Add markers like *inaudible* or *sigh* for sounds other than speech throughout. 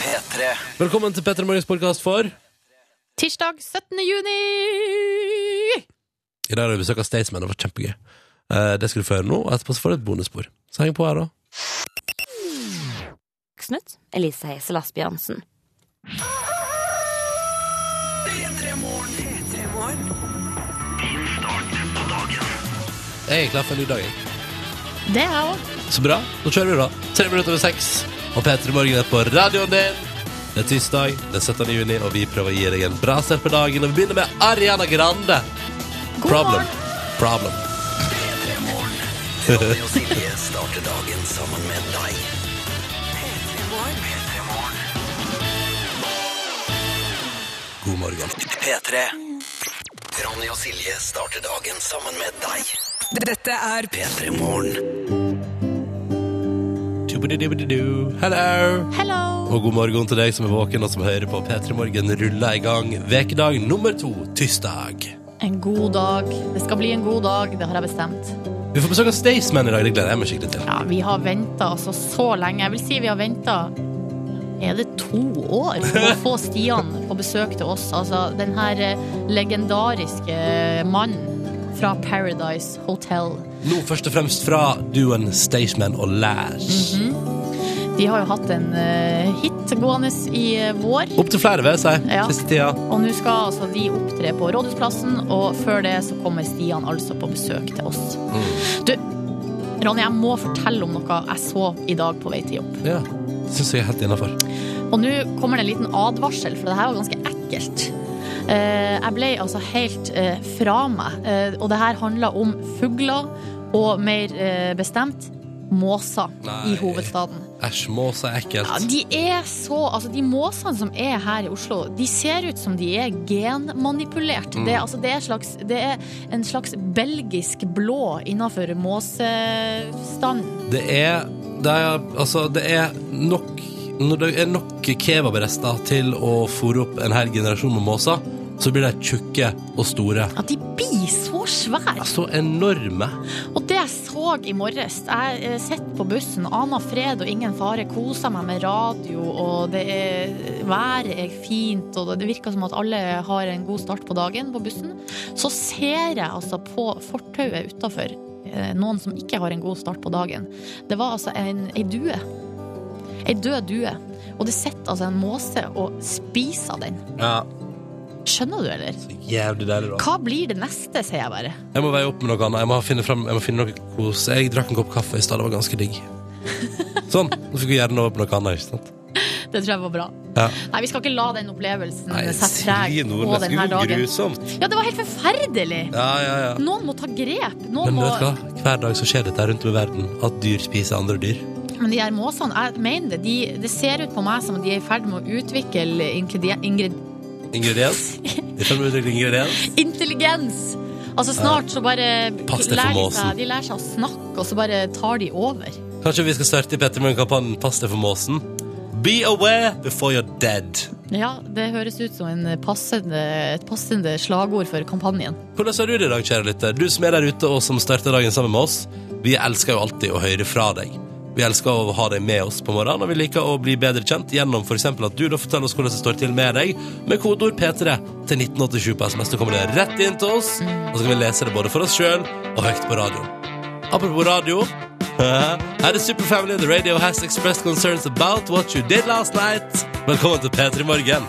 P3. Velkommen til Petter Morgens podkast for I Tirsdag 17. juni! dag har vi besøk av Staysman. Det var kjempegøy. Eh, Det skal du få høre nå, og etterpå så får du et bonusspor. Så heng på her, da. Knut Elise Hesel Asbjørnsen. Jeg er klar for en ny dag, jeg. Det er jeg òg. Så bra. Da kjører vi, da. Tre minutter over seks. Og P3 Morgen er på radioen din. Det er tirsdag den 17. juni, og vi prøver å gi deg en bra start på dagen. Og vi begynner med Ariana Grande. God Problem. morgen. Problem. Ronny og Silje *laughs* starter dagen sammen med deg. P3 God morgen. P3. Ronny og Silje starter dagen sammen med deg. Dette er P3 Morgen. Tubidibididu. Hello. Hello! Og god morgen til deg som er våken og som hører på P3 Morgen ruller i gang vekedag nummer to, tirsdag. En god dag. Det skal bli en god dag, det har jeg bestemt. Vi får besøk av Staysman i dag, det gleder jeg meg skikkelig til. Ja, Vi har venta altså så lenge. Jeg vil si vi har venta Er det to år for å få Stian på besøk til oss? Altså den her eh, legendariske eh, mannen fra Paradise Hotel. Nå først og fremst fra duoen Staysman og Lash. Mhm. De har jo hatt en eh, hit gående i eh, vår. Opp til flere, vil jeg si. Ja. Siste tida. Og nå skal altså de opptre på Rådhusplassen, og før det så kommer Stian altså på besøk til oss. Du, Ronny, jeg må fortelle om noe jeg så i dag på vei til jobb. Ja. Syns jeg er helt innafor. Og nå kommer det en liten advarsel, for det her var ganske ekkelt. Eh, Jeg ble altså helt eh, fra meg, Eh, og det her handla om fugler, og mer eh, bestemt måser Nei. i hovedstaden. Æsj, mås er ekkelt. Ja, de er så Altså, de måsene som er her i Oslo, de ser ut som de er genmanipulert. Det, er, altså, det, er slags, det er en slags belgisk blå innafor måsestand. Det er, det er Altså, det er nok Når det er nok kebabrester til å fôre opp en hel generasjon med måser, så blir de tjukke og store. At de blir så svære! Så enorme. Og det jeg så i morges Jeg eh, sitter på bussen, aner fred og ingen fare, koser meg med radio, og det er, været er fint, og det virker som at alle har en god start på dagen på bussen. Så ser jeg altså på fortauet utafor noen som ikke har en god start på dagen. Det var altså en, ei due. Ei død due. Og det sitter altså en måse og spiser den. Ja, Skjønner du, eller? så jævlig deilig, da. Hva blir det neste, sier jeg bare. Jeg må veie opp med noe annet. Jeg må finne, frem, jeg må finne noe kos. Jeg drakk en kopp kaffe i stad, det var ganske *laughs* digg. Sånn. Nå fikk vi gjerne over på noe annet, ikke sant? Det tror jeg var bra. Ja. Nei, vi skal ikke la den opplevelsen Nei, sette preg Silje på Nordnes, det denne var dagen. grusomt. Ja, det var helt forferdelig! Ja, ja, ja. Noen må ta grep. Noen Men må... vet du hva? Hver dag så skjer dette rundt om i verden. At dyr spiser andre dyr. Men de her måsene, jeg mener det. De, det ser ut på meg som de er i ferd med å utvikle ingredi- ingred... Ingrediens. *laughs* Vi følger med utvikling ingrediens. intelligens. Altså snart så bare Pass deg for lærer de måsen. seg, de lærer seg å snakke, og så bare tar de over. Kanskje vi skal starte i Petter Munn-kampanjen Pass deg for måsen. Be aware before you're dead. Ja, det høres ut som en passende, et passende slagord for kampanjen. Hvordan har du det i dag, kjære lytter? Du som er der ute og som starter dagen sammen med oss. Vi elsker jo alltid å høre fra deg. Vi elsker å ha deg med oss på morgenen, og vi liker å bli bedre kjent gjennom f.eks. at du da forteller oss hvordan det står til med deg, med kodeord P3 til 1987 på SMS. Da kommer det rett inn til oss, og så kan vi lese det både for oss sjøl og høyt på radioen. Apropos radio. *laughs* Her er Superfamily. The radio has expressed concerns about what you did last night. Velkommen til P3 Morgen.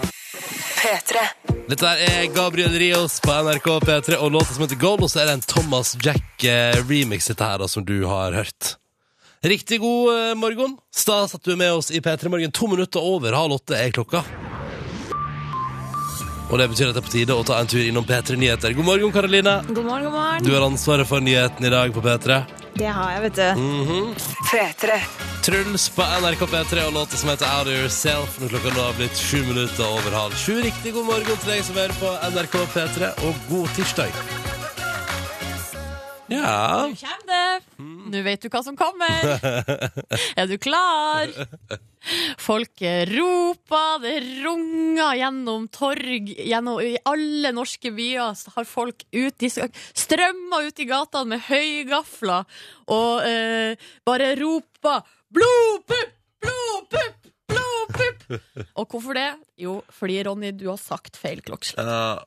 Dette her er Gabriel Rios på NRK P3 og låta som heter Gold, og så er det en Thomas Jack-remix dette her da, som du har hørt. Riktig god eh, morgen. Stas at du er med oss i P3 Morgen. To minutter over halv åtte er klokka. Og det betyr at det er på tide å ta en tur innom P3 Nyheter. God morgen, Karoline. God morgen, god morgen. Du har ansvaret for nyheten i dag på P3. Mhm. Det har jeg, vet du. P3. Truls på NRK P3 og låta som heter Out of Yourself når klokka nå har blitt sju minutter over halv sju. Riktig god morgen til deg som hører på NRK P3, og god tirsdag. Ja Kjem det! Nå vet du hva som kommer! Er du klar? Folk roper, det runger gjennom torg, gjennom, i alle norske byer så har folk ut, de skal- strømmer ut i gatene med høygafler og eh, bare roper 'blodpupp, blodpupp, blodpupp'! Og hvorfor det? Jo, fordi Ronny, du har sagt feil klokkeslett. Ja,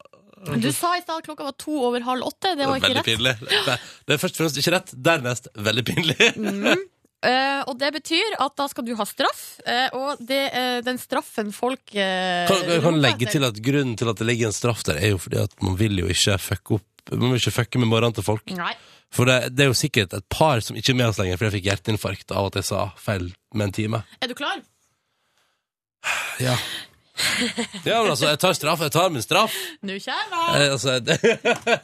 Du sa i stad at klokka var to over halv åtte. Det var ikke veldig rett. pinlig. Det- Det er først og fremst ikke rett, dernest veldig pinlig. Eh, og det betyr at da skal du ha straff, eh, og det, eh, den straffen folk eh, *laughs* Kan, jeg kan roper legge etter- til at grunnen til at det ligger en straff der, er jo fordi at man vil jo ikke fucke opp Man vil ikke fucke med morgenen til folk. Nei. For det, det er jo sikkert et par som ikke er med oss lenger fordi jeg fikk hjerteinfarkt av at jeg sa feil med en time. Er du klar? Ja. ja, men altså, jeg tar straff. Jeg tar min straff. Nå kommer jeg! Jeg, altså, *laughs* det...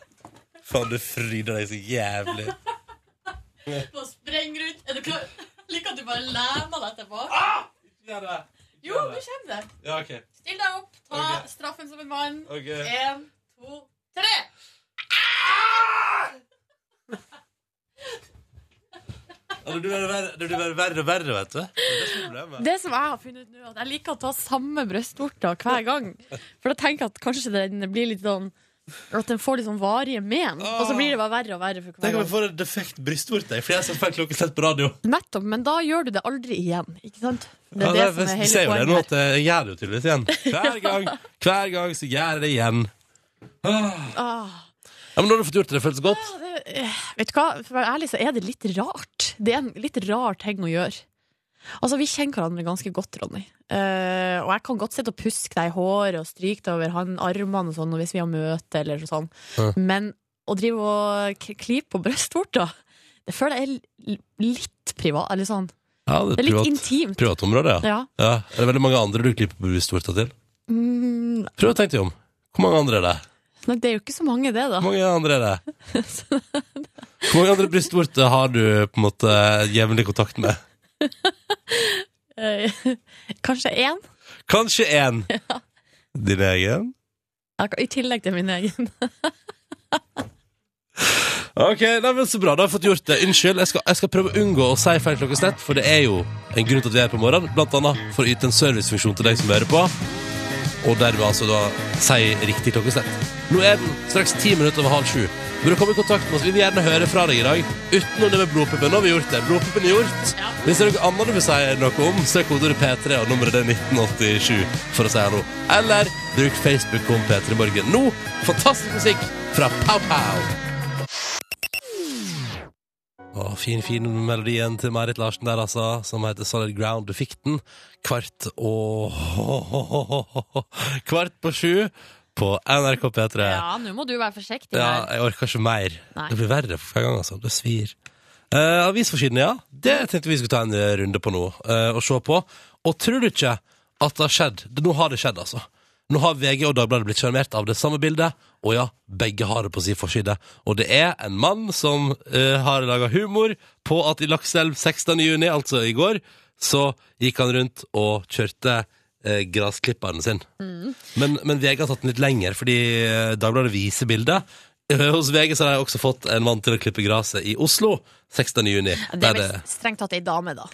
Faen, du fryder deg så jævlig. Nå sprenger du ut. Er du klar? Liker at du bare lener deg tilbake. Jo, nå kommer det. Ja, ok. Still deg opp. Ta Ok. straffen som en mann. Ok. Én, to, tre. Ja, det blir bare verre, det blir bare verre og verre, vet du. Det er det som er problemet. Det som jeg har funnet ut nå, er at jeg liker å ta samme brystvorter hver gang. For da tenker jeg at kanskje den blir litt sånn At den får litt sånn varige men. Og så blir det bare verre og verre for hver Tenk om gang. jeg får en defekt brystvorte fordi jeg har sett feil klokkeslett på radio. Nettopp, men da gjør du det aldri igjen. Ikke sant? Det Ja, er det som er vi ser hele jo det nå poenget. at eh, jeg gjør det jo tydeligvis igjen. Hver gang, hver gang så gjør jeg det igjen. her. Ah, Ja, men nå har du fått gjort det. Det føles godt. det- eh, Vet du hva, for å være ærlig så er det litt rart. Det er en litt rar ting å gjøre. Altså, Vi kjenner hverandre ganske godt, Ronny. Eh, og jeg kan godt sitte og puske deg i håret og stryke deg over han, armene og sånn og hvis vi har møte. eller sånn. Ja. Men å drive og k- klype på brystvorta, det føler jeg er l- litt privat. Eller sånn. Ja, Det er litt intimt. privat område, ja. Ja. ja. Er det veldig mange andre du klipper på brystvorta til? Mm, Prøv å tenke deg om. Hvor mange andre er det? nei, det er jo ikke så mange, det, da. Hvor mange andre er det? Hvor mange andre brystvorter har du på en måte jevnlig kontakt med? Eh, *laughs* Kanskje én? Kanskje én. *laughs* Din egen? Ja, I tillegg til min egen. Ok, nei, men Så bra, da har jeg fått gjort det. Unnskyld, jeg skal, jeg skal prøve å unngå å si feil klokkeslett, for det er jo en grunn til at vi er her på morgenen, blant annet for å yte en servicefunksjon til deg som hører på, og dermed altså da si riktig klokkeslett. Nå er den straks ti minutter over halv sju. Bør du komme i kontakt med oss? Vi vil gjerne høre fra deg i dag, utenom det med blodpuppen. Nå har vi gjort det. Blodpuppen er gjort. Hvis det er noe annet du vil si noe om, så er kodeordet P3, og nummeret er 1987, for å si hallo. Eller bruk Facebook om P3 Morgen. Nå, fantastisk musikk fra Pow Pow. Å, fin, fin melodien til Marit Larsen der, altså, som heter Solid Ground. Du fikk den kvart og *laughs* Kvart på sju på NRK P3. Ja, nå må du være forsiktig. Ja, her. jeg orker ikke mer. Nei. Det blir verre for hver gang, altså. Det svir. Uh, Avisforsiden, ja. Det tenkte vi skulle ta en eh, runde på nå, eh, og se på. Og tror du ikke at det har skjedd? Det- Nå har det skjedd, altså. Nå har VG og Dagbladet blitt sjarmert av det samme bildet, og ja, begge har det på sin forside. Og det er en mann som eh, har laga humor på at i Lakselv 16. juni, altså i går, så gikk han rundt og kjørte uh, grasklipperen sin. Men, men VG har tatt den litt lenger, fordi eh, Dagbladet viser bildet. Eh, Hos VG så har de også fått en mann til å klippe gresset i Oslo 16. juni. Det Der er vel strengt tatt ei dame, da.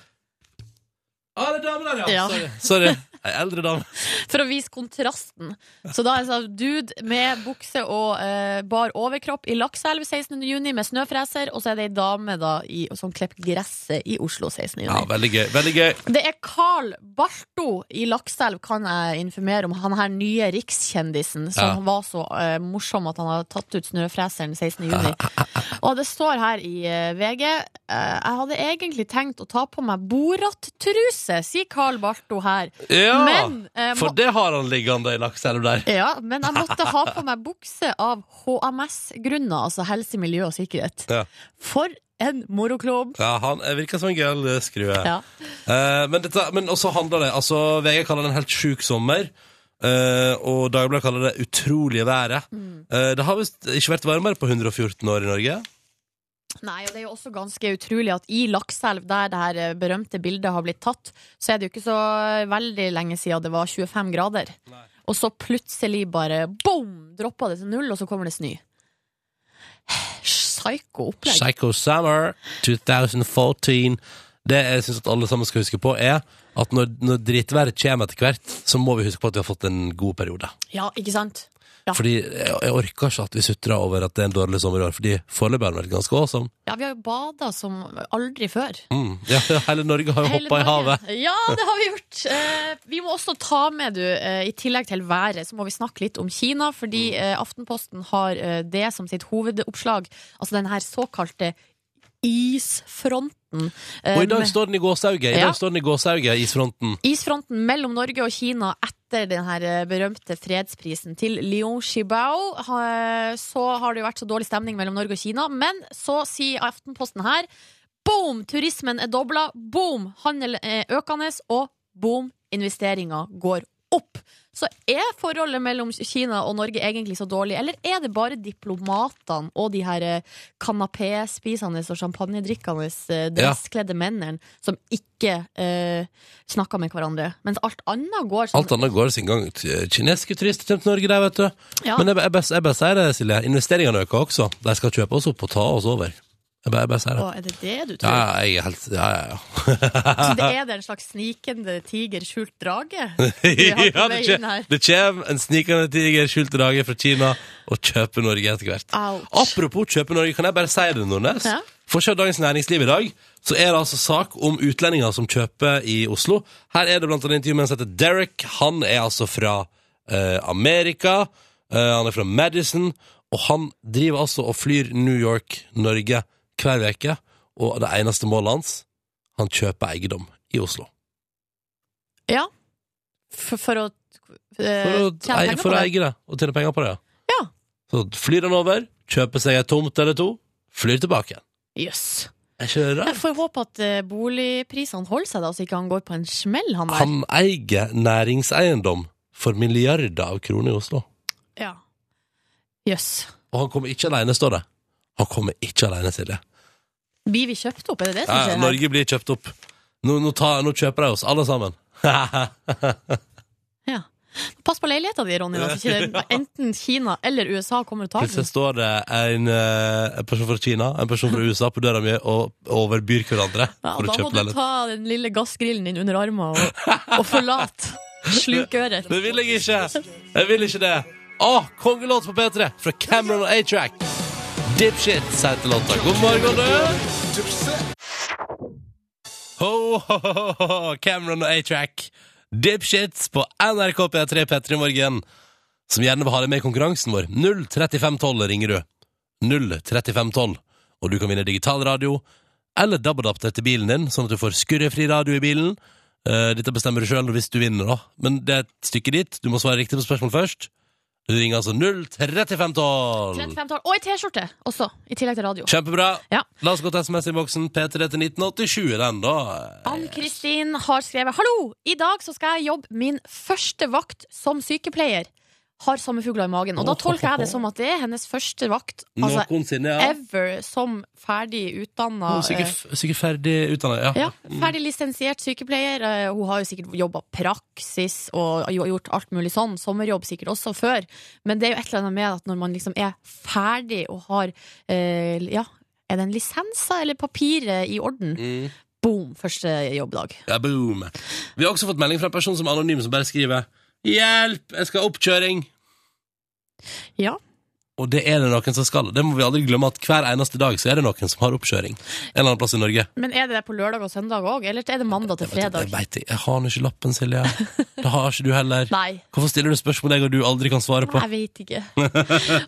Ah, det er damer der, Ja. Sorry. Sorry. Ei eldre dame. For å vise kontrasten. Så da er det sånn dude med bukse og eh, bar overkropp i Lakselv 16. juni med snøfreser, og så er det ei dame da i, som klipper gresset i Oslo 16. juni. Ja, veldig gøy. Veldig gøy. Det er Carl Barto i Lakselv, kan jeg informere om. Han her nye rikskjendisen som Ja. var så eh, morsom at han har tatt ut snøfreseren 16. juni. *laughs* Og det står her i eh, VG eh, Jeg hadde egentlig tenkt å ta på meg borat-truse, sier Carl Barto her. Ja! Men, eh, For må- det har han liggende i lakseelv der. Ja, men jeg måtte ha på meg bukse av HMS-grunner, altså helse, miljø og sikkerhet. Ja. For en moroklubb! Ja, han eh, virker som en gøyal eh, skrue. Ja. Eh, men, dette, men også handler det Altså, VG kaller det en helt sjuk sommer. eh, og Dagbladet kaller det utrolige været. Mm. Eh, det har visst ikke vært varmere på 114 år i Norge. Nei, og det er jo også ganske utrolig at i Lakselv, der det her eh, berømte bildet har blitt tatt, så er det jo ikke så eh, veldig lenge siden det var 25 grader. Og så plutselig bare boom, droppa det til null, og så kommer det snø. Psycho opplegg. Psycho Summer 2014. Det jeg syns at alle sammen skal huske på, er at når, når drittværet kommer etter hvert, så må vi huske på at vi har fått en god periode. Ja, ikke sant? Ja. Fordi jeg, jeg orker ikke at vi sutrer over at det er en dårlig sommer i år, fordi foreløpig har den vært ganske awesome. Ja, vi har jo bada som aldri før. Mm. Ja, *laughs* hele Norge har jo Hele hoppa i Norge. havet. Ja, det har vi gjort. Eh, vi må også ta med, du, eh, i tillegg til været, så må vi snakke litt om Kina. Fordi Mm. eh, Aftenposten har eh, det som sitt hovedoppslag. Altså den her såkalte isfronten. Eh, Og i dag med- står den i gåsauget, i Ja. dag står den i gåsauget, isfronten. Isfronten mellom Norge og Kina etter den her eh, berømte fredsprisen til Liu Shibao. ha- Så har det jo vært så dårlig stemning mellom Norge og Kina. Men så sier Aftenposten her boom, turismen er dobla, boom, handel er økende, og boom, investeringa går opp. Så er forholdet mellom Kina og Norge egentlig så dårlig, eller er det bare diplomatene og de her eh, kanapéspisende og champagnedrikkende eh, dresskledde mennene som ikke eh, snakker med hverandre. Mens alt annet går sånn. Alt annet går sin gang. eh, Kinesiske turister kommer til Norge, der, vet du. Ja. Men jeg, bare- jeg, bare- jeg bare sier det, Silje. Investeringene øker også. De skal kjøpe oss opp og ta oss over. Jeg bare, jeg bare sier det. Å, er det det du Ja, tror? ja, jeg er helt Ja, ja, ja. *laughs* Så det er det en slags snikende tiger skjult *laughs* drage? Vi har ja på det, vei inn kjem, her. det kjem en snikende tiger skjult drage fra Kina og kjøper Norge etter hvert. Ouch. Apropos kjøpe Norge, kan jeg bare si det, Nordnes? Ja. Forskjell Dagens Næringsliv i dag, så er det altså sak om utlendinger som kjøper i Oslo. Her er det blant annet intervju med en som heter Derek. Han er altså fra eh, Amerika. Eh, han er fra Madison. Og han driver altså og flyr New York-Norge hver uke. Og det eneste målet hans, han kjøper eiendom i Oslo. Ja. For, for å eh, For å, tjene ei, penger for på å det? eie det, og tjene penger på det. Ja. Så flyr han over, kjøper seg ei tomt eller to, flyr tilbake igjen. Jøss. Er ikke det Jeg rart? får håpe at eh, boligprisene holder seg, da, så ikke han går på en smell, han der. Han eier næringseiendom for milliarder av kroner i Oslo. Ja. Jøss. Og han kommer ikke alene, står det. Han kommer ikke alene, Silje. Blir vi kjøpt opp, er det det som Ja, skjer? her? Norge blir kjøpt opp. Nå, nå, tar, nå kjøper de oss, alle *laughs* sammen. Ja. Pass på leiligheta di, Ronny, da, *laughs* så ikke det, enten Kina eller USA kommer og tar Plutselig den. står det en, eh, en person fra Kina, en person *laughs* fra USA på døra mi og overbyr hverandre. Ja, for å da må kjøpe du leilighet. ta den lille gassgrillen din under armen og, og *laughs* forlate slukøret. Det vil jeg ikke. Jeg vil ikke det. Å, kongelåt på P3 fra Cameron og A-Track. Dipshit, sier til låta. God morgen, du. Ho, ho, ho, ho, ho. Cameron og A-Track. Dipshits på NRK P3 P3 Morgen. Som gjerne vil ha deg med i konkurransen vår. 03512 ringer du. 03512. Og du kan vinne digital radio eller DAB-adapter til bilen din, sånn at du får skurrefri radio i bilen. Eh, dette bestemmer du sjøl hvis du vinner, da. Men det er et stykke dit. Du må svare riktig på spørsmål først. Du ringer altså 03512. 35 tall. Og ei T-skjorte også, i tillegg til radio. Kjempebra. Ja. La oss gå til SMS-innboksen. P3 til 1987 er den, da. Ann-Kristin har skrevet Hallo! I dag så skal jeg jobbe min første vakt som sykepleier. Har sommerfugler i magen. Og da tolker jeg det som at det er hennes første vakt altså, Noensinne, ja. ever som ferdig utdanna Hun er Sikkert sikkert ferdig Mm. utdannet ja. Ja, ferdig lisensiert sykepleier. Eh, Hun har jo sikkert jobba praksis og jo- gjort alt mulig sånn. Sommerjobb sikkert også før. Men det er jo et eller annet med at når man liksom er ferdig og har eh, Ja, er det en lisensa eller papiret i orden? Mm. Boom, første jobbdag. Ja, boom. Vi har også fått melding fra en person som er anonym, som bare skriver 'Hjelp, jeg skal ha oppkjøring'. Ja. Og det er det noen som skal. Det må vi aldri glemme at hver eneste dag så er det noen som har oppkjøring. En eller annen plass i Norge. Men er det det på lørdag og søndag òg, eller er det mandag til Jeg, vet, fredag? jeg, vet, ikke. jeg har nå ikke lappen, Silje. Det har ikke du heller. *laughs* Nei. Hvorfor stiller du spørsmål jeg og du aldri kan svare på? Jeg vet ikke.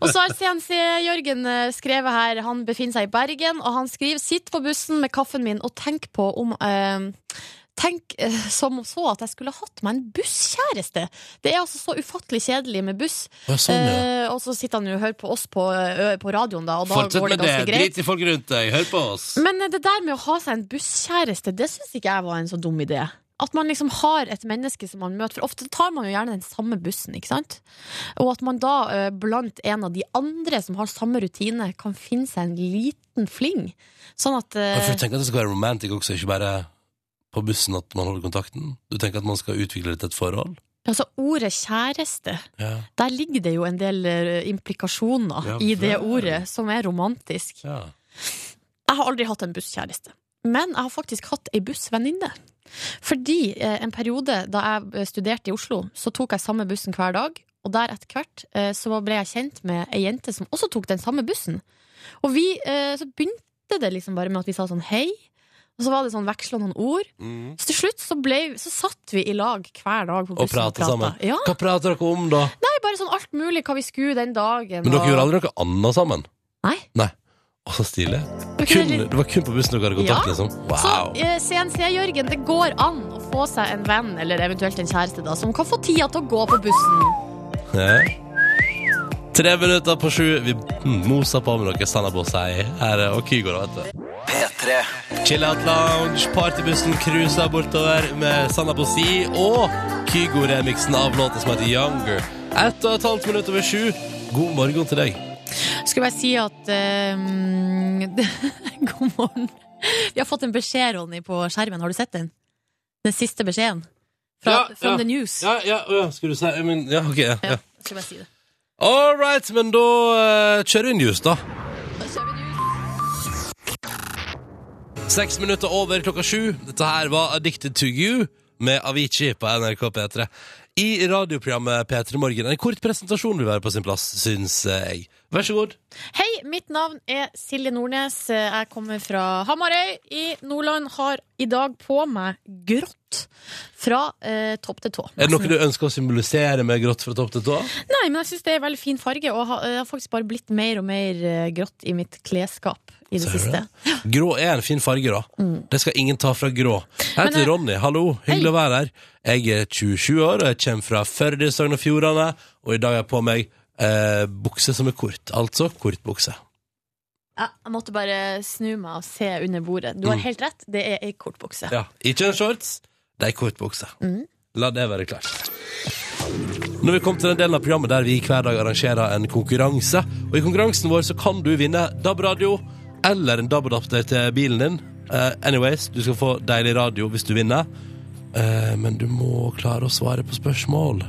Og så har CNC Jørgen eh, skrevet her, han befinner seg i Bergen, og han skriver 'Sitt på bussen med kaffen min og tenk på om eh, Tenk eh, som så at jeg skulle hatt meg en busskjæreste! Det er altså så ufattelig kjedelig med buss. Å, sånn, ja. Eh, og så sitter han jo og hører på oss på, eh, ø, på radioen, da, og da Fortsett går det med det. ganske greit. Drit i folk rundt deg. Hør på oss. Men eh, det der med å ha seg en busskjæreste, det syns ikke jeg var en så dum idé. At man liksom har et menneske som man møter, for ofte tar man jo gjerne den samme bussen, ikke sant? Og at man da eh, blant en av de andre som har samme rutine, kan finne seg en liten fling. Sånn at eh, Ja, For du tenker at det skal være romantic også, ikke bare på bussen at man holder kontakten? Du tenker at man skal utvikle litt et forhold? Altså, ordet kjæreste, Ja. der ligger det jo en del eh, implikasjoner Ja, i det vel. ordet, som er romantisk. ja. Jeg har aldri hatt en busskjæreste, men jeg har faktisk hatt ei bussvenninne. Fordi eh, en periode da jeg eh, studerte i Oslo, så tok jeg samme bussen hver dag, Og der etter hvert eh, så ble jeg kjent med ei jente som også tok den samme bussen. Og vi, eh, så begynte det liksom bare med at vi sa sånn hei, og så var det sånn veksla noen ord. Mm. Så til slutt så, ble, så satt vi i lag hver dag på bussen Og prate sammen. Ja, Hva prater dere om, da? nei, bare sånn alt mulig hva vi skulle den dagen. Men dere og- gjorde aldri noe annet sammen? Nei. Nei. Å, så stilig. Var ikke det Kun, litt- det var kun på bussen dere hadde kontakt, Ja. liksom? Så Wow. eh, CNC-Jørgen, det går an å få seg en venn, eller eventuelt en kjæreste, da, som kan få tida til å gå på bussen. Ja. Eh. Tre minutter på sju. Vi mm, moser på med noe Sandabossei her og Kygo, da, vet du. P3. Chill Out Lounge, partybussen cruiser bortover med Sanna Bossi og Kygo-remiksen av låta som heter Younger. Ett og et halvt minutt over sju. God morgen til deg. Skulle bare si at eh, *laughs* God morgen. Vi har fått en beskjed, Ronny, på skjermen. Har du sett den? Den siste beskjeden. Fra, Ja, from ja. the news. Ja, ja, ja, skal du si men, Ja, OK. Ja, ja. Ja, Skal bare si det. All right, men da eh, kjører vi inn news, da. Seks minutter over klokka sju. Dette her var Addicted to you med Avicii på NRK P3. I radioprogrammet P3 Morgen. En kort presentasjon vil være på sin plass, syns jeg. Vær så god. Hei, mitt navn er Silje Nordnes. Jeg kommer fra Hamarøy i Nordland. Har i dag på meg grått fra eh, topp til tå. Er det noe du ønsker å symbolisere med grått fra topp til tå? Nei, men jeg syns det er en veldig fin farge, og har- jeg har faktisk bare blitt mer og mer eh, grått i mitt klesskap i det Ser du siste. det? Grå er en fin farge, da. Det skal ingen ta fra grå. Jeg heter Mm. Men, eh, Ronny, hallo. Hyggelig å være her. Jeg er 27 år, og jeg kommer fra Førde i Sogn og Fjordane. Og i dag har jeg på meg eh, bukse som er kort. Altså kortbukse. Ja, Jeg måtte bare snu meg og se under bordet. Du har helt rett, det er ei kortbukse. Mm. Ja. Ikke en shorts, det er kortbukse. Mm. La det være klart. Når vi kom til den delen av programmet der vi hver dag arrangerer en konkurranse, og i konkurransen vår så kan du vinne DAB-radio eller en DAB-adapter til bilen din. Eh, anyways, du skal få deilig radio hvis du vinner, Eh, men du må klare å svare på spørsmål.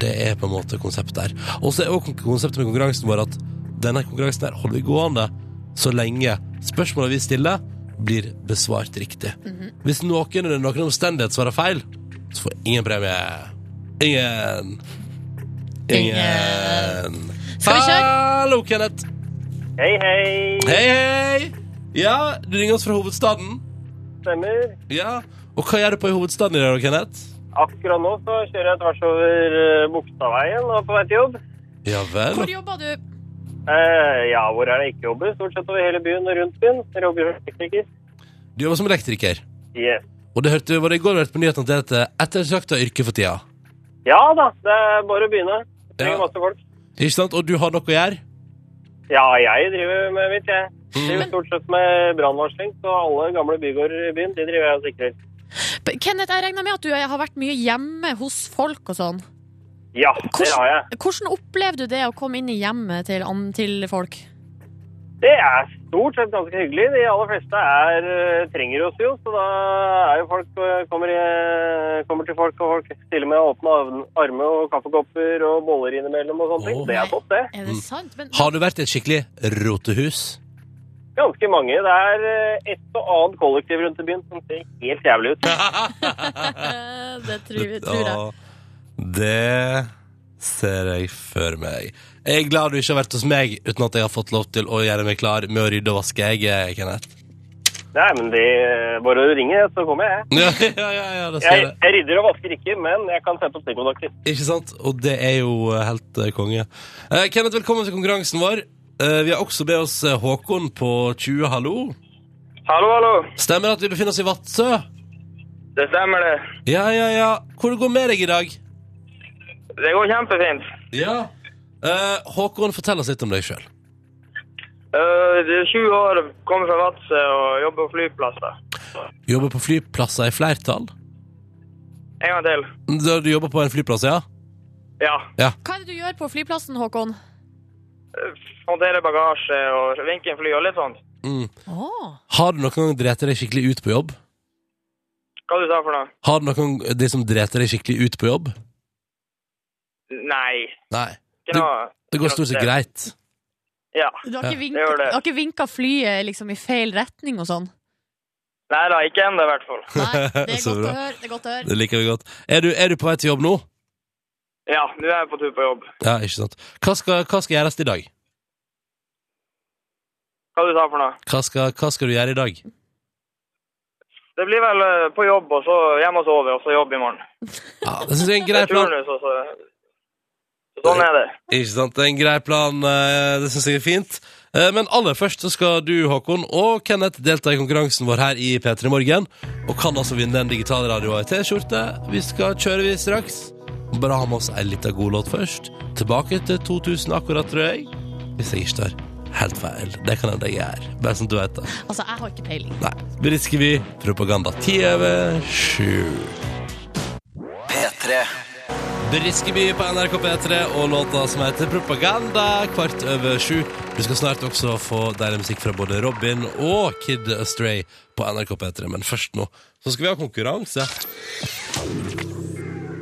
Det er på en måte konseptet her. Og så er også konseptet med konkurransen vår at denne konkurransen her holder vi gående så lenge spørsmålene vi stiller, blir besvart riktig. Mhm. Hvis noen under noen omstendighet svarer feil, så får ingen premie. Ingen. Ingen. Skal vi kjøre? Hallo, Kenneth. Hei, hei. Hei, hei. Ja, du ringer oss fra hovedstaden. Stemmer. Ja. Og hva gjør du på i hovedstaden i dag, Kenneth? Akkurat nå så kjører jeg tvers over eh, Bogstadveien og er på vei til jobb. Ja vel. Hvor jobber du? Eh, ja, hvor er det jeg ikke jobber? Stort sett over hele byen og rundt byen. Jeg jobber som tekniker. Du jobber som elektriker. Yes. Og det hørte, var det i går vi hørte på nyhetene at det er et ettertrakta yrke for tida. Ja da, det er bare å begynne. Jeg trenger Ja. masse folk. Ikke sant? Og du har noe å gjøre? Mm. Ja, jeg driver med mitt, jeg. Driver stort sett med brannvarsling, så alle gamle bygårder i byen, de driver jeg og sikrer. B- Kenneth, jeg regner med at du eh, har vært mye hjemme hos folk og sånn. Ja, det Hvordan- har jeg. Hvordan opplevde du det å komme inn i hjemmet til, an- til folk? Det er stort sett ganske hyggelig. De aller fleste er, eh, trenger oss jo, så da er jo folk, eh, kommer, i- eh, kommer til folk, og folk stiller med åpne arm- armer og kaffekopper og boller innimellom og sånne ting. Åh. Det er topp, det. Er det Mm. sant? Men, Har du vært i et skikkelig rotehus? Ganske mange. Det er eh, et og annet kollektiv rundt i byen som ser helt jævlig ut. Eh, det tror, jeg- tror jeg. Ja, det ser jeg for meg. Jeg er glad du ikke har vært hos meg uten at jeg har fått lov til å gjøre meg klar med å rydde og vaske, jeg, eh, Kenneth. *laughs* Nei, men de, eh, bare å ringe, så kommer jeg. Ja, ja, ja, ja det ser Jeg, jeg. jeg rydder og vasker ikke, men jeg kan sette opp stikkontakter. Ikke sant? Og det er jo eh, helt eh, konge. Eh, Kenneth, velkommen til konkurransen vår. Eh, vi har også med oss eh, Håkon på 20, hallo. Hallo, hallo. Stemmer det at vi befinner oss i Vadsø? Det stemmer, det. Ja, ja, ja. Hvor det går med deg i dag? Det går kjempefint. Ja. Eh, Håkon, fortell oss litt om deg sjøl. Uh, 20 år, kommer fra Vadsø og jobber på flyplasser. Jobber på flyplasser i flertall. En gang til. Du, du jobber på en flyplass, ja? Ja. Hva er det du gjør på flyplassen, Håkon? Håndtere bagasje og vinke en fly og litt sånt. Mm. Åh. Har du noen gang drept deg skikkelig ut på jobb? Hva du sa for noe? Har du noen gang de som drept deg skikkelig ut på jobb? Nei. Nei. Ikke noe. Det går stort sett greit. Ja. Du har ikke vinka, gjør det. du har ikke vinka flyet liksom, i feil retning og sånn? Nei da, ikke ennå i hvert fall. Nei, det er *laughs* Så godt å bra. høre. Det er godt å høre. Det liker vi godt. Er du, er du på vei til jobb nå? Ja, nå er jeg på tur på jobb. Ja, ikke sant. Hva skal, hva skal gjøres i dag? Hva du sa for noe? Hva skal, hva skal du gjøre i dag? Det blir vel eh, på jobb, og så hjem og sove, og så jobb i morgen. Ja, det synes jeg er en grei plan. Turnus, og så... Sånn er det. Ikke sant, det er en grei plan. eh, Det synes jeg er fint. Eh, Men aller først så skal du, Håkon, og Kenneth delta i konkurransen vår her i P3 Morgen. Og kan altså vinne en digital radio og ei T-skjorte. Vi skal kjøre vi straks. Bare ha med oss ei lita god låt først. Tilbake til 2000 akkurat, tror jeg. Hvis jeg ikke tar helt feil. Det kan hende jeg gjør. Bare sånn at du vet det. Altså, jeg har ikke peiling. Nei. Brisker vi propaganda ti over sju. P3 Briskeby på NRK P3 og låta som heter Propaganda kvart over sju. Du skal snart også få deilig musikk fra både Robin og Kid Astray på NRK P3, men først nå så skal vi ha konkurranse.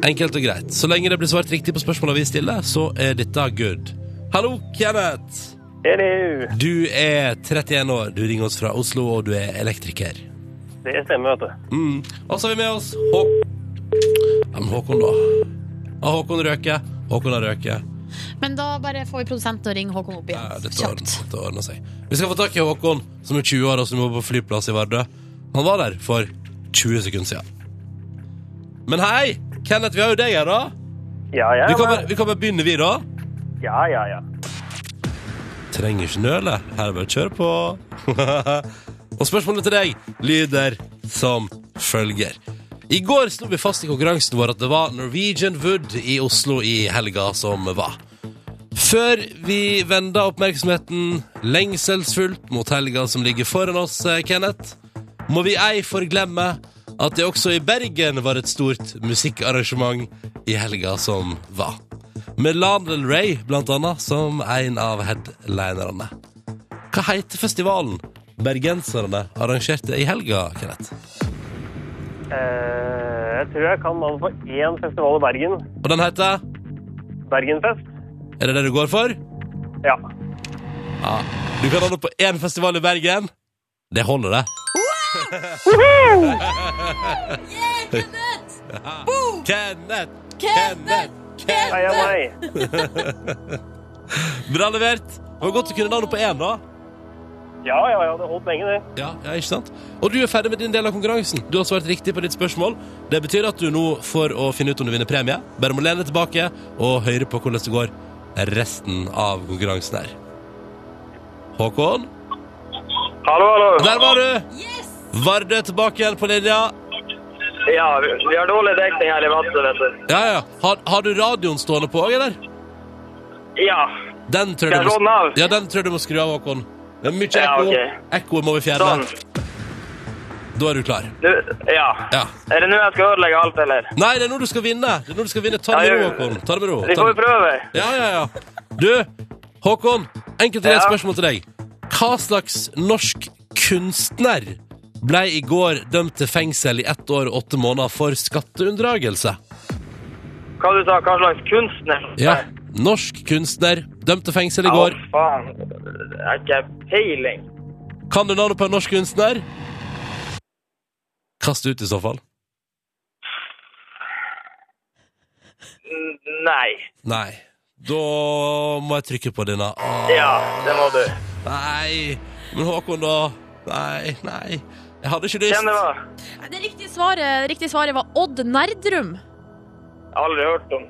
Enkelt og greit. Så lenge det blir svart riktig på spørsmåla vi stiller, så er dette good. Hallo, Kenneth! Er det Du er 31 år, du ringer oss fra Oslo, og du er elektriker. Det stemmer, vet du. Mm. Og så har vi med oss Hå ja, men Håkon, da. Ja, Håkon røker. Håkon har røket. Men da bare får vi produsenten til å ringe Håkon opp Ja, igjen. dette ordner, Kjapt. dette ordner seg. Vi skal få tak i Håkon, som er 20 år og som jobber på flyplass i Vardø. Han var der for 20 sekunder siden. Men hei, Kenneth, vi har jo deg her, da. Ja, ja, Vi kan bare, men- vi kan bare begynne, vi, da. Ja, ja, ja. Trenger ikke nøle. Her er det bare å kjøre på. *laughs* og spørsmålet til deg lyder som følger. I går slo vi fast i konkurransen vår at det var Norwegian Wood i Oslo i helga som var. Før vi vender oppmerksomheten lengselsfullt mot helga som ligger foran oss, eh, Kenneth, må vi ei forglemme at det også i Bergen var et stort musikkarrangement i helga som var. Med Lana Ray, blant annet, som en av headlinerne. Hva heter festivalen bergenserne arrangerte i helga, Kenneth? Eh, jeg tror jeg kan navnet på én festival i Bergen. Og den heter Bergenfest. Er det det du går for? Ja. Du kan holde på én festival i Bergen. Det holder, det. *laughs* Kenneth! Kenneth! Kenneth! Hei, meg. Bra levert. Det var godt å kunne navnet på én, da. Ja, ja, ja, det holdt lenge, det. Ja, ja, ikke sant? Og du er ferdig med din del av konkurransen. Du har svart riktig på ditt spørsmål. Det betyr at du nå, for å finne ut om du vinner premie, bare må lene deg tilbake og høre på hvordan det går resten av konkurransen her. Håkon, Hallo, hallo. der var du! Vardø er tilbake igjen på linja. Ja, vi, vi har dårlig dekning her i Vadsø, vet du. Ja, ja. Har, har du radioen stående på òg, eller? Ja. Den tror Skal jeg jeg du slå den må, av? ja, den tror jeg du må skru av, Håkon. Det er mye Ja, ekko. ok. Ekko må vi fjerne. Sånn. Da er du klar. Du, ja. Ja. Er det nå jeg skal ødelegge alt, eller? Nei, det er nå du skal vinne. Det er nå du skal vinne. Ta det med Ja, ro, jeg- Håkon. Ta det med ro. Vi Ta får det- jo prøve. Ja, ja, ja. Du, Håkon, enkelt og greit Ja. spørsmål til deg. Hva slags norsk kunstner ble i går dømt til fengsel i ett år og åtte måneder for skatteunndragelse? Hva du sa Hva slags kunstner? Ja, norsk kunstner dømt til fengsel i går. Å, faen. Jeg har ikke peiling. Kan du navnet på en norsk kunstner? Kast ut i så fall. N- Nei. Nei. Da må jeg trykke på denne. Åh, Ja, det må du. nei. Men Håkon, da. Nei, nei. Jeg hadde ikke lyst. Kjenn det hva? Det riktige svaret, riktige svaret var Odd Nerdrum. Aldri hørt om.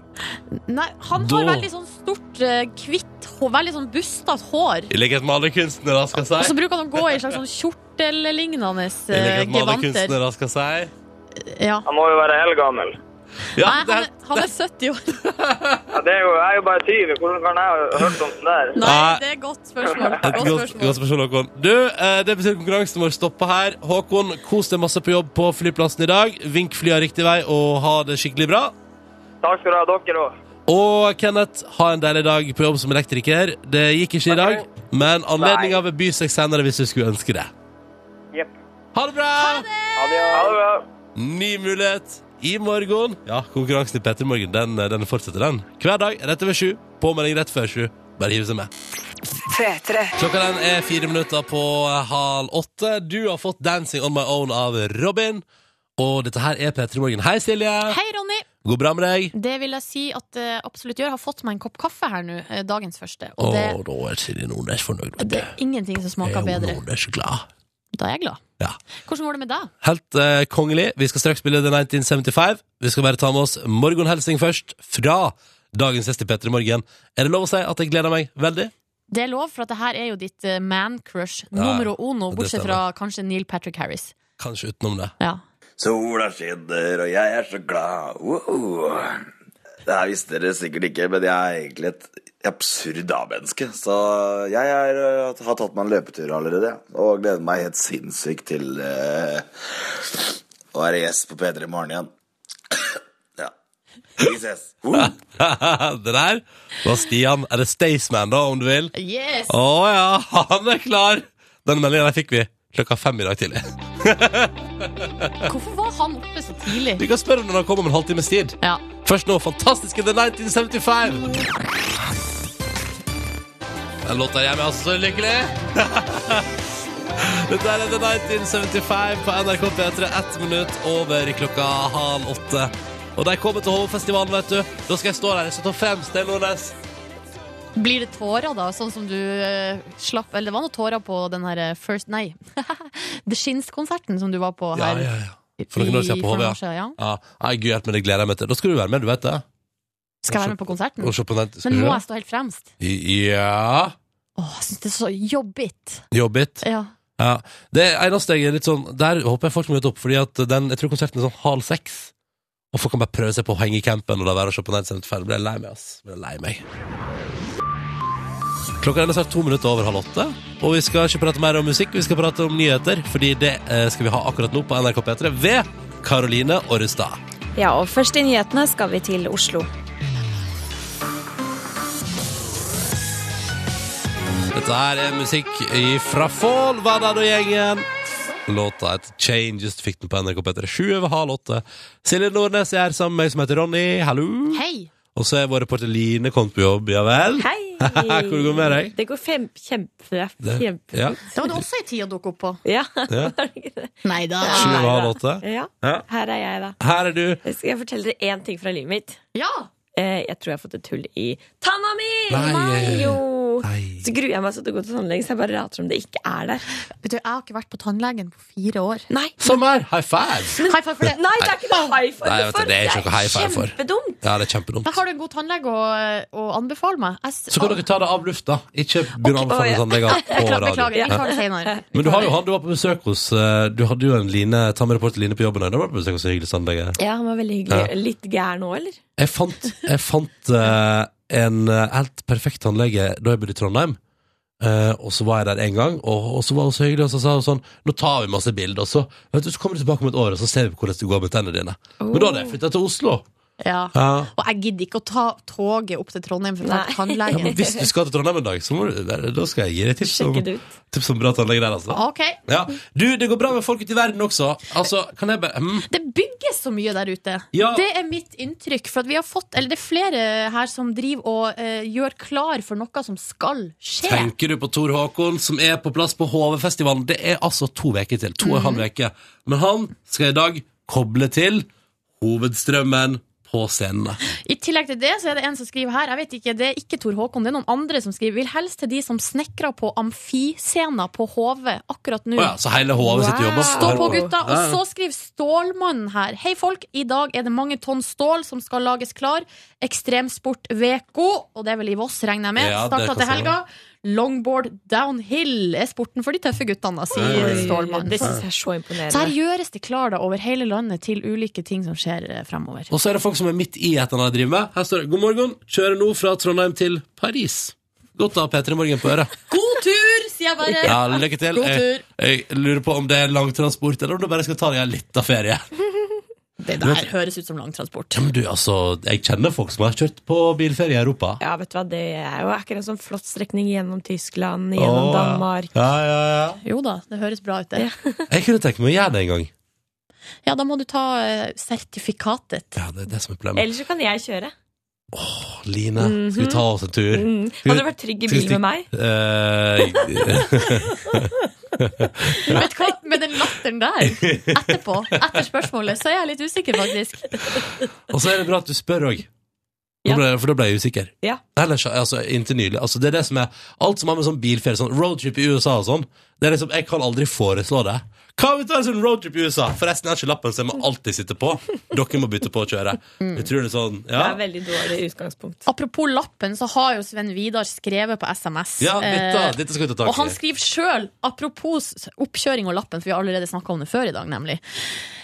Nei, han Da- har veldig sånn stort, eh, hvitt hår, veldig sånn bustete hår. I likhet med alle kunstnere, skal Og jeg si. så bruker han å gå i en slags sånn kjortellignende I eh, likhet med alle gevanter. kunstnere, skal jeg si. Ja. Han må jo være eldgammel. Ja, Nei, det, han, er, han er 70 år. Ja, det er jo, jeg er jo bare 20. Hvordan kan jeg ha hørt om det der? Nei, Nei. det er et godt spørsmål. Et Godt godt, spørsmål. godt spørsmål, Håkon. Du, eh, det betyr at konkurransen vår stopper her. Håkon, kos deg masse på jobb på flyplassen i dag. Vink flya riktig vei, og ha det skikkelig bra. Takk skal du ha, dere òg. Og Kenneth, ha en deilig dag på jobb som elektriker. Det gikk ikke i dag, men anledninga vil by seg senere hvis du skulle ønske det. Jepp. Ha det bra! Ha det bra. Ny mulighet i morgen. Ja, konkurransen i Petter Morgen den, den fortsetter, den. Hver dag rett over sju. Påmelding rett før sju. Bare hiv seg med. P3. Klokka den er fire minutter på eh, halv åtte. Du har fått 'Dancing on my own' av Robin. Og dette her er P3 Morgen. Hei, Silje. Hei, Ronny. Går bra med deg? Det vil jeg si at eh, absolutt gjør. Har fått meg en kopp kaffe her nå, eh, dagens første. Å, Og det, da er Siri Nordnes fornøyd. vet du. det er ingenting som Er smaker hun bedre. Nordnes glad. Da er jeg glad. Ja. Hvordan går det med deg? Helt eh, kongelig. Vi skal straks spille The 1975. Vi skal bare ta med oss morgenhelsing først, fra dagens gjest i P3 Morgen. Er det lov å si at jeg gleder meg veldig? Det er lov, for at det her er jo ditt eh, man crush. ja. Numero uno, Det bortsett stemmer. fra kanskje Neil Patrick Harris. Kanskje utenom det. Ja. Sola skinner, og jeg er så glad. Wow. Det her visste dere sikkert ikke, men jeg er egentlig et absurd A-menneske. Så jeg er, eh, har tatt meg en løpetur allerede, og gleder meg helt sinnssykt til eh, å være gjest på P3 i morgen igjen. ja. Vi ses. Woo. *laughs* det der var Stian, eller Staysman, da, om du vil. Yes! Å ja, han er klar! Den meldinga der fikk vi klokka fem i dag tidlig. Hvorfor var han oppe så Du tidlig? kan spørre når han kommer om en halvtimes tid. Ja. Først nå, fantastiske The 1975! Den låta gjør meg altså så lykkelig! *laughs* Dette er The 1975 på NRK P3, ett minutt over klokka halv åtte. Og de kommer til Hovefestivalen, vet du. Da skal jeg stå der. Jeg skal ta frem Stein Nordnes. Blir det tårer, da? Sånn som du eh, slapp Eller det var noen tårer på den her eh, First Nei. *laughs* The Shins-konserten som du var på Ja, her. ja, ja. For noen år siden i- på for HV, noen ja. år siden, ja. ja. Nei, gud hjelpe meg, det gleder jeg meg til. Da skal du være med, du vet det. Skal jeg være med på konserten? Og se på den. Skal Men du må det? jeg stå helt fremst? Ja Åh, jeg synes det er så jobbigt. Jobb it. Ja. Ja, det eneste jeg er litt sånn Der håper jeg folk må møte opp, fordi at den, jeg tror konserten er sånn halv seks. Og folk kan bare prøve seg på å henge i campen og la være å se på 1975. Blir jeg lei meg, ass. Blir jeg lei meg. Klokka er snart to minutter over halv åtte, og vi skal ikke prate mer om musikk, vi skal prate om nyheter, fordi det eh, skal vi ha akkurat nå på NRK P3 ved Karoline Orrestad. Ja, og først i nyhetene skal vi til Oslo. Dette her er musikk fra Folvadad og gjengen. Låta et Changes du fikk den på NRK P3 7 over halv åtte. Silje Nordnes er her sammen med meg som heter Ronny. Hallo. Hei! Og så er vår reporter Line kommet på jobb. Ja vel? *laughs* Hei! Hvordan går det med deg? Det går fem, kjempe, Det- kjempe. Ja. Det var det også ei tid å dukke opp på. Ja. ja. Nei da. Sju over halv åtte. ja, Ja. her er jeg da. Her er du. Skal jeg fortelle dere én ting fra livet mitt? Ja! Eh, jeg tror jeg har fått et hull i tanna mi! Nei. Nei, jo. Nei. Så gruer jeg meg så til å gå til tannlegen, så jeg bare rater om det ikke er der. Vet du, Jeg har ikke vært på tannlegen på fire år. Nei, Som er high five. Hei, for det. Nei det er ikke noe high five Nei, vet du, for. det er ikke noe high five for. kjempedumt! Ja, det er kjempedumt. Der har du en god tannlege å, å anbefale meg. Jeg, s- Så kan dere ta det av lufta. Ikke begynne å Ok, å, anbefale ja. *laughs* tannleger på Beklager, radio. beklager, vi tar det senere. Men du har jo han du var på besøk hos eh, Du hadde jo en Line, ta med reporter Line på jobben. Da var du på besøk hos en hyggelig sånn tannlege. Ja, han var veldig hyggelig. Litt gæren nå, eller? Jeg fant, jeg fant eh, en eh, helt perfekt tannlege da jeg bodde i Trondheim. Eh, og så var jeg der en gang, og, og så var hun så hyggelig, og så sa hun sånn Nå tar vi masse bilder, og så, vet du, så kommer du tilbake om et år, og så ser vi hvordan det går med tennene dine. Men da hadde jeg flytta til Oslo. Ja. Ja. Og jeg gidder ikke å ta toget opp til Trondheim for å ta Nei. Ja, men tannlegen. hvis du skal til Trondheim en dag, så må du, da skal jeg gi deg tips om, Sjekke det ut. tips om bra tannleger der, altså. Ok. Ja. Du, det går bra med folk ute i verden også. Altså, kan jeg bare hm? Det bygges så mye der ute. Ja. Det er mitt inntrykk. For at vi har fått, eller det er flere her som driver og eh, gjør klar for noe som skal skje. Tenker du på Tor Håkon, som er på plass på HV-festivalen? Det er altså to uker til. To og Mm. en halv uke. Men han skal i dag koble til hovedstrømmen på scenene. I tillegg til det så er det en som skriver her, jeg vet ikke, det er ikke Tor Håkon, det er noen andre som skriver, vil helst til de som snekrer på amfiscener på HV akkurat nå. Å ja, så hele HV sitter og jobber. Stå på, gutta! Ja, Og ja. så skriver Stålmannen her. Hei, folk. I dag er det mange tonn stål som skal lages klar. Ekstremsportveko, og det er vel i Voss, regner jeg med. Ja, det Starta kan til helga. Longboard downhill er sporten for de tøffe guttene, sier Stålmannen. Det syns jeg er så imponerende. Så her gjøres det klar da, over hele landet til ulike ting som skjer eh, fremover. Og så er det folk som er midt i et eller annet de driver med. Her står det 'God morgen, kjører nå fra Trondheim til Paris'. Godt å ha P3 Morgen på øret. God tur, sier jeg bare! Ja, lykke til. God Jeg, tur. jeg lurer på om det er langtransport, eller om du bare skal ta deg en liten ferie. Det der høres ut som langtransport. Ja, men du, altså, jeg kjenner folk som har kjørt på bilferie i Europa. Ja, vet du hva, det er jo akkurat en sånn flott strekning gjennom Tyskland, Å, gjennom ja. Danmark. Ja, ja, ja. Jo da, det høres bra ut, det. Jeg kunne tenkt meg å gjøre det en gang. Ja, da må du ta eh, sertifikatet. Ja, det er det som er problemet. Eller så kan jeg kjøre. Line, skal Mhm. vi ta oss en tur? Mm. Skal Hadde vi- du vært trygg i skal vi bil med meg? Eh, Vet du hva? Med den latteren der etterpå, etter spørsmålet, så er jeg litt usikker, faktisk. Og så er det bra at du spør òg. Ja. For da ble jeg usikker. Ja. Ellers, altså, inntil nylig. Altså, det er det som er Alt som har med sånn bilferie, sånn roadtrip i USA og sånn, det er liksom Jeg kan aldri foreslå det. Hva om vi tar en sånn roadtrip i USA? Forresten, jeg har ikke lappen, så jeg må alltid sitte på. Dere må bytte på å kjøre. Mm. Jeg tror det er sånn Ja. Det er veldig dårlig utgangspunkt. Apropos lappen, så har jo Sven Vidar skrevet på SMS. Ja, dette- Eh, dette skal vi ta tak i. Og han skriver sjøl, apropos oppkjøring og lappen, for vi har allerede snakka om det før i dag, nemlig.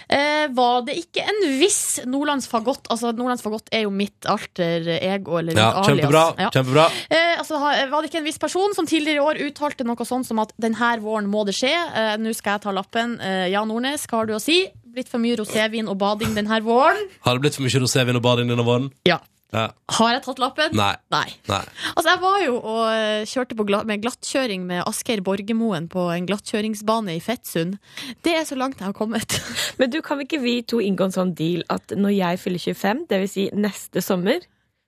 Eh, var det ikke en viss Nordlands Fagott Altså, Nordlands Fagott er jo mitt alter ego, eller ja mitt alias. kjempebra. Ja. Kjempebra. Eh, altså, ha- var det ikke en viss person som tidligere i år uttalte noe sånn som at denne våren må det skje, eh, nå skal jeg ta lappen, eh, Jan Nordnes, hva har du å si? Blitt for mye rosévin og bading denne våren. Har det blitt for mye rosévin og bading denne våren? Ja. ja. Har jeg tatt lappen? Nei. Nei. Nei. Altså, jeg var jo og eh, kjørte på gla med glattkjøring med Asgeir Borgermoen på en glattkjøringsbane i Fettsund. Det er så langt jeg har kommet. *laughs* Men du, kan ikke vi to inngå en sånn deal at når jeg fyller 25, det vil si neste sommer,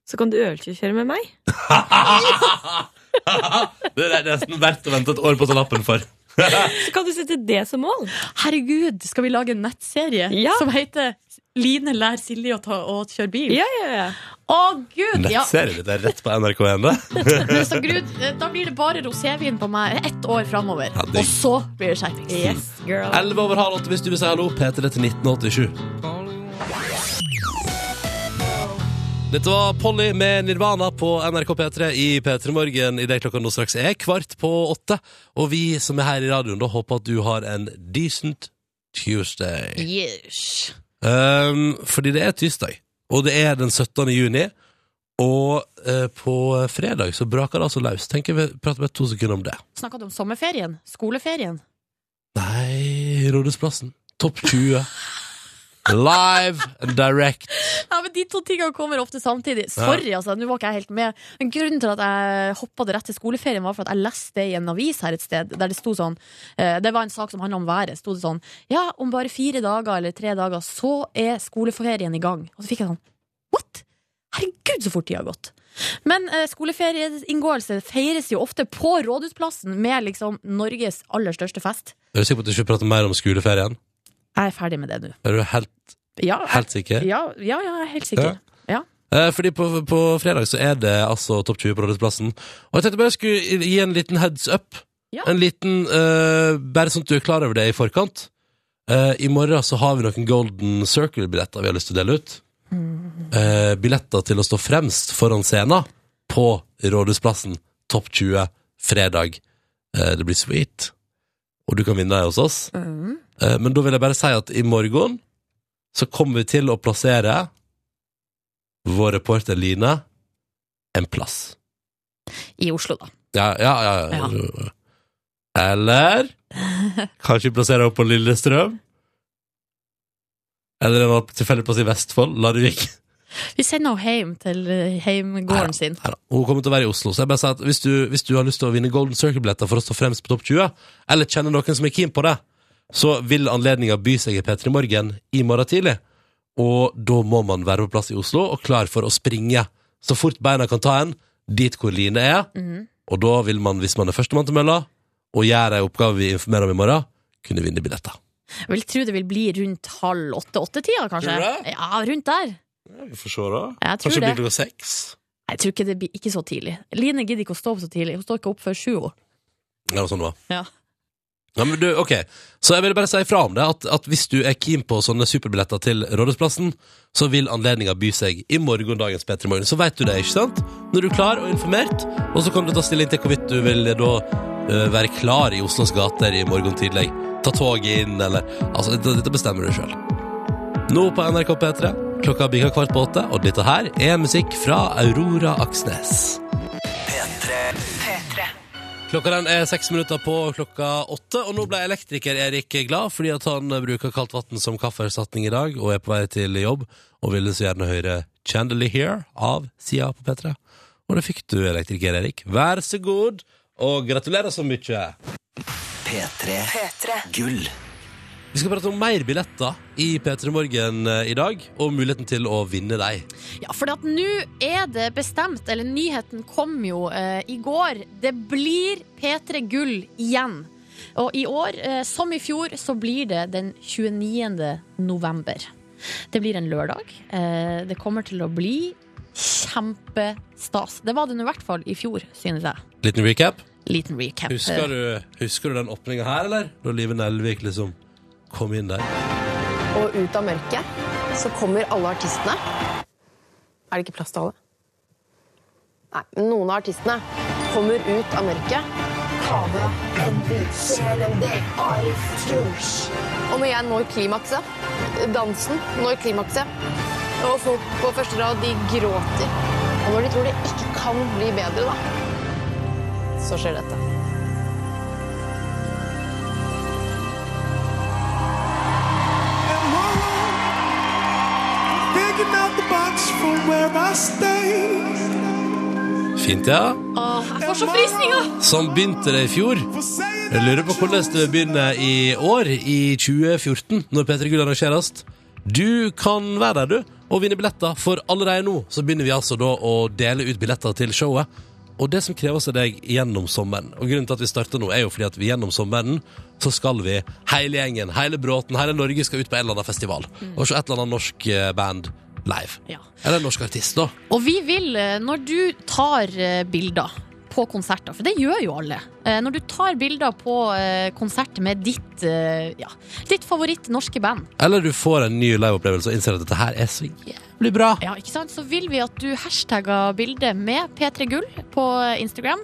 så kan du øvelseskjøre med meg? Det er nesten verdt å vente et år på å ta lappen for. Så kan du sette det som mål. Herregud, skal vi lage en nettserie Ja. som heter Line lær Silje å, ta, å kjøre bil? Ja, ja, ja. Å, gud! Ja. Nettserien din er rett på NRK1, det. Men så grud, eh, da blir det bare rosévin på meg ett år framover. Ja, digg. og så blir det skjerpings. Yes, girl. 11 over halv åtte hvis du vil si hallo. P3 til 1987. Dette var Polly med Nirvana på NRK P3 i P3 Morgen idet klokka nå straks er kvart på åtte. Og vi som er her i radioen, da håper at du har en decent Tuesday. Yes. Um, fordi det er tirsdag, og det er den 17. juni. Og eh, på fredag så braker det altså løs. Tenker vi prater bare to sekunder om det. Snakka du om sommerferien? Skoleferien? Nei, Rådhusplassen. Topp 20. Live and direct. Ja, men De to tingene kommer ofte samtidig. Sorry, altså, nå var ikke jeg helt med. Men Grunnen til at jeg hoppa det rett til skoleferien, var for at jeg leste det i en avis her et sted, der det sto sånn eh, Det var en sak som handla om været. Sto det sånn Ja, om bare fire dager eller tre dager, så er skoleferien i gang. Og så fikk jeg sånn What?! Herregud, så fort tida har gått! Men eh, skoleferieinngåelse feires jo ofte på Rådhusplassen med liksom Norges aller største fest. Er du sikker på at du ikke prater mer om skoleferien? Jeg er ferdig med det nå. Er du helt, Ja, helt sikker? Ja, ja, ja, jeg er helt sikker. Ja. Eh, Fordi på, på fredag så er det altså topp 20 på Rådhusplassen. Og jeg tenkte bare jeg skulle gi en liten heads up. Ja. En liten, eh, Bare sånn at du er klar over det i forkant. Eh, I morgen så har vi noen Golden Circle-billetter vi har lyst til å dele ut. Eh, billetter til å stå fremst foran scenen på Rådhusplassen. Topp 20 fredag. Eh, det blir sweet. Og du kan vinne deg hos oss. Eh, men da vil jeg bare si at i morgen så kommer vi til å plassere vår reporter Line en plass. I Oslo, da. Ja, ja, ja. ja. Eller kanskje vi plasserer henne på Lillestrøm? Eller en annen tilfeldig plass i Vestfold, Larvik. Vi sender henne hjem til eh, heimgården sin. Nei da, Hun kommer til å være i Oslo. Så jeg bare sier at hvis du, hvis du har lyst til å vinne Golden Circle-billetter for å stå fremst på topp 20, eller kjenner noen som er keen på det, så vil anledninga by seg i P3 Morgen i morgen tidlig. Og da må man være på plass i Oslo og klar for å springe så fort beina kan ta en, dit hvor Line er. Mhm. Og da vil man, hvis man er førstemann til mølla, og gjør ei oppgave vi informerer om i morgen, kunne vinne billetter. Jeg vil tro det vil bli rundt halv åtte-åttetida, kanskje. Tror du det? Ja, rundt der. Vi får se, da. Jeg tror Kanskje det det. blir klokka seks. Jeg tror ikke det blir ikke så tidlig. Line gidder ikke å stå opp så tidlig. Hun står ikke opp før sju. hun. Ja, sånn det var. Ja. Ja, men du, ok Så jeg vil bare si ifra om det at, at hvis du er keen på sånne superbilletter til Rådhusplassen Så vil anledningen by seg i morgendagens Petra Morgen Så vet du det, ikke sant? Når du er klar og informert Og så kan du ta stilling til hvorvidt du vil da eh, være klar i Oslos gater i morgen tidlig Ta toget inn, eller Altså, dette, dette bestemmer du selv Nå på NRK P3 Klokka bygger kvart på åtte Og dette her er musikk fra Aurora Aksnes Klokka den er seks minutter på klokka åtte, og nå ble elektriker Erik glad fordi at han bruker kaldt vann som kaffeerstatning i dag, og er på vei til jobb, og ville så gjerne høre Chandelier av Sia på P3. Og det fikk du, elektriker Erik. Vær så god, og gratulerer så mye. P3. Gull. Vi skal prate om mer billetter i P3 Morgen eh, i dag, og muligheten til å vinne deg. Ja, for at nå er det bestemt, eller nyheten kom jo eh, i går. Det blir P3 Gull igjen. Og i år, eh, som i fjor, så blir det den 29. november. Det blir en lørdag. Eh, Det kommer til å bli kjempestas. Det var det nå i hvert fall i fjor, synes jeg. Liten recap. Liten recap. Husker du, husker du den åpninga her, eller? Da Live Nelvik liksom kom inn der. Og ut av mørket så kommer alle artistene. Er det ikke plass til alle? Nei, men noen av artistene kommer ut av mørket. Kave, Edvig, CLMD, Arif, Truls. Og når jeg når klimakset, dansen når klimakset, og folk på første rad, de gråter. Og når de tror det ikke kan bli bedre, da, så skjer dette. Picking out the box from where I stay. Fint, ja. Åh, jeg får så frysninger! Som begynte det i fjor. Jeg lurer på hvordan det begynner i år, i 2014, når P3 Gull arrangeres. Du kan være der, du, og vinne billetter. For allerede nå så begynner vi altså da å dele ut billetter til showet. Og det som kreves av deg gjennom sommeren, og grunnen til at vi starter nå, er jo fordi at vi gjennom sommeren så skal vi, hele gjengen, hele Bråten, hele Norge skal ut på en eller annen festival. Og se et eller annet norsk eh, band live. Eller en norsk artist, da. Og vi vil, eh, når du tar eh, bilder på konserter, for det gjør jo alle eh, Når du tar bilder på eh, konserter med ditt, eh, ja, ditt favoritt norske band, Eller du får en ny liveopplevelse og innser at dette her er så jævlig bra. ja, ikke sant? så vil vi at du hashtagger bildet med P3 Gull på Instagram.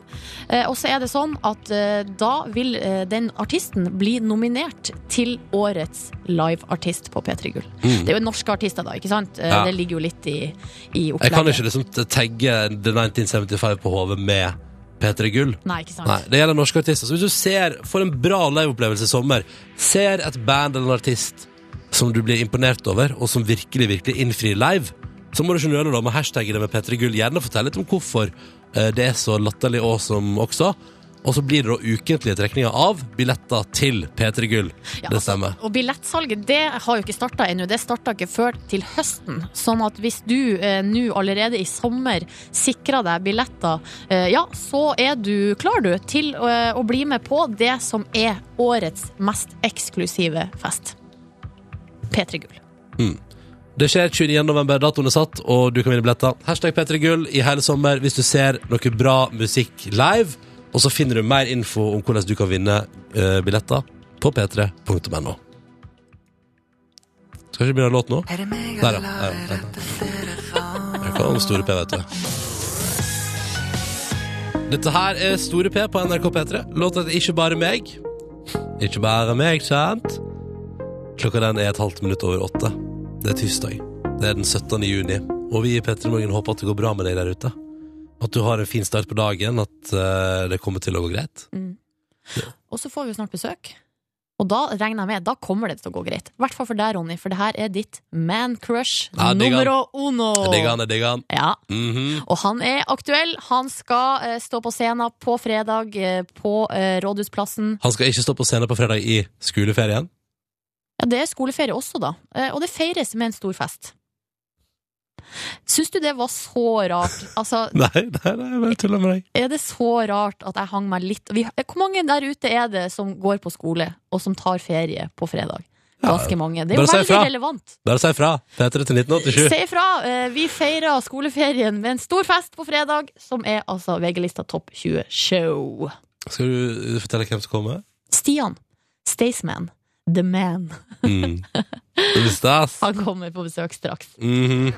Eh, Og så er det sånn at eh, da vil eh, den artisten bli nominert til årets liveartist på P3 Gull. Mm. Det er jo norske artister, da, ikke sant? Eh, Ja. Det ligger jo litt i, i Jeg kan opplegget. ikke liksom t- tagge The 1975 på hodet med P3 Gull. Nei, ikke sant? Nei, det gjelder norske artister. Så hvis du ser, får en bra liveopplevelse i sommer, ser et band eller en artist som du blir imponert over, og som virkelig, virkelig innfrir live, så må du ikke nøle da med å hashtagge det med P3 Gull. Gjerne fortell litt om hvorfor eh, det er så latterlig awesome også. Og så blir det da ukentlige trekninger av billetter til P3 Gull. Ja, det stemmer. Og billettsalget det har jo ikke starta ennå. Det starta ikke før til høsten. Sånn at hvis du eh, nå allerede i sommer sikrer deg billetter, eh, ja, så er du klar, du, til eh, å bli med på det som er årets mest eksklusive fest. P3 Gull. Mm. Det skjer 29. november, datoen er satt, og du kan vinne billetter. Hashtag P3 Gull i hele sommer hvis du ser noe bra musikk live. Og så finner du mer info om hvordan du kan vinne eh, billetter på p3.no. Skal ikke begynne en låt nå? Der, ja. Der, ja. Der, ja. Jeg kan om Store P, vet du. Dette her er Store P på NRK P3. Låta heter Ikke bare meg. Ikke bare meg, sant? Klokka den er et halvt minutt over åtte. Det er tirsdag. Det er den 17. juni. Og vi i P3 Morgen håper at det går bra med deg der ute. At du har en fin start på dagen, at eh, det kommer til å gå greit. Og så får vi jo snart besøk. Og da regner jeg med, da kommer det til å gå greit. I hvert fall for deg, Ronny, for det her er ditt man crush Ja, digg han. numero uno. Jeg digger han, jeg digger han. Ja. Mhm. Og han er aktuell. Han skal eh, stå på scenen på fredag eh, på eh, Rådhusplassen. Han skal ikke stå på scenen på fredag i skoleferien. Ja, det er skoleferie også, da. Eh, og det feires med en stor fest. Syns du det var så rart? Altså, *laughs* Nei, nei, nei, jeg bare tuller med deg. er det så rart at jeg hang meg litt vi, Hvor mange der ute er det som går på skole, og som tar ferie på fredag? Ganske mange. Det er Bare jo si veldig ifra. relevant. Bare si ifra. P3 til 1987. Si ifra! Eh, Vi feirer skoleferien med en stor fest på fredag, som er altså VG-lista Topp 20-show. Skal du fortelle hvem som kommer? Stian. Staysman. The man. Mm. Det blir stas. Han kommer på besøk straks. Mhm.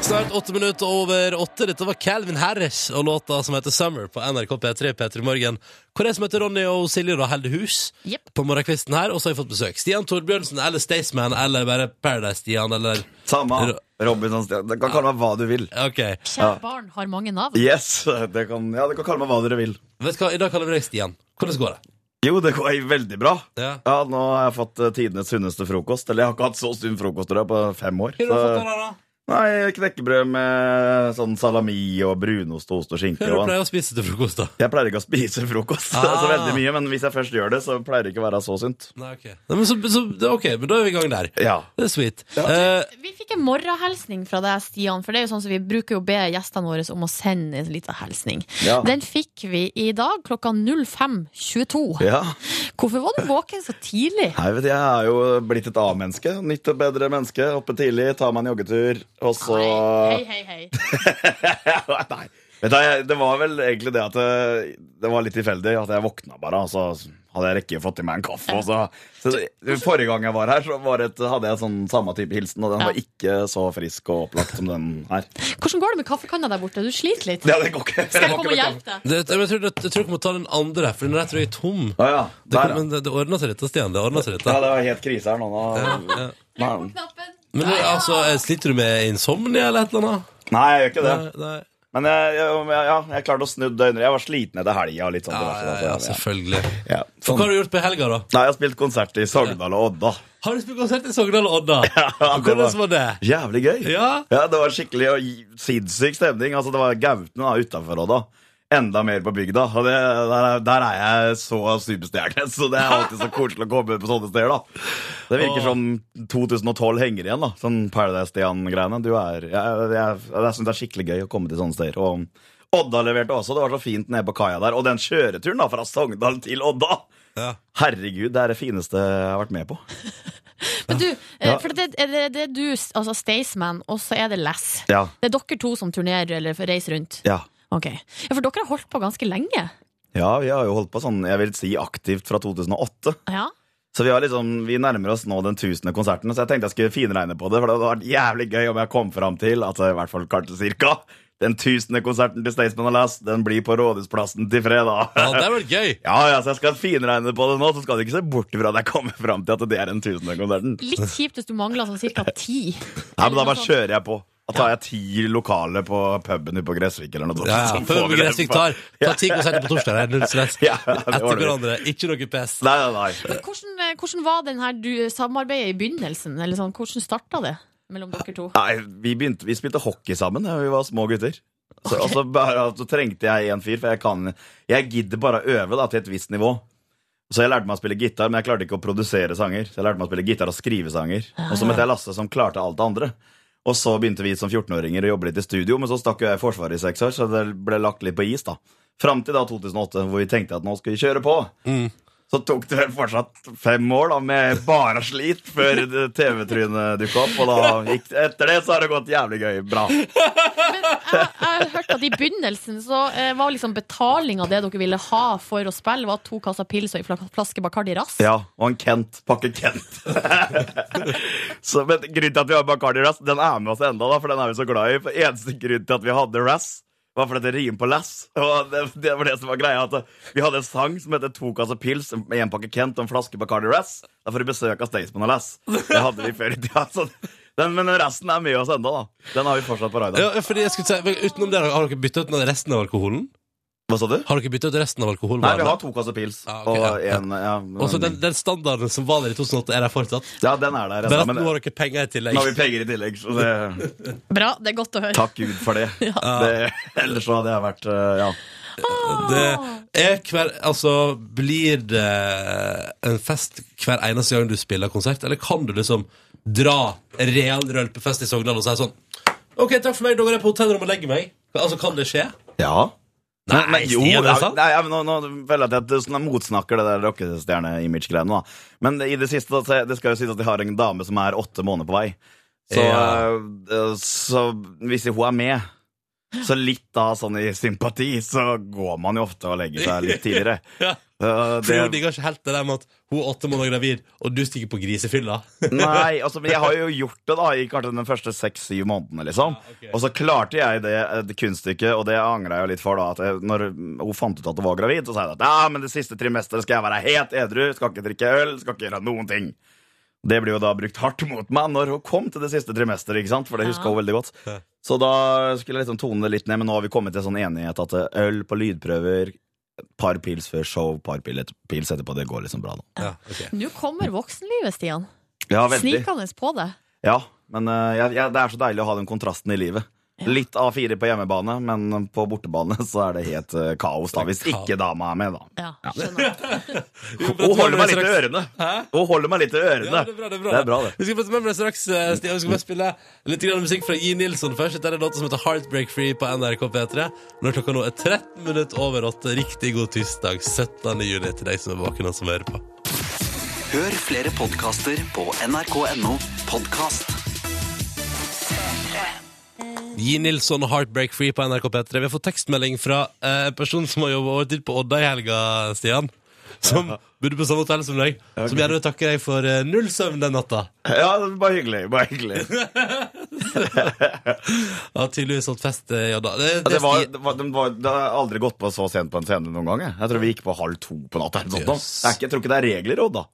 Snart åtte minutter over åtte. Dette var Calvin Harris og låta som heter Summer på NRK P3 P3 Morgen. Hvor jeg som heter Ronny og Silje da holder hus på morgenkvisten her, og så har jeg fått besøk. Stian Torbjørnsen eller Staysman eller bare Paradise-Stian eller Samme. Robinson Stian. Du kan kalle meg hva du vil. Ok. Kjært barn har mange navn. Yes, det kan, ja, dere kan kalle meg hva dere vil. Vet du hva, I dag kaller vi deg Stian. Hvordan går det? Jo, det går veldig bra. Ja. Nå har jeg fått eh, tidenes sunneste frokost. Eller jeg har ikke hatt så sunn frokost tror jeg, på fem år. Hva har du fått av deg da? Nei, knekkebrød med sånn salami og brunost og ost og Hva er skinke. det du og- pleier å spise til frokost, da? Jeg pleier ikke å spise frokost *laughs* Ah. så veldig mye, men hvis jeg først gjør det, så pleier det ikke å være så sunt. Nei, ok. Nei, men så, så, det- ok, men da er vi i gang der. Ja. Det er sweet. Eh, Vi fikk en morgenhilsning fra deg, Stian. For det er jo sånn som vi bruker jo å be gjestene våre om å sende en liten hilsning. Ja. Den fikk vi i dag klokka 05.22. Ja. Hvorfor var du våken så tidlig? Nei, vet du, Jeg er jo blitt et A-menneske. Nytt og bedre menneske. Oppe tidlig, ta meg en joggetur, og så Hei, hei, hei. *laughs* Vet du, jeg- Det var vel egentlig det at det, det var litt tilfeldig at jeg våkna bare, og så hadde jeg rekke fått i meg en kaffe. Og så, så det, forrige gang jeg var her, så var det et, hadde jeg sånn samme type hilsen, og den var ikke så frisk og opplagt som den her. Hvordan går det med kaffekanna der borte? Du sliter litt. Ja, det går ikke. Skal jeg komme og hjelpe deg? Det, jeg, tror, jeg, tror jeg må ta den andre, for den der tror jeg er tom. det, Der, kom- men det, det ordna seg litt, da, Stian. Det ordna seg litt. Ja, da. det var helt krise her nå. nå. Nei. Men det, altså, eh, sliter du med insomnia eller et eller annet? Nei, jeg gjør ikke det. Nei, nei. Men jeg, jeg, ja, jeg klarte å snu døgnet. Jeg var sliten etter helga. og Litt sånn diverse, ja, altså. ja, selvfølgelig. Ja, For sånn. hva har du gjort på helga, da? Nei, Jeg har spilt konsert i Sogndal og Odda. Har du spilt konsert i Sogndal og Odda? *laughs* Ja, det Hvordan var det? Jævlig gøy. Ja. Det var skikkelig og sinnssyk stemning. Altså, det var Gautene utafor Odda. Enda mer på bygda. Og det, der, er- der er jeg så superstjerne, så det er alltid så koselig å komme på sånne steder. da Det virker Åh. som 2012 henger igjen. da Sånn Paradise-Stian-greiene. Du er Jeg, jeg, jeg, synes det er skikkelig gøy å komme til sånne steder. Og Odda leverte også. Det var så fint nede på kaia der. Og den kjøreturen da fra Sogndal til Odda! Herregud, det er det fineste jeg har vært med på. Men du, eh, Ja. for det, er det, det er du, altså Staysman, og så er det Lass. Ja. Det er dere to som turnerer eller reiser rundt. Ja. Ok. Ja, for dere har holdt på ganske lenge. Ja, vi har jo holdt på sånn, jeg vil si aktivt fra 2008. Ja. Så vi, har liksom, vi nærmer oss nå den tusende konserten, så jeg tenkte jeg skulle finregne på det, for det hadde vært jævlig gøy om jeg kom fram til, altså i hvert fall kanskje cirka, den tusende konserten til Staysman og Lass, den blir på Rådhusplassen til fredag. Ja, det var gøy. *laughs* Ja, ja, så jeg skal finregne på det nå, så skal du ikke se bort fra at jeg kommer fram til at det er den tusende konserten. Litt kjipt hvis du mangler sånn *laughs* cirka ti. Nei, men da bare kjører jeg på. Da tar jeg ti lokale på puben ute på Gressvik eller noe sånt. Ja, så ja. Før Sånn får vi det Gressvik på- tar, tar ti konserter på torsdag. Det er null stress. Ja, det Etter ordner vi. hverandre. Ikke noe pes. Nei, nei, nei. Hvordan, eh, hvordan var den her du, eh, samarbeidet i begynnelsen? Eller sånn, hvordan starta det mellom dere to? Nei, vi, begynte, vi spilte hockey sammen da vi var små gutter. Så, og så, bare, så trengte jeg en fyr, for jeg, kan, jeg gidder bare å øve da, til et visst nivå. Så jeg lærte meg å spille gitar, men jeg klarte ikke å produsere sanger. Så jeg lærte meg å spille gitar og skrive sanger. Og så møtte jeg Lasse, som klarte alt det andre. Og så begynte vi som 14-åringer å jobbe litt i studio, men så stakk jo jeg i Forsvaret i seks år, så det ble lagt litt på is, da. Fram til da 2008, hvor vi tenkte at nå skal vi kjøre på. Så tok det vel fortsatt fem år da med bare slit før det TV-trynet dukka opp. Og da gikk, etter det så har det gått jævlig gøy. Bra. Jeg har hørt at I begynnelsen så eh, var liksom betalinga det dere ville ha for å spille, var to kasser pils og en fla- flaske Bacardi Rass. Ja, og en Kent. Pakke Kent. *laughs* så, men grunnen til at vi har Bacardi Rass, den er med oss enda, da, for den er vi så glad i. For eneste grunn til at vi hadde Rass, var fordi det rimer på Lass. Og det, det var det som var greia. At vi hadde en sang som heter To kasser pils, med en pakke Kent og en flaske Bacardi Rass. Da får du besøk av Staysman og Lass. Det hadde vi før i tida. Så den, men resten er med oss enda, da. Den har vi fortsatt på Ja, raideren. fordi jeg skulle si, men utenom det, Har dere bytta ut med resten av alkoholen? Hva sa du? Har dere byttet ut resten av alkoholen? Nei, vi har to kasser pils. Ah, ok, ja, og ja. en, ja, Og så den, den standarden som var der i 2008, er der fortsatt? Ja, den er der. Bare enda, at men- nå har dere penger i tillegg. Nå har vi penger i tillegg, så det Bra, det er godt å høre. Takk Gud for det. det ellers så hadde jeg vært eh, Ja. Det er hver, altså, blir det en fest hver eneste gang du spiller konsert, eller kan du liksom dra real rølpefest i Sogndal og si sånn OK, takk for meg, da går jeg på hotellrommet og legger meg. Altså, kan det skje? Ja. Nei, jo, Stian, er det ja, sant? Nei, ja, men nå, nå føler jeg at jeg sånn motsnakker det der rockestjerne-image-greiene. da Men i det siste, da, så jeg- det skal jo sies at jeg har en dame som er åtte måneder på vei. Så, Ja. eh, så hvis hun er med, så litt da sånn i sympati, så går man jo ofte og legger seg litt *laughs* tidligere. Ja. Eh, For hun digger ikke helt det der med at hun er åtte måneder gravid, og du stikker på grisefylla. Nei, altså, men jeg har jo gjort det da i kanskje den første seks-syv månedene. liksom Og så klarte jeg det, det kunststykket, og det angra jeg jo litt for. da at jeg, Når hun fant ut at hun var gravid, så sa jeg at ja, men det siste trimesteret skal jeg være helt edru, skal ikke drikke øl, skal ikke gjøre noen ting. Det ble jo da brukt hardt mot meg når hun kom til det siste trimesteret, ikke sant? for det huska hun veldig godt. Så da skulle jeg liksom tone det litt ned, men nå har vi kommet til sånn enighet at eh, øl på lydprøver, par pils før show, par pil et- pils etterpå, det går liksom bra nå. Nå kommer voksenlivet, Stian. Ja, veldig. Snikende på det. Ja, Men eh, jeg- jeg- det er så deilig å ha den kontrasten i livet. Litt A4 på hjemmebane, men på bortebane *laughs* så er det helt eh, kaos, da, hvis ikke dama er med, da. Ja, Hun holder meg litt i ørene. Hun holder meg litt i ørene. Ja, det er bra, det er bra. det. Vi skal prate med deg straks, eh, Stian. Vi skal bare spille litt grann musikk fra Gi Nilsson først. Dette er en låt som heter Heartbreak Free på NRK P3. Når klokka nå er 13 minutter over 8. Riktig god tirsdag 17. juli til deg som er våken og som hører på. Hør flere podkaster på nrk.no podkast. Gi Nilsson og Heartbreak Free på NRK P3. Vi har fått tekstmelding fra eh, en person som har jobba overtid på Odda i helga, Stian. Som bodde på samme hotell som deg. Som gjerne vil takke deg for eh, null søvn den natta. Ja, det er bare hyggelig. Bare hyggelig. *laughs* Ja, tydeligvis holdt fest eh, i Odda. Det, Ja, det, var, det, var, det, var, det har aldri gått på så sent på en scene noen gang. Jeg, jeg tror vi gikk på halv to på natta. eller noe sånt da. Yes. Det er ikke- Jeg tror ikke det er regler, Odd, da.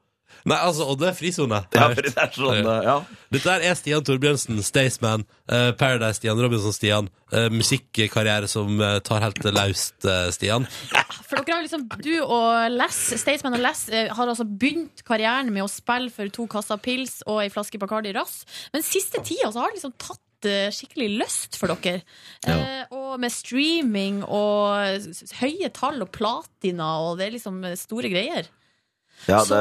Nei, altså, Odda er frisone. Ja, *laughs* for det er sånn, eh, ja. Dette her er Stian Torbjørnsen, Staysman, eh, Paradise-Stian, Robinson-Stian. eh, musikkarriere som eh, tar helt til laust, eh, Stian. For dere har liksom, du og Les, Staysman og Les eh, har altså begynt karrieren med å spille for to kasser pils og ei flaske Bacardi Rass. Men siste tida så har det liksom tatt eh, skikkelig løst for dere. Eh, og med streaming og s- s- høye tall og platina og det er liksom eh, store greier. Ja, det,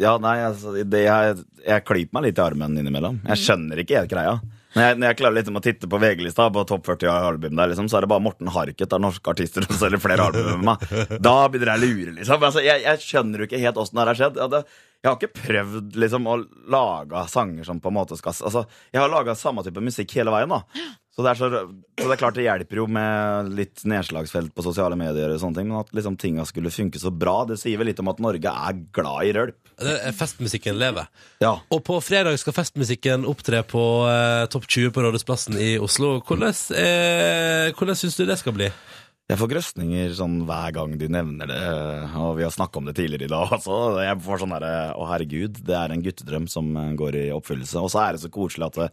ja nei, altså, det, jeg, jeg klyper meg litt i armen innimellom. Jeg skjønner ikke helt greia. Når jeg, når jeg klarer liksom å titte på VG-lista på topp 40 album der, liksom, så er det bare Morten Harket av norske artister som selger flere album enn meg. Da begynner jeg å lure, liksom. Altså, jeg, jeg skjønner jo ikke helt åssen det her har skjedd. Jeg, hadde, jeg har ikke prøvd liksom å lage sanger som på en måte skal Altså, jeg har laga samme type musikk hele veien, da. Så det, er så, så det er klart det hjelper jo med litt nedslagsfelt på sosiale medier, og sånne ting, men at liksom tinga skulle funke så bra, det sier vel litt om at Norge er glad i rølp. Det er Festmusikken lever. Ja. Og på fredag skal festmusikken opptre på eh, Topp 20 på Rådhusplassen i Oslo. Hvordan, eh, hvordan syns du det skal bli? Jeg får grøsninger sånn hver gang du nevner det, og vi har snakka om det tidligere i dag også. Jeg får sånn derre Å, herregud, det er en guttedrøm som eh, går i oppfyllelse. Og så er det så koselig at det,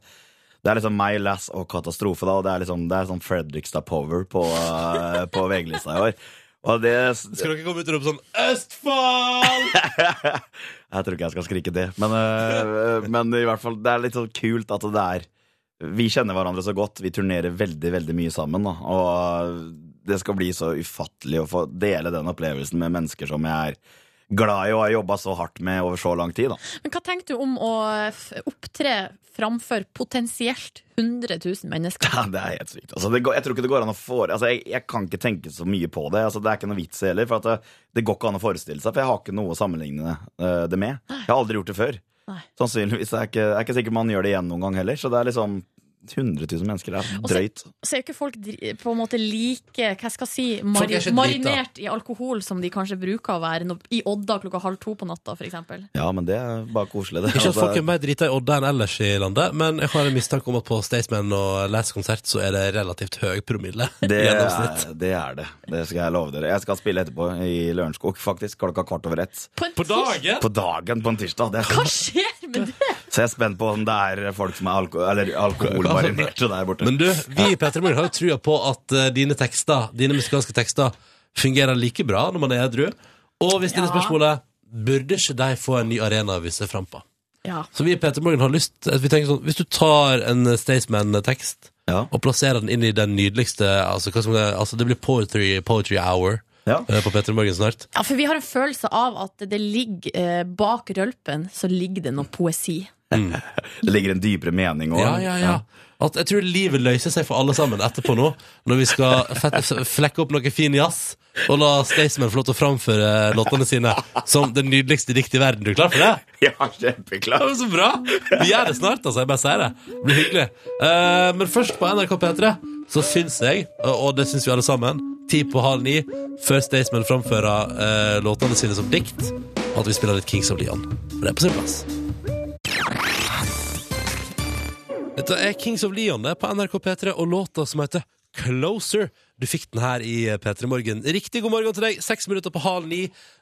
det er liksom meg, Lass og Katastrofe, da. Og det er liksom det er sånn Fredrikstad Power på, eh, på VG-lista i år. Og det Skal dere komme ut og rope sånn Østfold! Jeg tror ikke jeg skal skrike det, men, øh, men i hvert fall, det er litt sånn kult at det er Vi kjenner hverandre så godt, vi turnerer veldig, veldig mye sammen, da, og det skal bli så ufattelig å få dele den opplevelsen med mennesker som jeg er glad i og har jobba så hardt med over så lang tid, da. Men hva tenker du om å f- opptre framfor potensielt 100 000 mennesker? Ja, *laughs* det er helt sykt. Altså, det går, jeg tror ikke det går an å fore... Altså, jeg, jeg kan ikke tenke så mye på det. Altså, det er ikke noe vits heller, for at det, det går ikke an å forestille seg. For jeg har ikke noe å sammenligne eh, det med. Jeg har aldri gjort det før. Sannsynligvis er jeg ikke, jeg er ikke sikker man gjør det igjen noen gang heller. Så det er liksom 100 000 mennesker. Det Og er så- drøyt. Så er jo ikke folk dri- på en måte like hva skal jeg si, Folk mari er ikke drita. marinert i alkohol som de kanskje bruker å være når- i Odda klokka halv to på natta, f.eks. Ja, men det er bare koselig, det. *laughs* Ikke at Altså, folk er mer drita i Odda enn ellers i landet, men jeg har en mistanke om at på Staysman og Les konsert så er det relativt høy promille. det, i er, gjennomsnitt. det er det. Det skal jeg love dere. Jeg skal spille etterpå i Lørenskog, faktisk. Klokka kvart over ett. På, dagen? På dagen på en tirsdag. Det er Hva skjer med det? Så jeg er spent på om det er folk som er alko eller alkoholmarinerte der borte. Men du, vi i P3 Morgen har jo trua på at eh, dine tekster, dine musikalske tekster fungerer like bra når man er edru. Og vi stiller spørsmålet burde ikke de få en ny arena å vise fram på. Ja. Så vi i P3 Morgen har lyst at vi tenker sånn, Hvis du tar en eh, Staysman-tekst og plasserer den inn i den nydeligste Altså, hva skal man, altså det blir poetry, poetry hour eh, på P3 Morgen snart. Ja, for vi har en følelse av at det ligger eh, bak rølpen, så ligger det noe poesi. Det ligger en dypere mening òg. Ja, ja, ja. At jeg tror livet løser seg for alle sammen etterpå nå, når vi skal fett- flekke opp noe fin jazz og la Staysman få lov til å framføre låtene sine som det nydeligste dikt i verden. Du er klar for det? Ja, kjempeklar. Det var så bra! Vi gjør det snart, altså. Jeg bare sier det. Det blir hyggelig. Eh, men først på NRK P3 så syns jeg, og det syns vi alle sammen, ti på halv ni, før Staysman framfører eh, låtene sine som dikt, at vi spiller litt Kings of Leon. For det er på sin plass. Dette er Kings of Leon det er på NRK P3 og låta som heter Closer. Du fikk den her i P3 Morgen. Riktig god morgen til deg. Seks minutter på halv ni.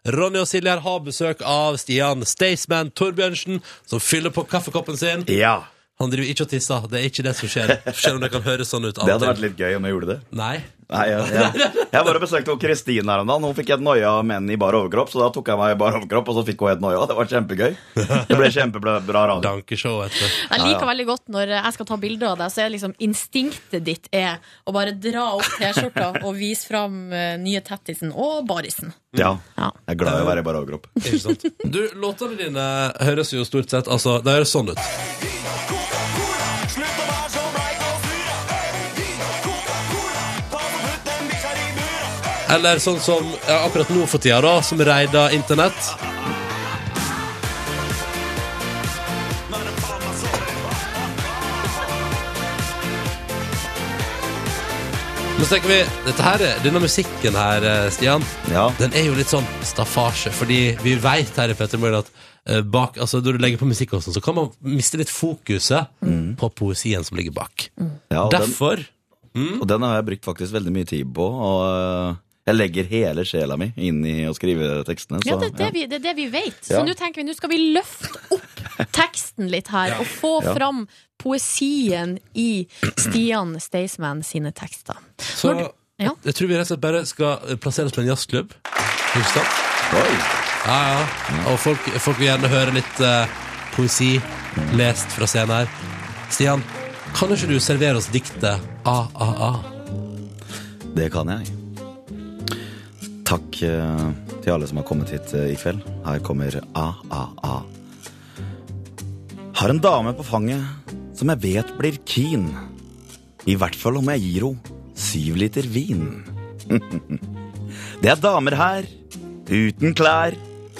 Ronny og Silje her har besøk av Stian Staysman Torbjørnsen, som fyller på kaffekoppen sin. Ja. Han driver ikke og tisser. Det er ikke det som skjer. Selv om det kan høres sånn ut. Det hadde vært litt gøy om jeg gjorde det. Nei. Nei, jeg, jeg, jeg bare besøkte hun Kristin her om dagen. Hun fikk helt noia av menn i bar overkropp, så da tok jeg meg i bar overkropp, og så fikk hun helt noia. Det var kjempegøy. Det ble kjempebra radio. Dankeshow, vet Jeg liker veldig godt når jeg skal ta bilder av deg, så er liksom instinktet ditt er å bare dra opp *laughs* T-skjorta og vise fram eh, nye tettisen og barisen. Ja. Jeg er glad i å være i bar overkropp. Ikke sant? Du, låtene dine høres jo stort sett Altså, det høres sånn ut. Eller sånn som ja, akkurat nå for tida, da, som reider internett. Men så tenker vi, dette her, er- Denne musikken her, eh, Stian, den er jo litt sånn staffasje. Fordi vi veit her i Petter Morgen at eh, bak, altså, når du legger på musikk, og sånn, så kan man miste litt fokuset på poesien som ligger bak. Mm. Ja, og den- Derfor Og den har jeg brukt faktisk veldig mye tid på. Og øh, jeg legger hele sjela mi inn i å skrive tekstene. Ja, Så, det, er det, Vi, det er det vi vet. Så Sånn, Ja. nå tenker vi, nå skal vi løfte opp teksten litt her, og få Ja. fram poesien i Stian Staysman sine tekster. Så Når du- ja. jeg, jeg tror vi rett og slett bare skal eh, plasseres på en jazzklubb. Ikke sant? Ja, ja. Mm. Og folk, folk vil gjerne høre litt eh, poesi lest fra scenen her. Stian, kan ikke du servere oss diktet A-A-A? Det kan jeg. Takk eh, til alle som har kommet hit eh, i kveld. Her kommer AAA. Har en dame på fanget som jeg vet blir keen. I hvert fall om jeg gir henne syv liter vin. *laughs* Det er damer her, uten klær.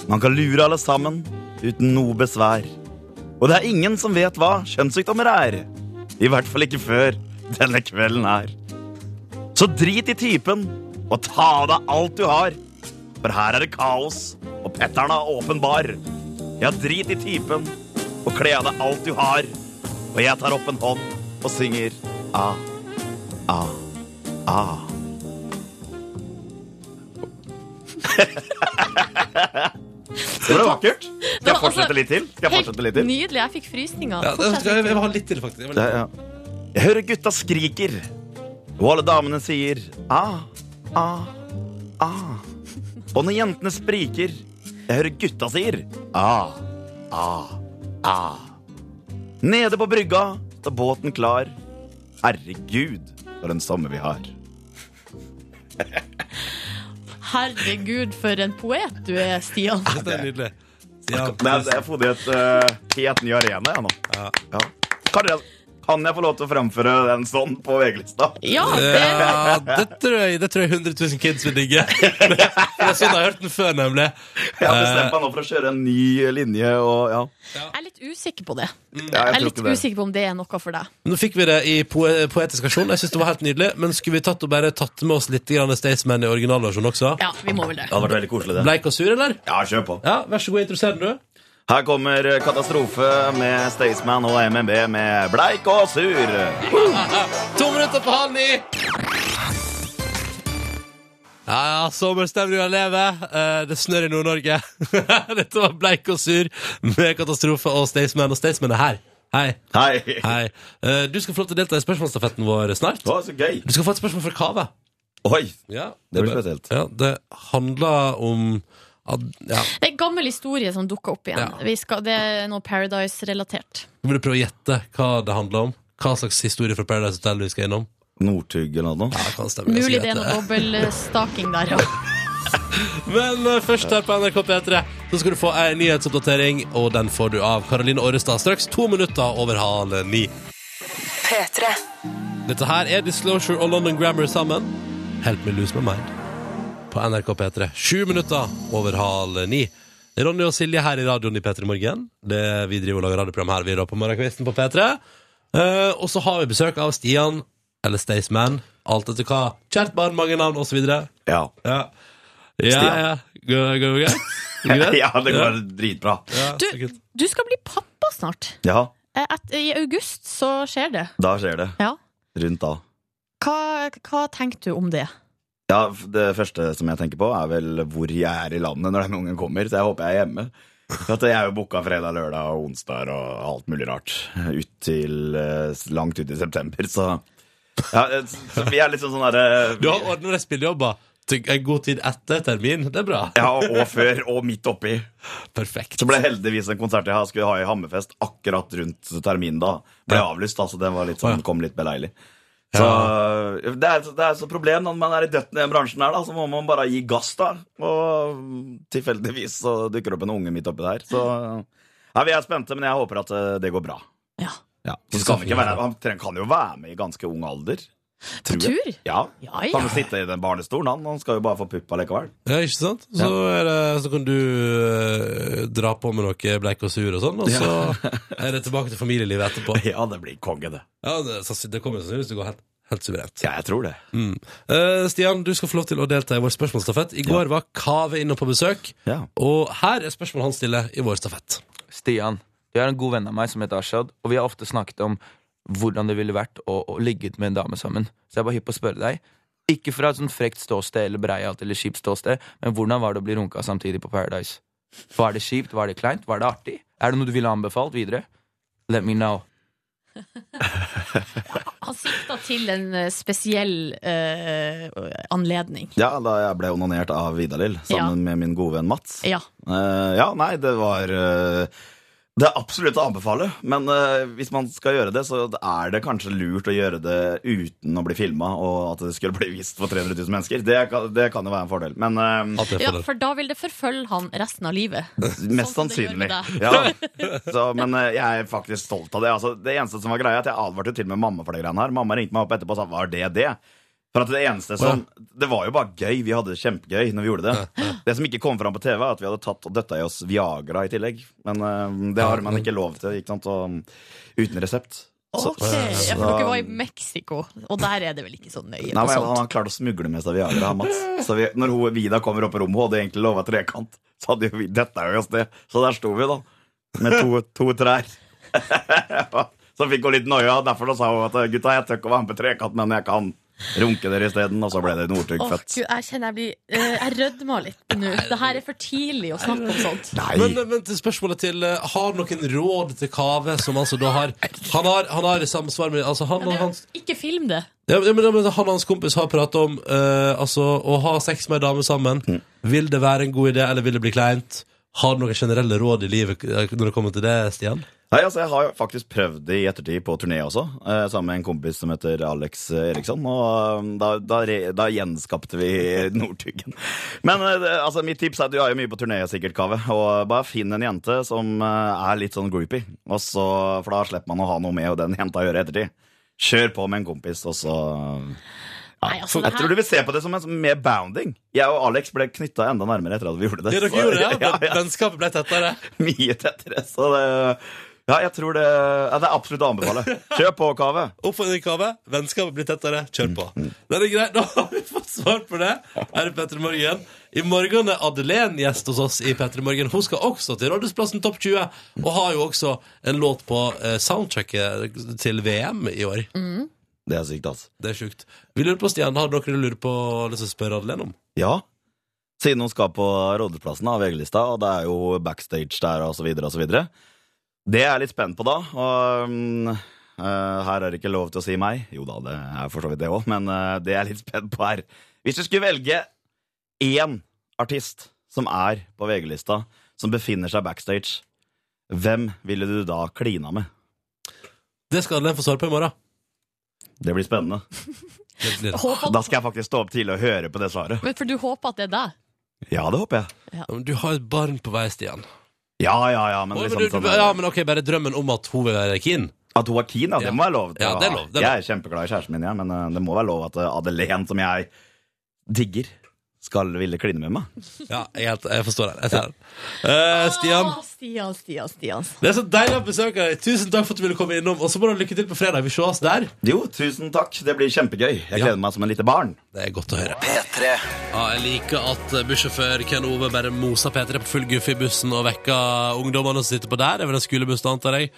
Man kan lure alle sammen, uten noe besvær. Og det er ingen som vet hva kjønnssykdommer er. I hvert fall ikke før denne kvelden her. Så drit i typen og ta av deg alt du har. For her er det kaos, og Petter'n er åpenbar. Ja, drit i typen og kle av deg alt du har. Og jeg tar opp en hånd og synger A, A, A. Det ble vakkert. Skal jeg fortsette litt til? Skal jeg fortsette litt til? Nydelig. Jeg fikk frysninger. Ja, det Fortsett. skal jeg- jeg vil ha litt til, faktisk. Det, er- ja. Jeg hører gutta skriker, og alle damene sier A, A, A. Og når jentene spriker, jeg hører gutta sier «Ah, A, A, A. Nede på brygga står båten klar. Herregud, for en sommer vi har. Herregud, for en poet du er, Stian. Det er nydelig. Nei, jeg har fått i et eh, helt ny arena jeg nå. Ja. Kan, jeg, kan jeg få lov til å framføre den sånn på VG-lista? Ja, det tror jeg, det tror jeg 100 000 kids vil digge. For det er sånn jeg har hørt den før, nemlig. Eh, Jeg har bestemt meg nå for å kjøre en ny linje. Og, ja. Jeg er litt usikker på det. jeg jeg er tror litt ikke det. usikker på om det er noe for deg. Nå fikk vi det i po poetisk versjon. Jeg synes det var helt nydelig. Men skulle vi tatt og bare tatt med oss litt grann Staysman i originalversjonen også? Ja, vi må vel det. hadde vært veldig koselig, det. Bleik og sur, eller? Ja, kjør på. Ja, Vær så god, interesser den, du. Her kommer eh, Katastrofe med Staysman og MNB med Bleik og sur. To minutter på halv ni! Ja, ja, sommerstemninga lever. Eh, det snør i Nord-Norge. *laughs* Dette var Bleik og sur med Katastrofe og Staysman, og Staysman er her. Hei. Hei. Eh, du skal få lov til å delta i spørsmålsstafetten vår snart. Å, så gøy. Du skal få et spørsmål fra Kave. Oi. Ja, Det blir spesielt. Ja, det handler om at, ja. Det er en gammel historie som dukker opp igjen. Ja. Vi skal, det er noe Paradise-relatert. Nå må du prøve å gjette hva det handler om. Hva slags historie fra Paradise Hotel vi skal innom. Northug eller noe? Ja, det kan stemme. Jeg skal Mulig det er gjette. noe dobbeltstaking der, ja. Men eh, først her på NRK P3 Så skal du få ei nyhetsoppdatering, og den får du av Karoline Orrestad straks to minutter over halv ni. P3. Dette her er Disclosure og London Grammar sammen. Help me lose my mind. På NRK P3. Sju minutter over halv ni. Ronny og Silje her i radioen i P3 Morgen. Det Vi driver og lager radioprogram her vi da på morgenkvisten på P3. Eh, og så har vi besøk av Stian, eller Staysman, alt etter hva. Kjært barn, mange navn, osv. Ja. Ja. Ja, Stian. ja. Går går det greit? Går *laughs* det greit? *laughs* ja, det går dritbra. Ja, Du, det er kult. du skal bli pappa snart. Ja, Eh, Et, I august så skjer det. da skjer det. Ja. Rundt da. Hva, hva tenkte du om det? Ja, f- Det første som jeg tenker på, er vel hvor jeg er i landet når den ungen kommer. Så jeg håper jeg er hjemme. For at jeg er jo booka fredag, lørdag og onsdag og alt mulig rart ut til eh, langt ut i september, så ja, eh, så vi er liksom sånn derre Du har ordna deg spillejobber til en god tid etter termin. Det er bra. Ja, og før, og midt oppi. Perfekt. Så ble heldigvis en konsert jeg har- skulle ha i Hammerfest akkurat rundt terminen da. Ble avlyst, da, så den var litt sånn, kom litt beleilig. Så øh, det er, det er så problem når man er i døtten i den bransjen her, da, så må man bare gi gass, da. Og øh, tilfeldigvis så dukker det opp en unge midt oppi der. Så øh. ja, vi er spente, men jeg håper at eh, det går bra. Ja. Så skal han, ikke være, han tre- kan jo være med i ganske ung alder. Tror jeg. tur? Ja. Ja, ja. Kan jo sitte i den barnestolen, han. Han skal jo bare få pupp allikevel. Ja, ikke sant? Så, er det, så kan du eh, dra på med noe bleik og sur og sånn, og så er det tilbake til familielivet etterpå. *laughs* Ja, det blir konge, det. Ja, det, sanns- det kommer sannsynligvis til å gå helt, helt suverent. Ja, jeg tror det. Mm. Eh, Stian, du skal få lov til å delta i vår spørsmålsstafett. I går var Kave inne på besøk, og her er spørsmålet han stiller i vår stafett. Stian, du er en god venn av meg som heter Ashad, og vi har ofte snakket om hvordan det ville vært å, å ligge ut med en dame sammen. Så jeg er bare hypp på å spørre deg. Ikke fra et sånn frekt ståsted eller breialt eller kjipt ståsted, men hvordan var det å bli runka samtidig på Paradise? Var det kjipt? Var det kleint? Var det artig? Er det noe du ville anbefalt videre? Let me know. Han sikta til en eh, spesiell eh, anledning. Ja, da jeg ble onanert av Vidalil sammen med min gode venn Mats. Ja. Eh, ja, nei, det var eh, Det er absolutt å anbefale, men eh, hvis man skal gjøre det, så er det kanskje lurt å gjøre det uten å bli filma, og at det skulle bli vist for 300 000 mennesker. Det kan, det kan jo være en fordel, men eh, ja, for da vil det forfølge han resten av livet. *laughs* Mest Sånn som det gjør sannsynlig. med Ja. Så, men eh, jeg er faktisk stolt av det. Altså, det eneste som var greia, er at jeg advarte til og med mamma for det greiene her. Mamma ringte meg opp etterpå og sa var det det? For at Det eneste som, det var jo bare gøy. Vi hadde det kjempegøy når vi gjorde det. Det som ikke kom fram på TV, er at vi hadde tatt og døtta i oss Viagra i tillegg. Men eh, det har man ikke lov til ikke sant? Og, um, uten resept. Så- Ok, ja, For så- dere var i Mexico, og der er det vel ikke så nøye? Nei, på men sånt. Han har klart å smugle med seg Viagra, han, Mats. Så vi, når hun, Vida kommer opp i rommet og hadde egentlig lova trekant, så hadde jo vi dette er jo oss det. Så der sto vi, da. Med to, to trær. *laughs* så fikk hun litt noia, og derfor så sa hun at gutta, jeg tør ikke å være med på trekant, men jeg kan runke dere isteden. Og så ble det Northug Åh, født. Gud, jeg kjenner jeg blir eh, Jeg rødmer litt nå. Det her er for tidlig å snakke om sånt. Men, men til spørsmålet til eh, Har noen råd til Kave, som altså da har Han har, han har samsvar med altså han, og hans, Ikke film det. ja, men, ja, men Han og hans kompis har pratet om eh, altså, å ha sex med ei dame sammen. Vil det være en god idé, eller vil det bli kleint? Har du noen generelle råd i livet eh, når det kommer til det, Stian? Nei, altså Jeg har jo faktisk prøvd det i ettertid på turné også, eh, sammen med en kompis som heter Alex Eriksson. Og eh, da, da, re, da gjenskapte vi *laughs* Northugen. Men eh, det- altså, mitt tips er at du er jo mye på turné, sikkert, Kave. Og bare finn en jente som eh, er litt sånn groupie, og så, for da slipper man å ha noe med og den jenta å gjøre i ettertid. Kjør på med en kompis, og så ja. Nei, altså, det Jeg her- tror du vil se på det som en som- mer bounding. Jeg og Alex ble knytta enda nærmere etter at vi gjorde det. Ja, dere så- gjorde det, ja. *laughs* Ja, ja. Vennskapet ble tettere. *laughs* Mye tettere, så det Ja, jeg tror det ja, Det er absolutt å anbefale. Kjør på, Kave. Oppfordring, Kave. Vennskapet blir tettere. Kjør på. Mm, Det er greit. *laughs* Da har vi fått svar på det. Her er Petter Morgen. I morgen er Adelén gjest hos oss i Petter Morgen. Hun skal også til Rådhusplassen Topp 20, og har jo også en låt på eh, soundtracket til VM i år. Det er sykt, altså. Det er sjukt. Vi lurer på, Stian, har dere lurer på og lyst til å spørre Adelén om? Ja. Siden hun skal på Rådhusplassen av VG-lista, og det er jo backstage der og så videre og så videre. Det er jeg litt spent på da. Og mm, eh, her er det ikke lov til å si meg. Jo da, det er for så vidt det òg, men eh, det jeg er litt spent på her Hvis du skulle velge én artist som er på VG-lista, som befinner seg backstage, hvem ville du da klina med? Det skal Adelén få svar på i morgen. Det blir spennende. Håper- Da skal jeg faktisk stå opp tidlig og høre på det svaret. Men for du håper at det er deg? Ja, det håper jeg. Du har et barn på vei, Stian. Ja, ja, ja, men Å, liksom men du, du, sånn- ja, men ok, bare drømmen om at hun vil være keen. At hun er keen, ja, det må være lov til. Ja, å det er ha. lov, det er jeg er kjempeglad i kjæresten min, ja, men eh, det må være lov at eh, Adelén, som jeg digger, skal ville kline med meg. Ja, jeg, helt- jeg forstår det. Jeg ser det. Eh, Stian. Å, Stian, Stian, Stian. Det er så deilig å besøke deg. Tusen takk for at du ville komme innom. Og så må du ha lykke til på fredag. Vi ses der. Jo, tusen takk. Det blir kjempegøy. Jeg gleder meg som en lite barn. Det er godt å høre. Ja, jeg liker at bussjåfør Ken Ove bare moser P3 på full guffe i bussen og vekker ungdommene som sitter på der. Det er vel en skolebuss, da, antar jeg.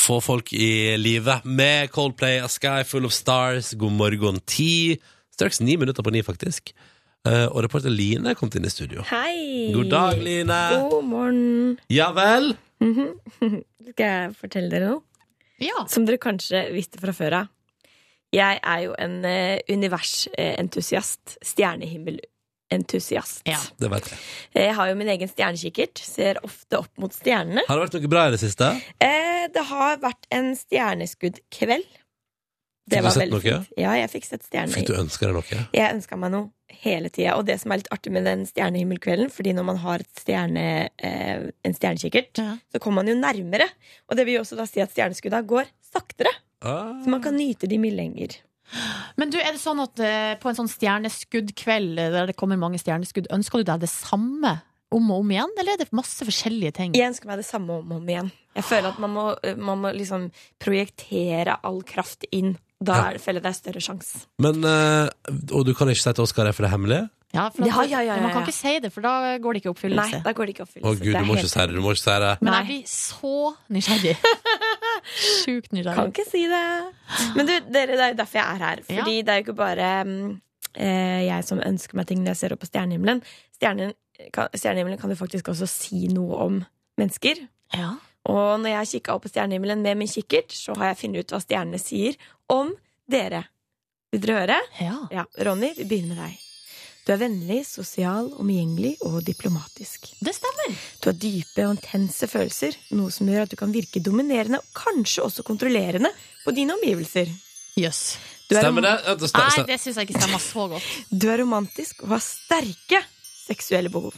Få folk i live med Coldplay, A Sky Full of Stars, God morgen ti. Straks ni minutter på ni, faktisk. Eh, Og reporter Line er kommet inn i studio. Hei! God dag, Line. God morgen. Ja vel? Mhm. *laughs* Skal jeg fortelle dere noe? Ja. Som dere kanskje visste fra før av. Jeg er jo en eh, universentusiast. Stjernehimmelentusiast. Det vet jeg. Jeg har jo min egen stjernekikkert. Ser ofte opp mot stjernene. Har det vært noe bra i det siste? Eh, det har vært en stjerneskuddkveld. Fikk Det du var sett veldig noe? fint. Ja, jeg fikk sett stjerner. Fikk du ønska deg noe? Jeg ønska meg noe hele tida. Og det som er litt artig med den stjernehimmelkvelden, fordi når man har et stjerne, eh, en stjernekikkert, så kommer man jo nærmere. Og det vil jo også da si at stjerneskudda går saktere. Ah. Så man kan nyte de mye lenger. Men du, er det sånn at eh, på en sånn stjerneskuddkveld eh, der det kommer mange stjerneskudd, ønsker du deg det samme om og om igjen, eller er det masse forskjellige ting? Jeg ønsker meg det samme om og om igjen. Jeg føler at man må, man må liksom projektere all kraft inn. Da er- føler jeg det er større sjanse. Men, eh, og du kan ikke si til Oskar det, for det er hemmelig? Ja, for at, Ja, ja, ja, ja, Man kan ja. ikke si det, for da går det ikke i oppfyllelse. Nei, da går det ikke i oppfyllelse. Å gud, du må ikke si det. Du må ikke si det. Men jeg blir så nysgjerrig. *laughs* Sjukt nysgjerrig. Kan ikke si det. Men du, dere, det er jo derfor jeg er her. Fordi det er jo ikke bare mm, eh, jeg som ønsker meg ting når jeg ser opp på stjernehimmelen. Stjernen, kan, stjernehimmelen kan jo faktisk også si noe om mennesker. Og når jeg har kikka opp på stjernehimmelen med min kikkert, så har jeg funnet ut hva stjernene sier om dere. Vil dere høre? Ja. Ronny, vi begynner med deg. Du er vennlig, sosial, omgjengelig og diplomatisk. Det stemmer. Du har dype og intense følelser, noe som gjør at du kan virke dominerende og kanskje også kontrollerende på dine omgivelser. Jøss. Stemmer det? Ja, det stem- stem- Altså- Nei, det syns jeg ikke stemmer så godt. Du er romantisk og har sterke seksuelle behov.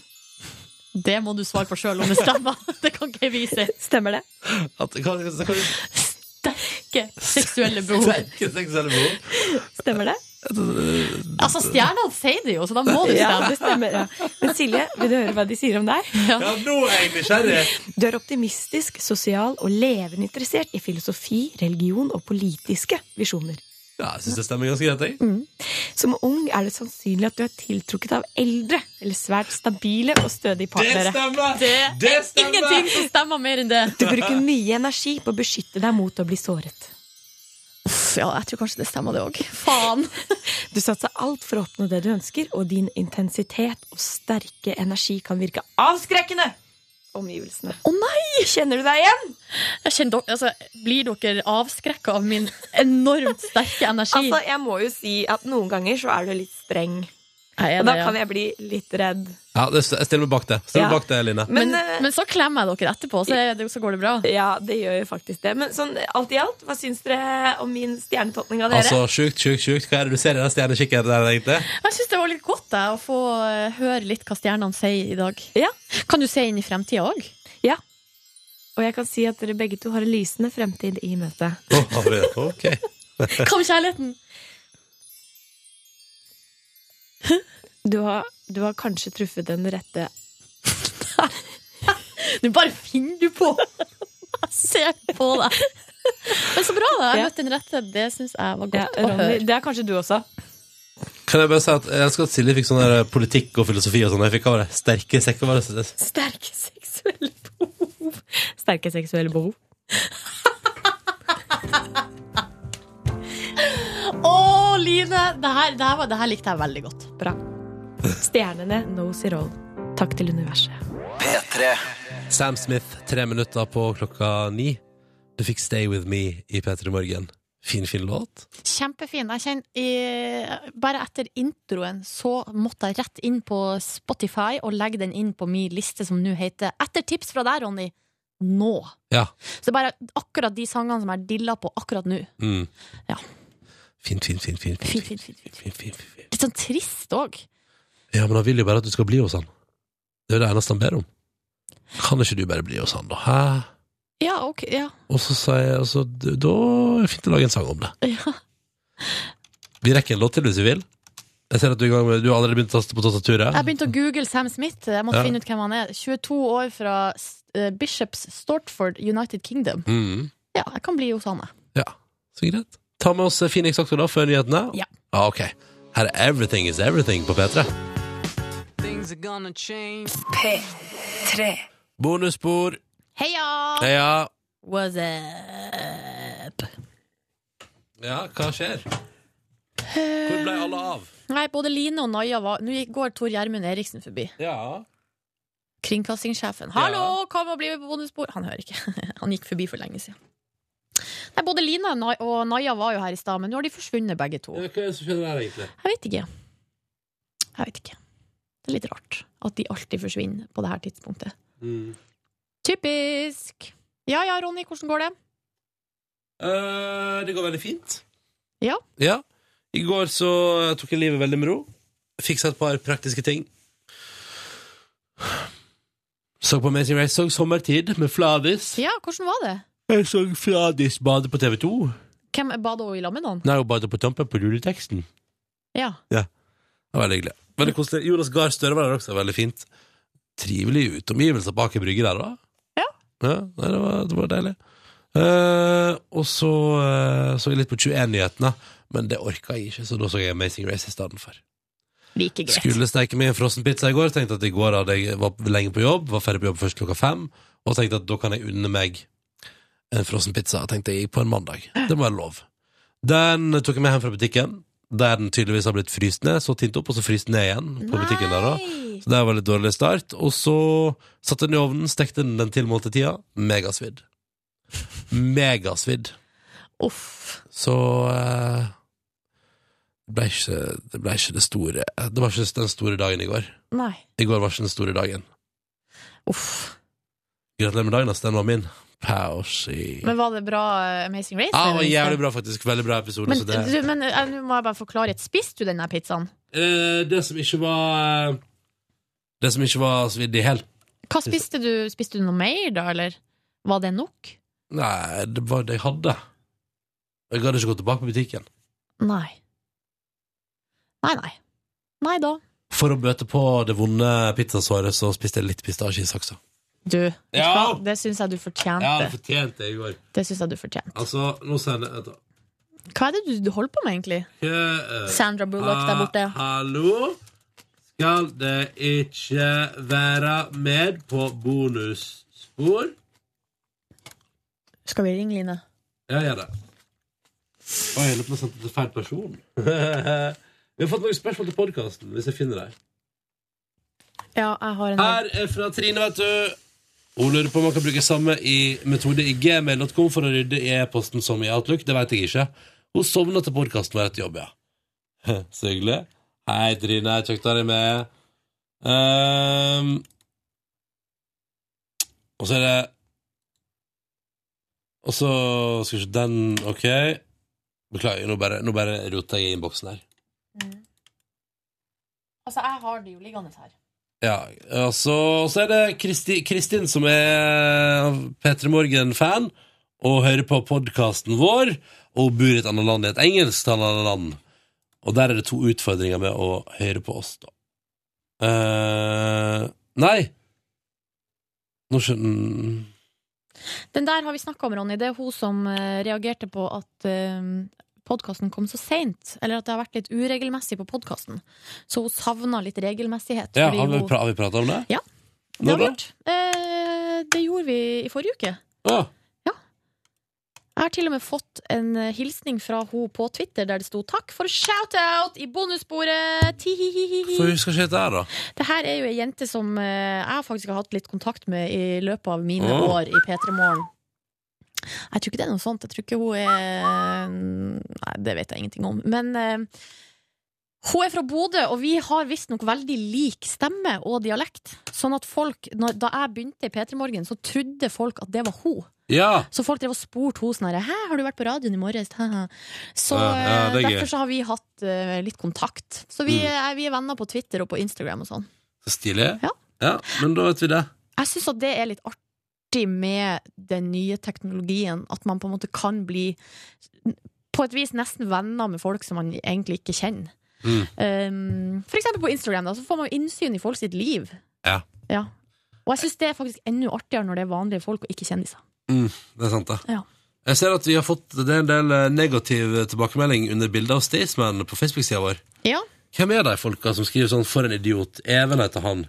Det må du svare på sjøl om det stemmer. *laughs* Det kan ikke jeg vise. Stemmer det? At, kan, kan, Sterke seksuelle behov. Sterke seksuelle behov. Stemmer det? Altså, stjernene sier det jo, så da må det Ja, stemme. det stemmer. Ja. Men Silje, vil du høre hva de sier om deg? Ja, nå er jeg nysgjerrig. Du er optimistisk, sosial og levende interessert i filosofi, religion og politiske visjoner. Ja, jeg syns det stemmer ganske greit, jeg. Som ung er det sannsynlig at du er tiltrukket av eldre eller svært stabile og stødige partnere. Det er ingenting som stemmer mer enn det. Du bruker mye energi på å beskytte deg mot å bli såret. ja, jeg tror kanskje det stemmer, det òg. Faen! Du satser alt for å oppnå det du ønsker, og din intensitet og sterke energi kan virke avskrekkende på omgivelsene. Å nei! Kjenner du deg igjen? Jeg kjenner, dere- altså, blir dere avskrekka av min enormt sterke energi? Altså, jeg må jo si at noen ganger så er du litt streng. er og da det, ja. kan jeg bli litt redd. Ja, det, jeg stiller meg bak det. Stiller meg Ja. bak det, Line. men, men så klemmer jeg dere etterpå, så, er det, så går det bra. Ja, det gjør jo faktisk det. Men sånn alt i alt, hva syns dere om min stjernetolkning av dere? Altså, sjukt, sjukt, sjukt. Hva er det du ser i den stjernekikkeren der, egentlig? Jeg syns det var litt godt jeg, å få eh, høre litt hva stjernene sier i dag. Kan du se inn i fremtida òg? Ja. Og jeg kan si at dere begge to har en lysende fremtid i møte. Å, har vi- ok. Hva med kjærligheten? Du har, du har kanskje truffet den rette Du bare finner du på! *laughs* Jeg ser på deg. Men så bra, da. Jeg Ja. møtte den rette. Det syns jeg var Ja, godt å Ronny, høre. det er kanskje du også. Kan jeg bare si at jeg elsker at Silje fikk sånn der politikk og filosofi og sånn. Jeg fikk av det sterke sekker. Var det, Sterke seksuelle behov. Sterke seksuelle behov. Å, Line! Det her, det, her var, det her likte jeg veldig godt. Bra. Stjernene knows it all. Takk til universet. P3. Sam Smith, tre minutter på klokka ni. Du fikk Stay With Me i P3 Morgen. Fin, fin låt. Kjempefin. Jeg kjenner i, Bare etter introen så måtte jeg rett inn på Spotify og legge den inn på min liste som nå heter Etter tips fra deg, Ronny. Nå. Ja. Så det er bare akkurat de sangene som jeg dilla på akkurat nå. Mm. Ja. Fint, fint, fint, fint, Fint, fint, fint, fint. fint, fint, fint. Litt sånn trist òg. Ja, men han vil jo bare at du skal bli hos han. Det er jo det eneste han ber om. Kan ikke du bare bli hos han, da? Hæ? Ja, ok. Ja. Og så sier jeg altså d- Da er det fint å lage en sang om det. ja. Vi rekker en låt til hvis vi vil. Jeg ser at du, er i gang med, du har allerede begynt å taste på tastaturet. Jeg begynte å google Sam Smith. Jeg måtte Ja. finne ut hvem han er. 22 år fra eh, Bishops Stortford, United Kingdom. Mm. Ja, jeg kan bli hos han, jeg. Ja, så greit. Ta med oss eh, Phoenix også da, før nyhetene. Ja. Ah, ok. Her er Everything Is Everything på P3. P3. Bonusspor. Heia! Heia. What's up? Ja, hva skjer? Hvor ble alle av? Nei, både Line og Naja var Nå gikk- går Tor Gjermund Eriksen forbi. Ja. Kringkastingssjefen. 'Hallo, kom og bli med på bonusbord!' Han hører ikke. *laughs* Han gikk forbi for lenge siden. Nei, både Line og Nai- og Naja var jo her i stad, men nå har de forsvunnet begge to. Hva er det som skjer der, egentlig? Jeg vet ikke. Jeg vet ikke. Det er litt rart at de alltid forsvinner på det her tidspunktet. Mm. Typisk! Ja ja, Ronny, hvordan går det? Eh, det går veldig fint. Ja. Ja. I går så tok jeg livet veldig med ro. Fiksa et par praktiske ting. Så på Amazing Race, så sommertid med Fladis. Ja, hvordan var det? Jeg så Fladis bade på TV 2. Hvem Bada hun i lag med noen? Nei, hun badet på tampen på juleteksten. Ja. Ja. Det var veldig hyggelig. Veldig koselig. Jonas Gahr Støre var der også. Veldig fint. Trivelige utomgivelser bak i brygge der, da. Ja. nei, det, var, det var deilig. Eh, og så eh, så jeg litt på 21-nyhetene, men det orka jeg ikke, så da så jeg Amazing Race i stedet for. Like greit. Skulle steike meg en frossenpizza i går. Tenkte at i går hadde jeg var lenge på jobb, var ferdig på jobb først klokka fem. Og tenkte at da kan jeg unne meg en frossenpizza, tenkte jeg, på en mandag. Det må være lov. Den tok jeg med hjem fra butikken, der den tydeligvis har blitt fryst ned. Så tint opp, og så fryst ned igjen på butikken der òg. Så det var litt dårlig start. Og så satte jeg den i ovnen, stekte den den tilmålte tida. Megasvidd. Megasvidd. Uff. Så eh, det ble, ikke, det ble ikke det store Det var ikke den store dagen i går. Nei. I går var ikke den store dagen. Uff. Gratulerer med dagen, ass. Den var min. Pausi. Men var det bra eh, Amazing Race? Ja, det eller? var jævlig bra, faktisk. Veldig bra episode. Men, så det... du, men eh, nå må jeg bare få klarhet. Spiste du den der pizzaen? Eh, det som ikke var eh, Det som ikke var svidd i hel. Hva spiste du? Spiste du noe mer da, eller? Var det nok? Nei, det var det jeg hadde. Jeg gadd ikke gå tilbake på butikken. Nei. Nei, nei. Nei da. For å bøte på det vonde pizzasåret, så spiste jeg litt pistasjesaksa. Du, vet du Ja. hva? det syns jeg du fortjente. Ja, det fortjente jeg i går. Det syns jeg du fortjente. Altså, nå sender jeg etter. Hva er det du, du holder på med, egentlig? Køer. Sandra Bullock der borte. Ha- Hallo? Skal det ikke være med på bonusspor? Skal vi ringe Line? Ja, gjør det. Oi, jeg lurer på om jeg sendte til feil person. *laughs* Vi har fått noen spørsmål til podkasten, hvis jeg finner deg. Ja, jeg har en Her er fra Trine, vet du. Hun lurer på om man kan bruke samme i metode i gmail.com for å rydde i e-posten som i Outlook. Det veit jeg ikke. Hun sovna til podkasten var etter jobb, ja. *laughs* Så hyggelig. Hei, Trine. Kjekt å ha deg med. Ehm, og så er det Og så skal vi se den OK. Beklager, nå bare, nå bare roter jeg i innboksen her. Altså, jeg har det jo liggende her. Ja, altså, så er det Kristi, Kristin som er P3 Morgen-fan og hører på podkasten vår, og hun bor i et annet land, i et engelsktalende land. Og der er det to utfordringer med å høre på oss, da. Eh, nei! Nå skjønner Den der har vi snakka om, Ronny. Det er hun som eh, reagerte på at uh, podkasten kom så seint. Eller at det har vært litt uregelmessig på podkasten. Så hun savna litt regelmessighet. ja, fordi har, vi hun- pra har vi prata om det? Ja. Det, Når har vi da? gjort. Eh, det gjorde vi i forrige uke. Å, Jeg har til og med fått en eh, hilsning fra hun på Twitter der det sto 'takk for shout-out i bonussporet'! Tihihihihi. for husker ikke dette her, da. Det her er jo ei jente som eh, jeg faktisk har hatt litt kontakt med i løpet av mine Åh. år i P3 Morgen. Jeg tror ikke det er noe sånt. Jeg tror ikke hun er Nei, det vet jeg ingenting om. Men eh, hun er fra Bodø, og vi har visstnok veldig lik stemme og dialekt. Sånn at folk, når, da jeg begynte i P3 Morgen, så trodde folk at det var hun. Ja! Så folk drev og spurte henne sånn her, Hæ, har du vært på radioen i morges? Haha. Så Ja, ja, det er eh, gøy. derfor så har vi hatt eh, litt kontakt. Så vi, Mm. er, vi er venner på Twitter og på Instagram og sånn. Så stilig. Ja. Men da vet vi det. Jeg syns at det er litt artig med den nye teknologien, at man på en måte kan bli på et vis nesten venner med folk som man egentlig ikke kjenner. Mm. Um, for eksempel på Instagram, da, så får man jo innsyn i folk sitt liv. Ja. Ja. Og jeg syns det er faktisk enda artigere når det er vanlige folk og ikke kjendiser. Mm, det er sant, det. Ja. Jeg ser at vi har fått det er en del eh, negativ tilbakemelding under bildet av Staysman på Facebook-sida vår. Ja. Hvem er de folka som skriver sånn 'for en idiot'? Even heter han.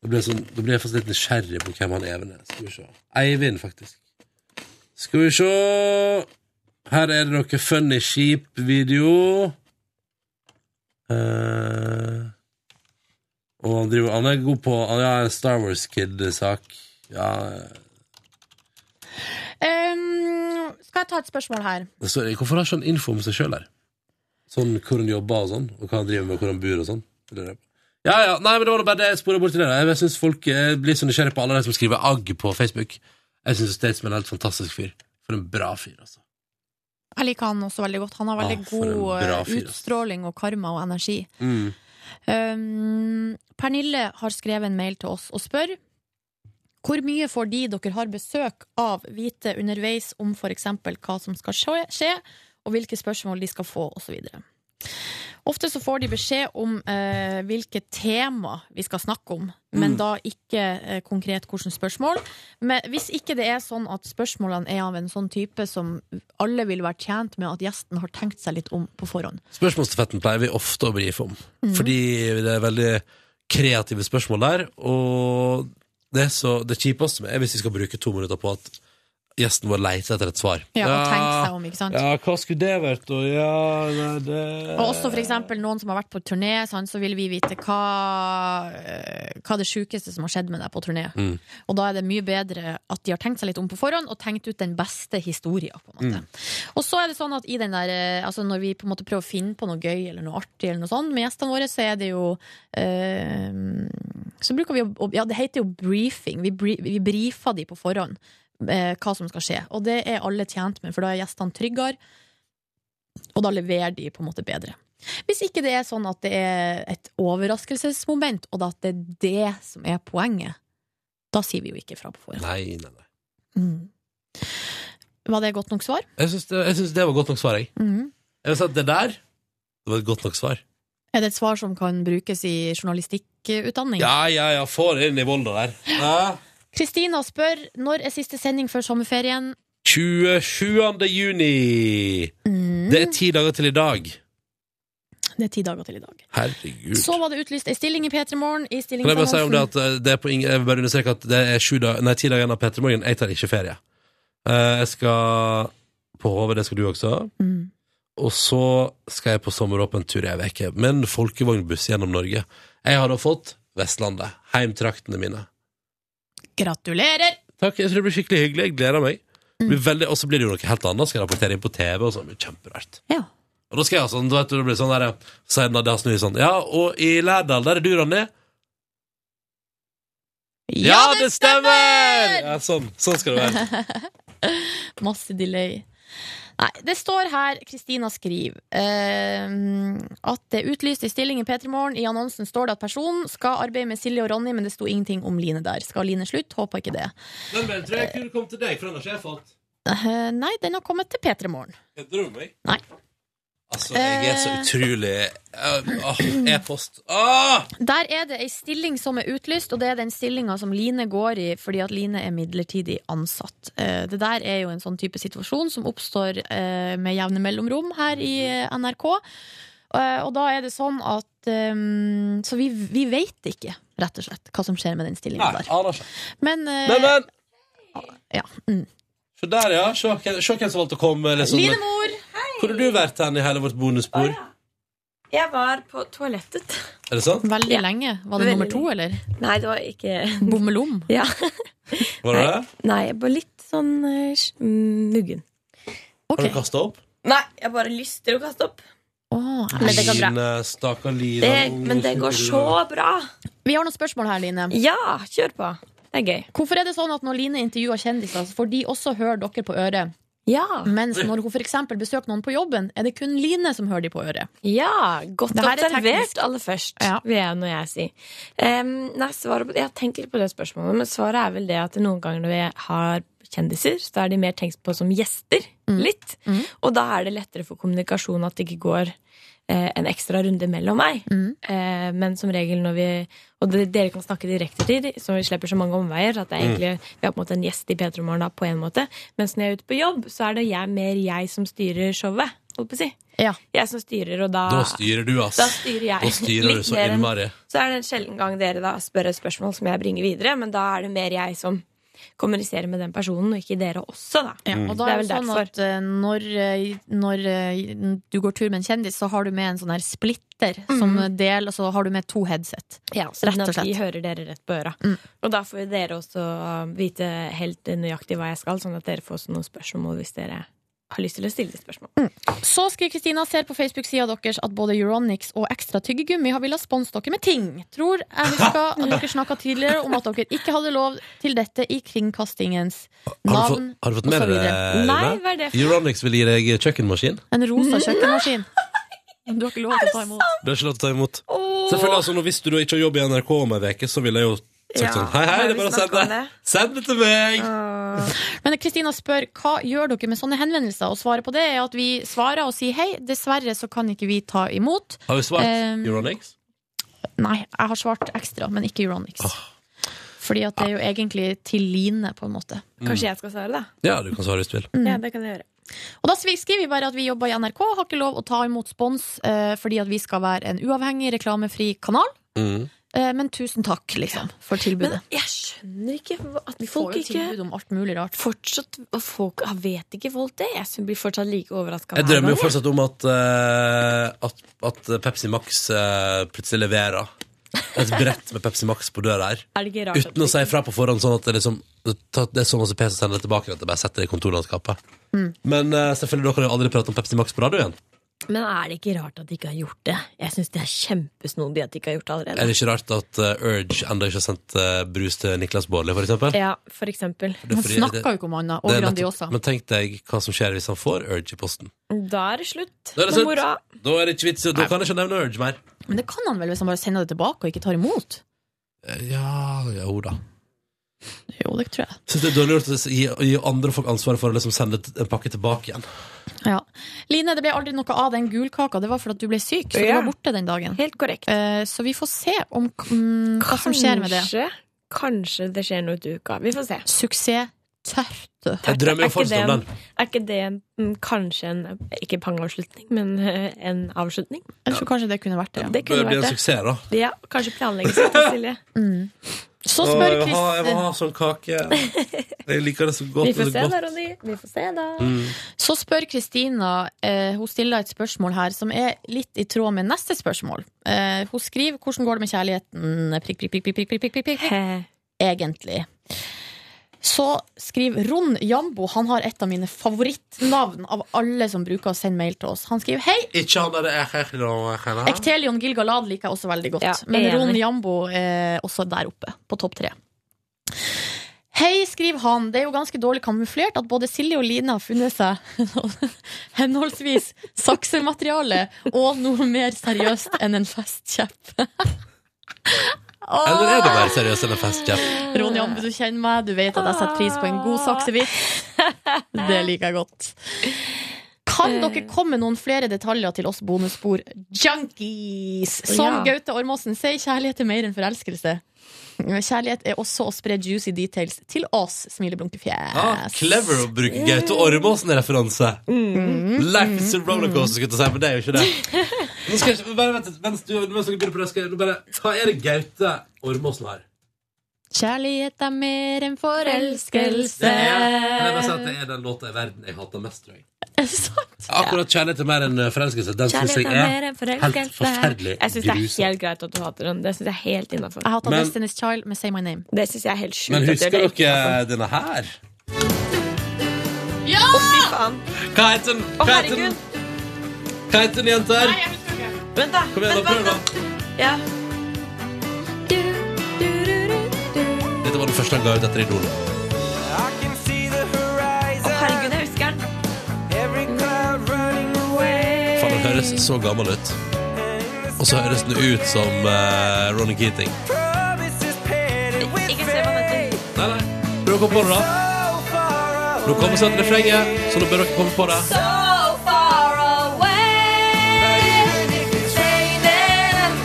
Da blir jeg, sånn, da blir jeg faktisk litt nysgjerrig på hvem han Even er. Skal vi se. Eivind, faktisk. Skal vi se Her er det noe funny skip-video. Eh, og han, driver, han er god på Han er en Star Wars-kid-sak. Ja, Ehm, skal jeg ta et spørsmål her? det står- hvorfor har ikke han info om seg sjøl her? Sånn hvor han jobber og sånn, og hva han driver med, og hvor han bor og sånn. Eller- Ja, ja, nei, men det var nå bare det jeg sporet bort til det. da. Jeg syns folk eh, blir så nysgjerrig på alle de som skriver agg på Facebook. Jeg syns Statesman er en helt fantastisk fyr. For en bra fyr, altså. Jeg liker han også veldig godt. Han har veldig Ah, for en god bra fyr, eh, altså. ass. utstråling og karma og energi. Mm. Um, Pernille har skrevet en mail til oss og spør hvor mye får de dere har besøk av vite underveis om f.eks. hva som skal skje, skje, og hvilke spørsmål de skal få, osv. Ofte så får de beskjed om eh, hvilke tema vi skal snakke om, men Mm. da ikke eh, konkret hvilke spørsmål. Men hvis ikke det er sånn at spørsmålene er av en sånn type som alle vil være tjent med at gjesten har tenkt seg litt om på forhånd. Spørsmålsstafetten pleier vi ofte å brife om. Mhm. Fordi det er veldig kreative spørsmål der, og det, er så, det kjipeste er hvis vi skal bruke to minutter på at gjesten vår leter etter et svar. Ja, og tenke seg om, ikke sant? Ja, hva skulle det vært, da? Ja, nei, det Og også for eksempel noen som har vært på turné, sant, så vil vi vite hva, eh, hva det sjukeste som har skjedd med deg på turné. Mm. Og da er det mye bedre at de har tenkt seg litt om på forhånd, og tenkt ut den beste historien. På en måte. Og så er det sånn at i den der, eh, altså når vi på en måte prøver å finne på noe gøy eller noe artig eller noe sånt med gjestene våre, så er det jo eh, Så bruker vi å å- Ja, det heter jo briefing. Vi, bri, vi brifer de på forhånd eh, hva som skal skje. Og det er alle tjent med, for da er gjestene tryggere, og da leverer de på en måte bedre. Hvis ikke det er sånn at det er et overraskelsesmoment, og at det er det som er poenget, da sier vi jo ikke fra på forhånd. Mm. Nei, nei, nei. Var det godt nok svar? Jeg syns det, jeg syns det var godt nok svar, jeg. Mhm. Jeg vil si at det der det var et godt nok svar. Er det et svar som kan brukes i journalistikkutdanning? Ja, ja, ja, få det inn i Volda der. Ja. Kristina spør når er siste sending før sommerferien? 27. juni! Det er ti dager til i dag. Mm, Det er ti dager til i dag. Herregud. Så var det utlyst ei stilling i P3 Morgen. I Kan jeg bare si om det stillingsannonsen. at eh, det er på ingen, Jeg vil bare understreke at det er sju dag, nei, ti dager igjen av Petter Morgen. Jeg tar ikke ferie. Eh, Jeg skal på HV, det skal du også. Mm. Og så skal jeg på sommeråpen tur i ei uke. Men folkevognbuss gjennom Norge. Jeg har da fått Vestlandet. Heimtraktene mine. Gratulerer! Takk, jeg tror det blir skikkelig hyggelig. Jeg gleder meg. Det blir veldig- Og så blir det jo noe helt annet. Skal jeg rapportere inn på TV og sånn. Det blir Kjemperart. Og da skal jeg ha sånn, du vet, det blir sånn der Senere det har snø sånn. Ja, og i Lærdal, der er du, Ronny. Ja, det stemmer! Ja, sånn. sånn skal det *laughs* være. Masse delay. Nei, det står her, Kristina skriver, eh, at det er utlyst en stilling i P3 Morgen. I annonsen står det at personen skal arbeide med Silje og Ronny, men det sto ingenting om Line der. Skal Line slutte? Håper ikke det. Den mailen tror jeg kunne kommet til deg, for den har ikke jeg fått. Eh, nei, den har kommet til P3 Morgen. Kødder du med meg? Nei. Altså, jeg er så Eh. utrolig Eh, åh, E-post. Åh! Der er det ei stilling som er utlyst, og det er den stillinga som Line går i fordi at Line er midlertidig ansatt. Eh, Det der er jo en sånn type situasjon som oppstår eh, med jevne mellomrom her i eh, NRK. Eh, Og da er det sånn at eh, Så vi, vi veit ikke, rett og slett, hva som skjer med den stillinga der. aner ikke. Men, eh, Nei, men Ja. Se der, ja. Se hvem se hvem som valgte å komme. Liksom. Line Mor! Hvor har du vært hen i hele vårt bonusbord? Jeg var på toalettet. Er det sant? Veldig lenge. Var det Veldig nummer to, lenge. eller? Nei, det var ikke Bommelom? *laughs* Ja. Var det det? Nei, jeg var litt sånn eh, sj- mm, muggen. Har du kasta opp? Nei, jeg bare lyster å kaste opp. men det går bra. Line, stakkar Line. Det, Åh, men det går så bra. Vi har noen spørsmål her, Line. Ja, kjør på. Det er gøy. Hvorfor er det sånn at når Line intervjuer kjendiser, så får de også høre dere på øret? Mens når hun f.eks. besøker noen på jobben, er det kun Line som hører de på øret. Ja, godt Det her er observert teknisk. aller først, vil jeg når jeg si. Em, nei, svaret på, jeg har tenkt litt på det spørsmålet, men svaret er vel det at noen ganger når vi har kjendiser, så er de mer tenkt på som gjester, Mm. litt. Og da er det lettere for kommunikasjon at det ikke går eh, en ekstra runde mellom meg. Mm. Eh, men som regel når vi Og det, dere kan snakke direkte til, de, så vi slipper så mange omveier. At det er Mm. egentlig, Vi har på en måte en gjest i P3 Morgen da, på en måte. Mens når jeg er ute på jobb, så er det jeg, mer jeg som styrer showet. Holdt på å si. Jeg som styrer, og da Da styrer du, ass. Da styrer jeg. Da styrer du Litt så mer enn- innmari. Så er det en sjelden gang dere da spør et spørsmål som jeg bringer videre, men da er det mer jeg som kommunisere med den personen, og ikke dere også, da. Ja, og da er Det er det vel sånn derfor. at eh, når, eh, når eh, du går tur med en kjendis, så har du med en sånn her splitter som Mm. del, og så har du med to headset. Ja, Rett sånn og at slett. Mm. vi hører dere rett på øra. Og da får jo dere også um, vite helt nøyaktig hva jeg skal, sånn at dere får også noen spørsmål hvis dere har lyst til å stille spørsmål. Så skriver Kristina ser på Facebook-sida deres at både Euronics og Ekstra tyggegummi har villet sponse dere med ting. Tror jeg *laughs* husker at dere snakka tidligere om at dere ikke hadde lov til dette i kringkastingens Har du, navn. fått, har du fått med deg det? videre. Nei, Rune? hva er det for- Euronics vil gi deg kjøkkenmaskin. En rosa kjøkkenmaskin. Du har ikke lov til å ta imot. Du har ikke lov til å ta imot. Selvfølgelig, altså, nå, Hvis du da ikke har jobb i NRK om ei uke, så ville jeg jo sagt Ja, sånn Hei, hei, har det er vi bare å snakket om sende. Send det til meg! Men Kristina spør hva gjør dere med sånne henvendelser, og svaret på det er at vi svarer og sier hei, dessverre så kan ikke vi ta imot. Har vi svart Eh, Euronics? Nei, jeg har svart ekstra, men ikke Euronics. Fordi at det er jo egentlig til Line, på en måte. Kanskje Mm. jeg skal svare, da? Ja, du kan svare hvis du vil. Mm. Ja, det kan jeg gjøre. Og da svi- skriver vi bare at vi jobber i NRK, har ikke lov å ta imot spons eh, fordi at vi skal være en uavhengig, reklamefri kanal. Eh, men tusen takk, liksom, for tilbudet. Jeg skjønner ikke hva- at Vi folk får jo ikke tilbud om alt mulig rart. Fortsatt, folk, ah, Vet ikke folk det? Jeg blir fortsatt like overraska. Jeg drømmer jo fortsatt om at, eh, at, at Pepsi Max eh, plutselig leverer et brett med Pepsi Max på døra her. Er det ikke rart? Uten å si fra på forhånd, sånn at det, liksom, det er sånn så masse pes å sende det tilbake at jeg bare setter det i kontorlandskapet. Mm. Men eh, selvfølgelig, dere har jo aldri pratet om Pepsi Max på radio igjen. Men er det ikke rart at de ikke har gjort det? Jeg syns det er kjempesnodig at de ikke har gjort det allerede. Er det ikke rart at eh, Urge enda ikke har sendt eh, brus til Niklas Baarli, for eksempel? Ja, for eksempel. Det er fordi det- og det er nettopp- Men tenk deg hva som skjer hvis han får Urge i posten. Da er det slutt Da er det på slutt. mora. Da er det ikke vits, da kan jeg ikke nevne Urge mer. Men det kan han vel hvis han bare sender det tilbake og ikke tar imot? Eh, Ja, jo da. Jo, det tror jeg. Syns det er dårlig gjort å gi, å gi andre folk ansvaret for å liksom sende t- en pakke tilbake igjen. Ja. Line, det ble aldri noe av den gulkaka. Det var fordi at du ble syk, så du Ja. var borte den dagen. Eh, Helt korrekt. så vi får se om, mm, hva som skjer med det. Kanskje, kanskje det skjer noe til uka. Vi får se. Suksess tørte. Jeg drømmer jo Er ikke fortsatt om det en- Er ikke det en, mm, kanskje en ikke pangeavslutning, men eh, en avslutning? Jeg tror kanskje det kunne vært det. Det kunne Bør bli vært en det. suksess, da. Ja, kanskje planlegges litt, Silje. Så Å, spør jeg vil ha- Jeg vil Kristin ha sånn kake. Jeg liker det så godt. Vi får det er se, godt. da, Ronny. Vi får se, da. Mm. Så spør Kristina eh, Hun stiller et spørsmål her som er litt i tråd med neste spørsmål. Eh, hun skriver 'Hvordan går det med kjærligheten?' Prikk, prikk, prikk, prikk, prikk, prikk, prikk, prikk. Egentlig. Så skriver Ron Jambo Han har et av mine favorittnavn av alle som bruker å sende mail til oss. Han skriver 'Hei, Ikke han der eh, jeg er noe jeg kan ha. Ektelion Gilgalad liker jeg også veldig godt. Ja, men enig. Ron Jambo er også der oppe, på topp tre. Hei, skriver han. Det er jo ganske dårlig kamuflert at både Silje og Line har funnet seg *laughs* henholdsvis saksemateriale og noe mer seriøst enn en festkjepp. *laughs* Eller er det mer seriøst enn en festkjepp? Ron Jambo, du kjenner meg. Du vet at jeg setter pris på en god saksevits. Det liker jeg godt. Kan dere komme med noen flere detaljer til oss bonusspor junkies? Som Ja. Gaute Ormåsen sier, kjærlighet er mer enn forelskelse. Kjærlighet er også å spre juicy details til oss, smileblunkefjes. Ah, clever å bruke Gaute Ormåsen-referanse. Mm. Life is a rollercoaster, skulle jeg til å si, men det er jo ikke *laughs* det. Nå skal jeg ikke, bare vent, litt, mens du mens dere begynner på det, skal jeg nå bare Hva er det Gaute Ormåsen har? Kjærlighet er mer enn Det forelskelse. er, kan jeg bare si at det er den låta i verden jeg hater mest, tror jeg. *laughs* Akkurat 'Kjærlighet er mer enn eh, forelskelse', den syns jeg Kjærlighet er mer er enn helt forferdelig forelskelse. Jeg syns det er grusom. helt greit at du hater den. Det syns jeg er helt innafor. Jeg hater Men- Destiny's Child med Say My Name. Det syns jeg er helt sjukt. Men at husker dere ikke dere denne her? Ja! Fy faen. Hva heter den? Å, Hva heter den? herregud. Hva heter den, jenter? Vent, da. Kom igjen, da, prøv, da. Ja. Dette var den første han ga ut etter Idol. Å, herregud, jeg husker den. Faen, den høres så gammel ut. Og så høres den ut som eh, Ronny Keating. Ikke se hva den heter. Nei, nei. Prøv å komme på det, da. Nå kommer sånn refrenget, så nå bør dere komme på det. So far away. It's raining.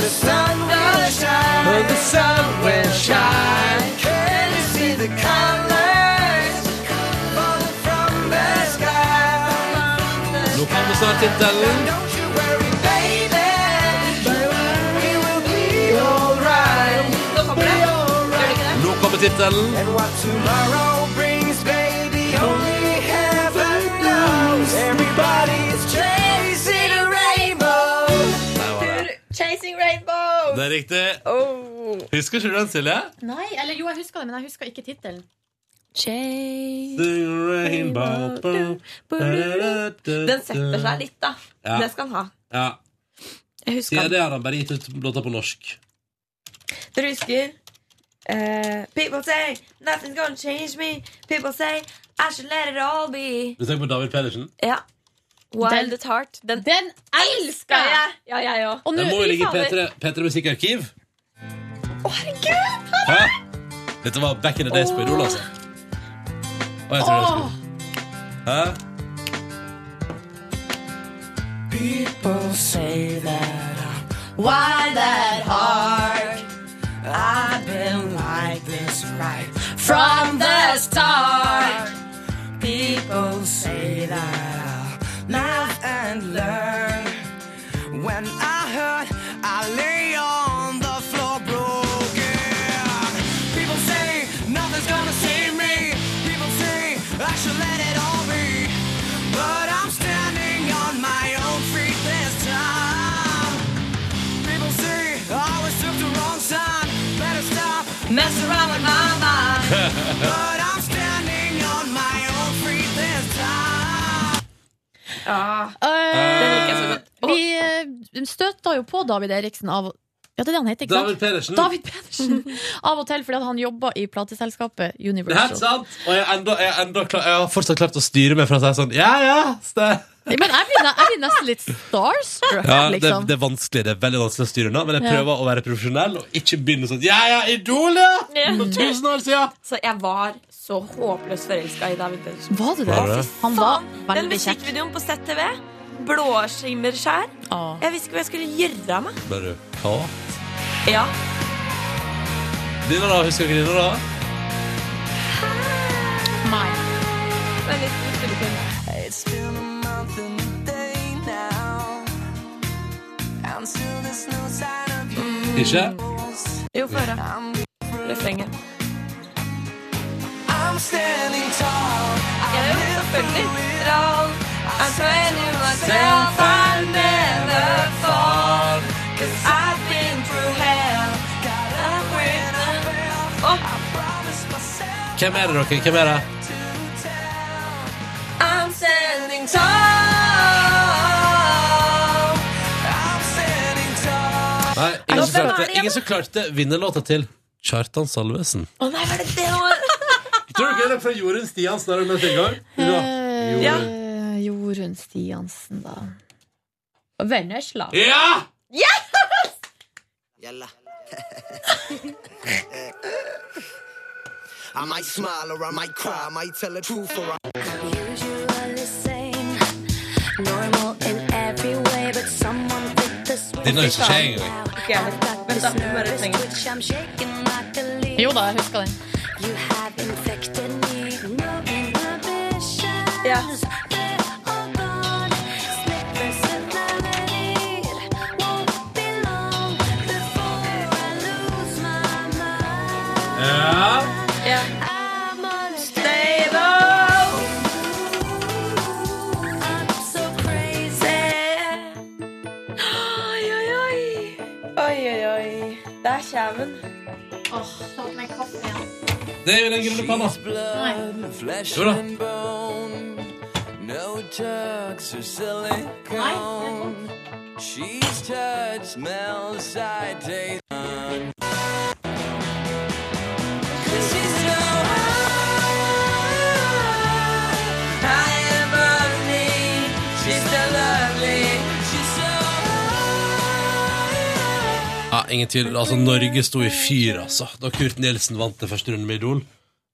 The sun will shine. the sun will shine. Can you see the colors falling from the sky? Nå kommer snart tittelen. Don't you worry, baby. It will be alright. It will be alright. Nå kommer tittelen. And what tomorrow brings, baby, only heaven knows. Everybody's chasing a rainbow. Chasing Rainbow! Det er riktig. Oh. Husker ikke du den, Silje? Nei, eller jo, jeg husker det, men jeg husker ikke tittelen. Den setter seg litt, da. Ja. Det skal den ha. Ja. Jeg husker Siden det har han bare gitt ut låter på norsk. Dere husker eh, People say nothing's gonna change me. People say I should let it all be. Du tenker på David Pedersen? Ja. Wild at heart. Den, den elsker jeg! Ja, jeg òg. Den må jo ligge i P3, P3 Musikkarkiv. Å, herregud! Hæ? Dette var back in the days på Idol, altså. Å, jeg tror jeg husker. Hæ? People say that I'm wild at heart. I've been like this right from the start. People say that I'll laugh and learn. When I hurt, I lay on the floor broken. People say nothing's gonna save me. People say I should let it all be. But I'm standing on my own feet this time. People say I always took the wrong side. Better stop, mess around with my mind. but I'm standing on my own feet this time. Eh, Vi eh, støter jo på David Eriksen av ja, det er det han heter, ikke David sant? Pedersen. David Pedersen. *laughs* Av og til fordi at han jobber i plateselskapet Det er helt Universal. sant! Og jeg, er enda, jeg, er enda klar, jeg har fortsatt klart å styre meg fra å si sånn Ja, ja! Ste. Men jeg blir, jeg blir nesten litt starstruck, Ja, det, liksom. det er vanskelig, det er veldig vanskelig å styre unna, men jeg Ja. prøver å være profesjonell og ikke begynne sånn Ja, ja, Idol, ja! Mm. For tusen år siden! *laughs* Så jeg var så håpløst forelska i David Pedersen. Var du det? Var du det? Han var Den veldig kjekk. musikkvideoen på ZTV. Blåskimmerskjær. Jeg visste ikke hva jeg skulle gjøre av meg. Bare hva? Ja. Dine, da? Husker dere dine, da? Nei. It's been a month and a day now. And still there's no sign of you. Mm. Ikke? Jo, få høre. Refrenget. I'm standing tall. I live through it all. I swear to myself I'll never fall. Cause I've been through hell. Got up when I fell. I promised myself Hvem er det, dere? Hvem er det? I'm standing tall. I'm standing tall. Nei, ingen, som Hvem er klarte, det? ingen som klarte vinnerlåta til Kjartan Salvesen. Å nei, var det det var? *laughs* Tror dere det er fra Jorunn Stians der hun møtte en gang? Ja. Ja. Eh, Jorunn Stiansen, da. Vennesla. Ja! Gjella. *laughs* I might smile or I might cry, I might tell the truth or I... Denne husker ikke jeg engang. Jo da, jeg husker den. Ja. Ja. ja. Stable. Oi, oi, oi. Oi, oi, oi. Der kommer den. Det er jo den grønne panna. Flesh Jo da. and bone, no tucks or silicone. She's touch, smells, sight, taste. fun. 'Cause she's so high, high above me. She's so lovely. She's so Ja, ingen tvil. Altså, Norge sto i fyr, altså. Da Kurt Nilsen vant det første runde med Idol.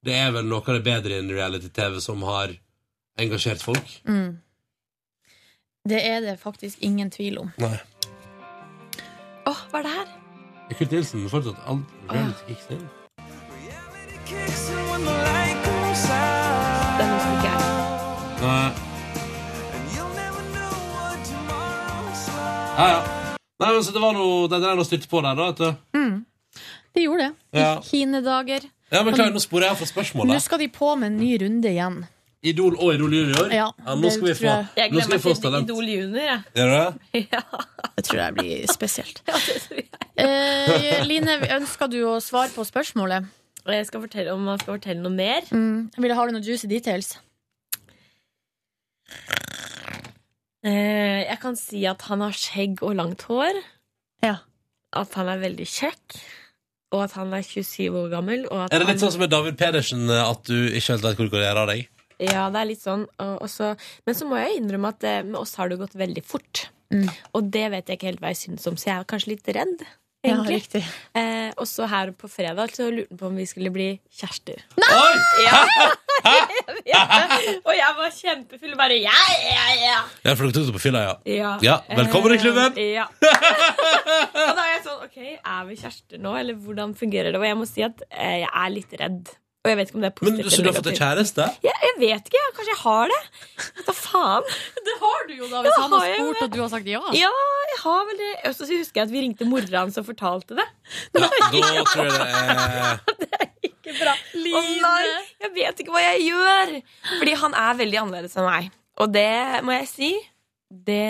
Det er vel noe av det bedre enn reality-TV som har engasjert folk. Mm. Det er det faktisk ingen tvil om. Nei. Åh, hva er det her? Er Kurt Nilsen fortsatt all- Ah. reality kicks in? kicks and when the light goes out. Nei. Ja, ja. Nei, men så det var noe Det er noe styrt på der, da, vet du. Mm. Det gjorde det. Ja. Hinedager. Ja, men klar, Nå sporer jeg av fra Nå spørsmålet. skal de på med en ny runde igjen. Idol og Idol junior. Ja, nå det skal vi tror få, jeg. Jeg nå skal vi gleder få meg til talent. Idol junior, jeg. Gjør du det? Ja. Det tror jeg blir *laughs* spesielt. eh, Line, ønsker du å svare på spørsmålet? *laughs* Jeg skal fortelle om man skal fortelle noe mer. Mm. Vil, har du noen juicy details? Eh, Jeg kan si at han har skjegg og langt hår. At han er veldig kjekk. Og at han er 27 år gammel. Og at Er det litt han... sånn som med David Pedersen, at du ikke helt vet hvor du går av deg? Ja, det er litt sånn. Og, og så... Men så må jeg innrømme at eh, med oss har det gått veldig fort. Og det vet jeg ikke helt hva jeg syns om, så jeg er kanskje litt redd. Ja, Egentlig. eh, og så her på fredag så lurte han på om vi skulle bli kjærester. Ja. *laughs* og jeg var kjempefull og bare ja, ja, ja. Ja, for dere tok det på fylla, ja. Ja. Velkommen i klubben! Eh, Ja. *laughs* og da er jeg sånn OK, er vi kjærester nå, eller hvordan fungerer det? Og jeg må si at eh, jeg er litt redd. Og jeg vet ikke om det er Men, positivt. så du har fått deg kjæreste? Ja, jeg vet ikke. jeg. Kanskje jeg har det. Hva *laughs* faen? Det har du jo, da, Ja, hvis han har har jeg spurt det? og du har sagt ja. Ja, jeg har vel det. Og så husker jeg at vi ringte mora hans og fortalte *laughs* det. Ja, da tror jeg det *laughs* er Ikke bra. Å nei, jeg vet ikke hva jeg gjør. Fordi han er veldig annerledes enn meg. Og det må jeg si, det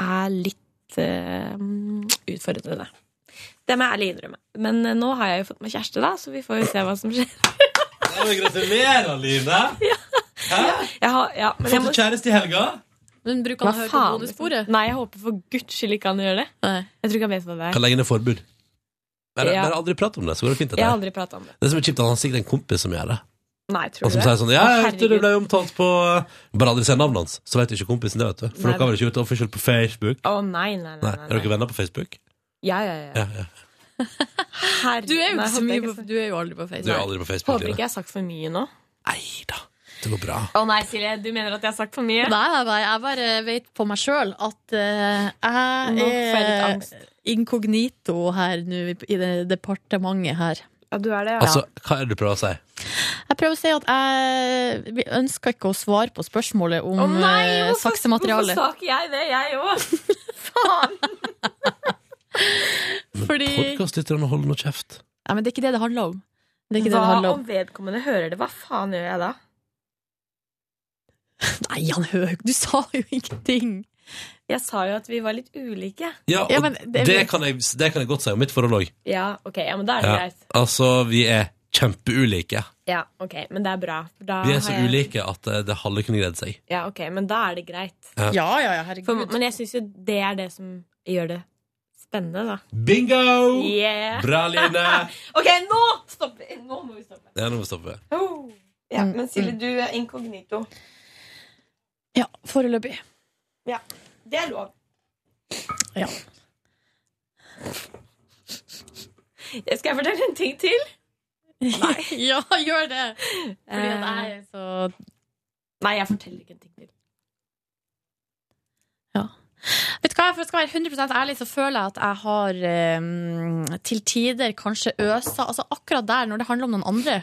er litt eh, utfordrende. Det må jeg ærlig innrømme. Men eh, nå har jeg jo fått meg kjæreste, da, så vi får jo se hva som skjer. *laughs* Ja, men Gratulerer, Line! Jeg har, ja, men jeg Fått må... deg kjæreste i helga? Men bruker han å høre på bonussporet? Nei, jeg håper for guds skyld ikke han gjør det. Jeg tror ikke han vet hva det Kan er. legge ned forbud. Bare, Ja. bare aldri prat om det, så går det fint. Jeg har Etter. aldri prata om det. Det som er kjipt, er at han har sikkert en kompis som gjør det. Nei, Og tror du som det? sier sånn Ja, Å, jeg vet du, det herregud. ble omtalt på eh, Bare aldri si navnet hans, så vet ikke kompisen det, vet du. For Nei. dere har vel ikke gjort det offisielt på Facebook? Å, nei, nei, nei. Nei. Er dere venner på Facebook? Ja, ja, ja. Ja, ja. Du Herregud. er jo ikke så Nei, mye håper jeg på, du er jo aldri på Du er Facebook. aldri på Facebook. Håper Line. ikke jeg har sagt for mye nå. Det går bra. Å nei, Silje, du mener at jeg har sagt for mye? Nei, nei, nei, jeg bare vet på meg sjøl at eh, Nå får jeg jeg litt er inkognito her nå i- i det departementet her. Ja, du er det, Altså, hva er det du prøver å si? Jeg prøver å si at jeg vi ønsker ikke å svare på spørsmålet om Å nei, eh, hvorfor, hvorfor saksematerialet. sa ikke jeg det, jeg *laughs* òg? Fordi Podkastlytterne holder nå kjeft. Nei, men det er ikke det det handler om. Det er ikke det det Hva handler om om. vedkommende hører det? Hva faen gjør jeg da? Nei, han hører jo ikke Du sa jo *laughs* ingenting! Jeg sa jo at vi var litt ulike. Ja, og det, kan jeg, det kan jeg godt si om mitt forhold òg. Ja, ok, ja, men da er det Ja. greit. Altså, vi er kjempeulike. Ja, ok, Men det er bra. for Da Vi er har så jeg- ulike at eh, det halve kunne greid seg. Ja, ok, Men da er det greit. Ja. Ja, herregud. For, men jeg syns jo det er det som gjør det spennende, da. Bingo! Yeah. Bra, *laughs* Line! Ok, nå stopper vi. Nå må vi stoppe. Ja, nå må vi stoppe. Oh. Ja, Mm. men Silje, du er inkognito. Ja, foreløpig. Ja, Det er lov. Ja. Skal jeg fortelle en ting til? Nei. ja, gjør det! Fordi at jeg er så Nei, jeg forteller ikke en ting til. Vet du hva, For å skal være 100 ærlig, så føler jeg at jeg har eh, til tider kanskje øsa Altså Akkurat der, når det handler om noen andre,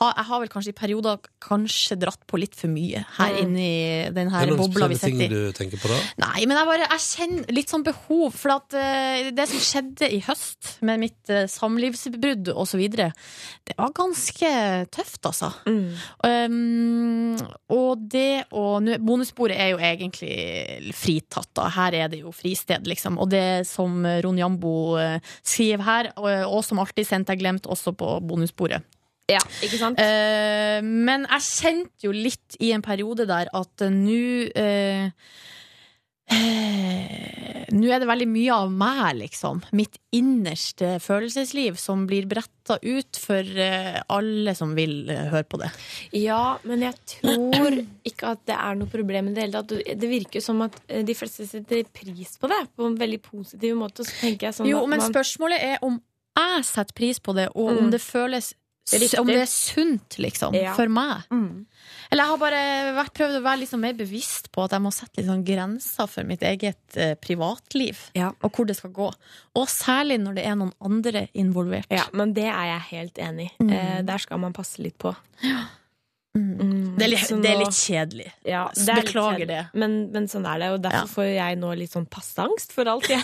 har, jeg har vel kanskje i perioder kanskje dratt på litt for mye her Mm. inne i den er her det noen bobla vi spesielle ting sitter i. du tenker på da? Nei, men jeg, bare, jeg kjenner litt sånn behov. For at, eh, det som skjedde i høst, med mitt uh, samlivsbrudd osv., det var ganske tøft, altså. Um, og det å nå- Bonussporet er jo egentlig fritatt, da. Her er det jo fristed, liksom. Og det som Ron Jambo eh, skriver her, og, og som alltid sendt er glemt, også på bonussporet. Ja, ikke sant? Eh, men jeg kjente jo litt i en periode der at eh, nå eh, eh, Nå er det veldig mye av meg, liksom. Mitt innerste følelsesliv som blir bretta ut for eh, alle som vil eh, høre på det. Ja, men jeg *clears throat* tror ikke at det er noe problem i det hele tatt. Det virker jo som at eh, de fleste setter pris på det på en veldig positiv måte. og Så tenker jeg sånn Jo, at men man- spørsmålet er om jeg setter pris på det, og Mm. om det føles Riktig. Om det er sunt, liksom, Ja. Mm. for meg. Eller jeg har bare vært, prøvd å være liksom mer bevisst på at jeg må sette litt sånn grenser for mitt eget eh, privatliv, og hvor det skal gå. Og særlig når det er noen andre involvert. Mm. Ja, men det er jeg helt enig i. Eh, der skal man passe litt på. Mm, Det er litt- så det er nå- litt kjedelig. Ja, S- det er beklager litt det. kjedelig. Men, men sånn er det, og derfor får jeg nå litt sånn passe angst for alt *laughs* jeg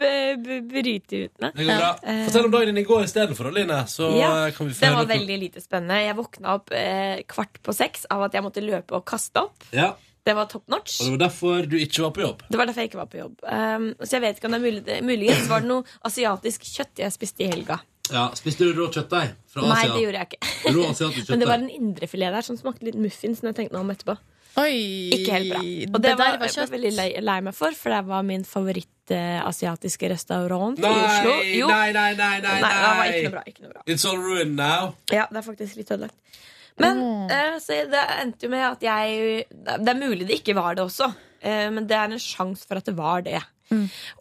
b- b- bryter ut med. Det går bra. Eh, Fortell om dagen din i går istedenfor, Aline. Så ja, eh, kan vi få det høre var noe- veldig lite spennende. Jeg våkna opp eh, kvart på seks av at jeg måtte løpe og kaste opp. Ja, Det var top notch. og det var derfor du ikke var på jobb. Det var derfor jeg ikke var på jobb. Um, så jeg vet ikke om det er mulig, muligens var det noe asiatisk kjøtt jeg spiste i helga. Ja, Spiste du rå kjøttdeig fra Nei, Asia? det gjorde jeg ikke. Rå asiatisk *laughs* Men det var kjøttdeig. en indrefilet der som smakte litt muffins når jeg tenkte meg om etterpå. ikke helt bra. Og det, det der var, var jeg var kjøtt. veldig lei, lei meg for, for det var min favoritt-asiatiske restaurant Nei, i Oslo. Jo. nei, nei, nei, nei, nei, det var ikke nei. noe bra. Ikke noe bra. It's all ruined now. Ja, det er faktisk litt ødelagt. Men eh, så det endte jo med at jeg Det er mulig det ikke var det også, eh, men det er en sjanse for at det var det.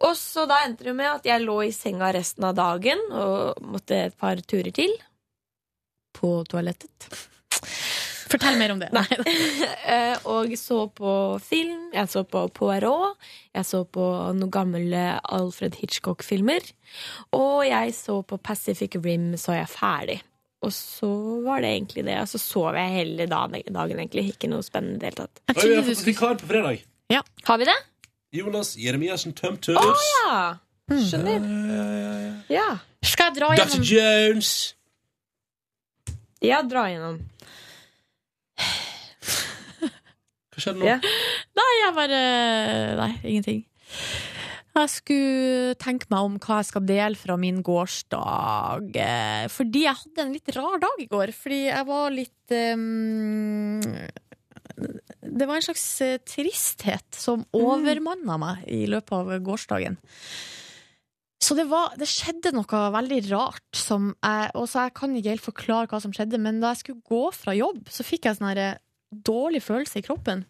Og så da endte det jo med at jeg lå i senga resten av dagen og måtte et par turer til. På toalettet. Fortell mer om det. Nei. Eh, og så på film. Jeg så på Poirot. Jeg så på noen gamle Alfred Hitchcock-filmer. Og jeg så på Pacific Rim, så jeg ferdig. Og så var det egentlig det. Og så sov jeg hele dagen, dagen egentlig. Ikke noe spennende i det hele tatt. Oi, vi har fått vikar på fredag. Har vi det? Jonas Jeremiassen Tømtøs. Å ja! Skjønner. Ja. Skal jeg dra Eh, Dr. Jones. Ja, dra gjennom. Hva skjedde nå? Nei, jeg bare Nei, ingenting. Jeg skulle tenke meg om hva jeg skal dele fra min gårsdag. eh, Fordi jeg hadde en litt rar dag i går. Fordi jeg var litt ehm, eh, Det var en slags eh, tristhet som Mm. overmanna meg i løpet av gårsdagen. Så det, var, det skjedde noe veldig rart, som jeg, og så jeg kan ikke helt forklare hva som skjedde, men da jeg skulle gå fra jobb, så fikk jeg sånn her eh, dårlig følelse i kroppen.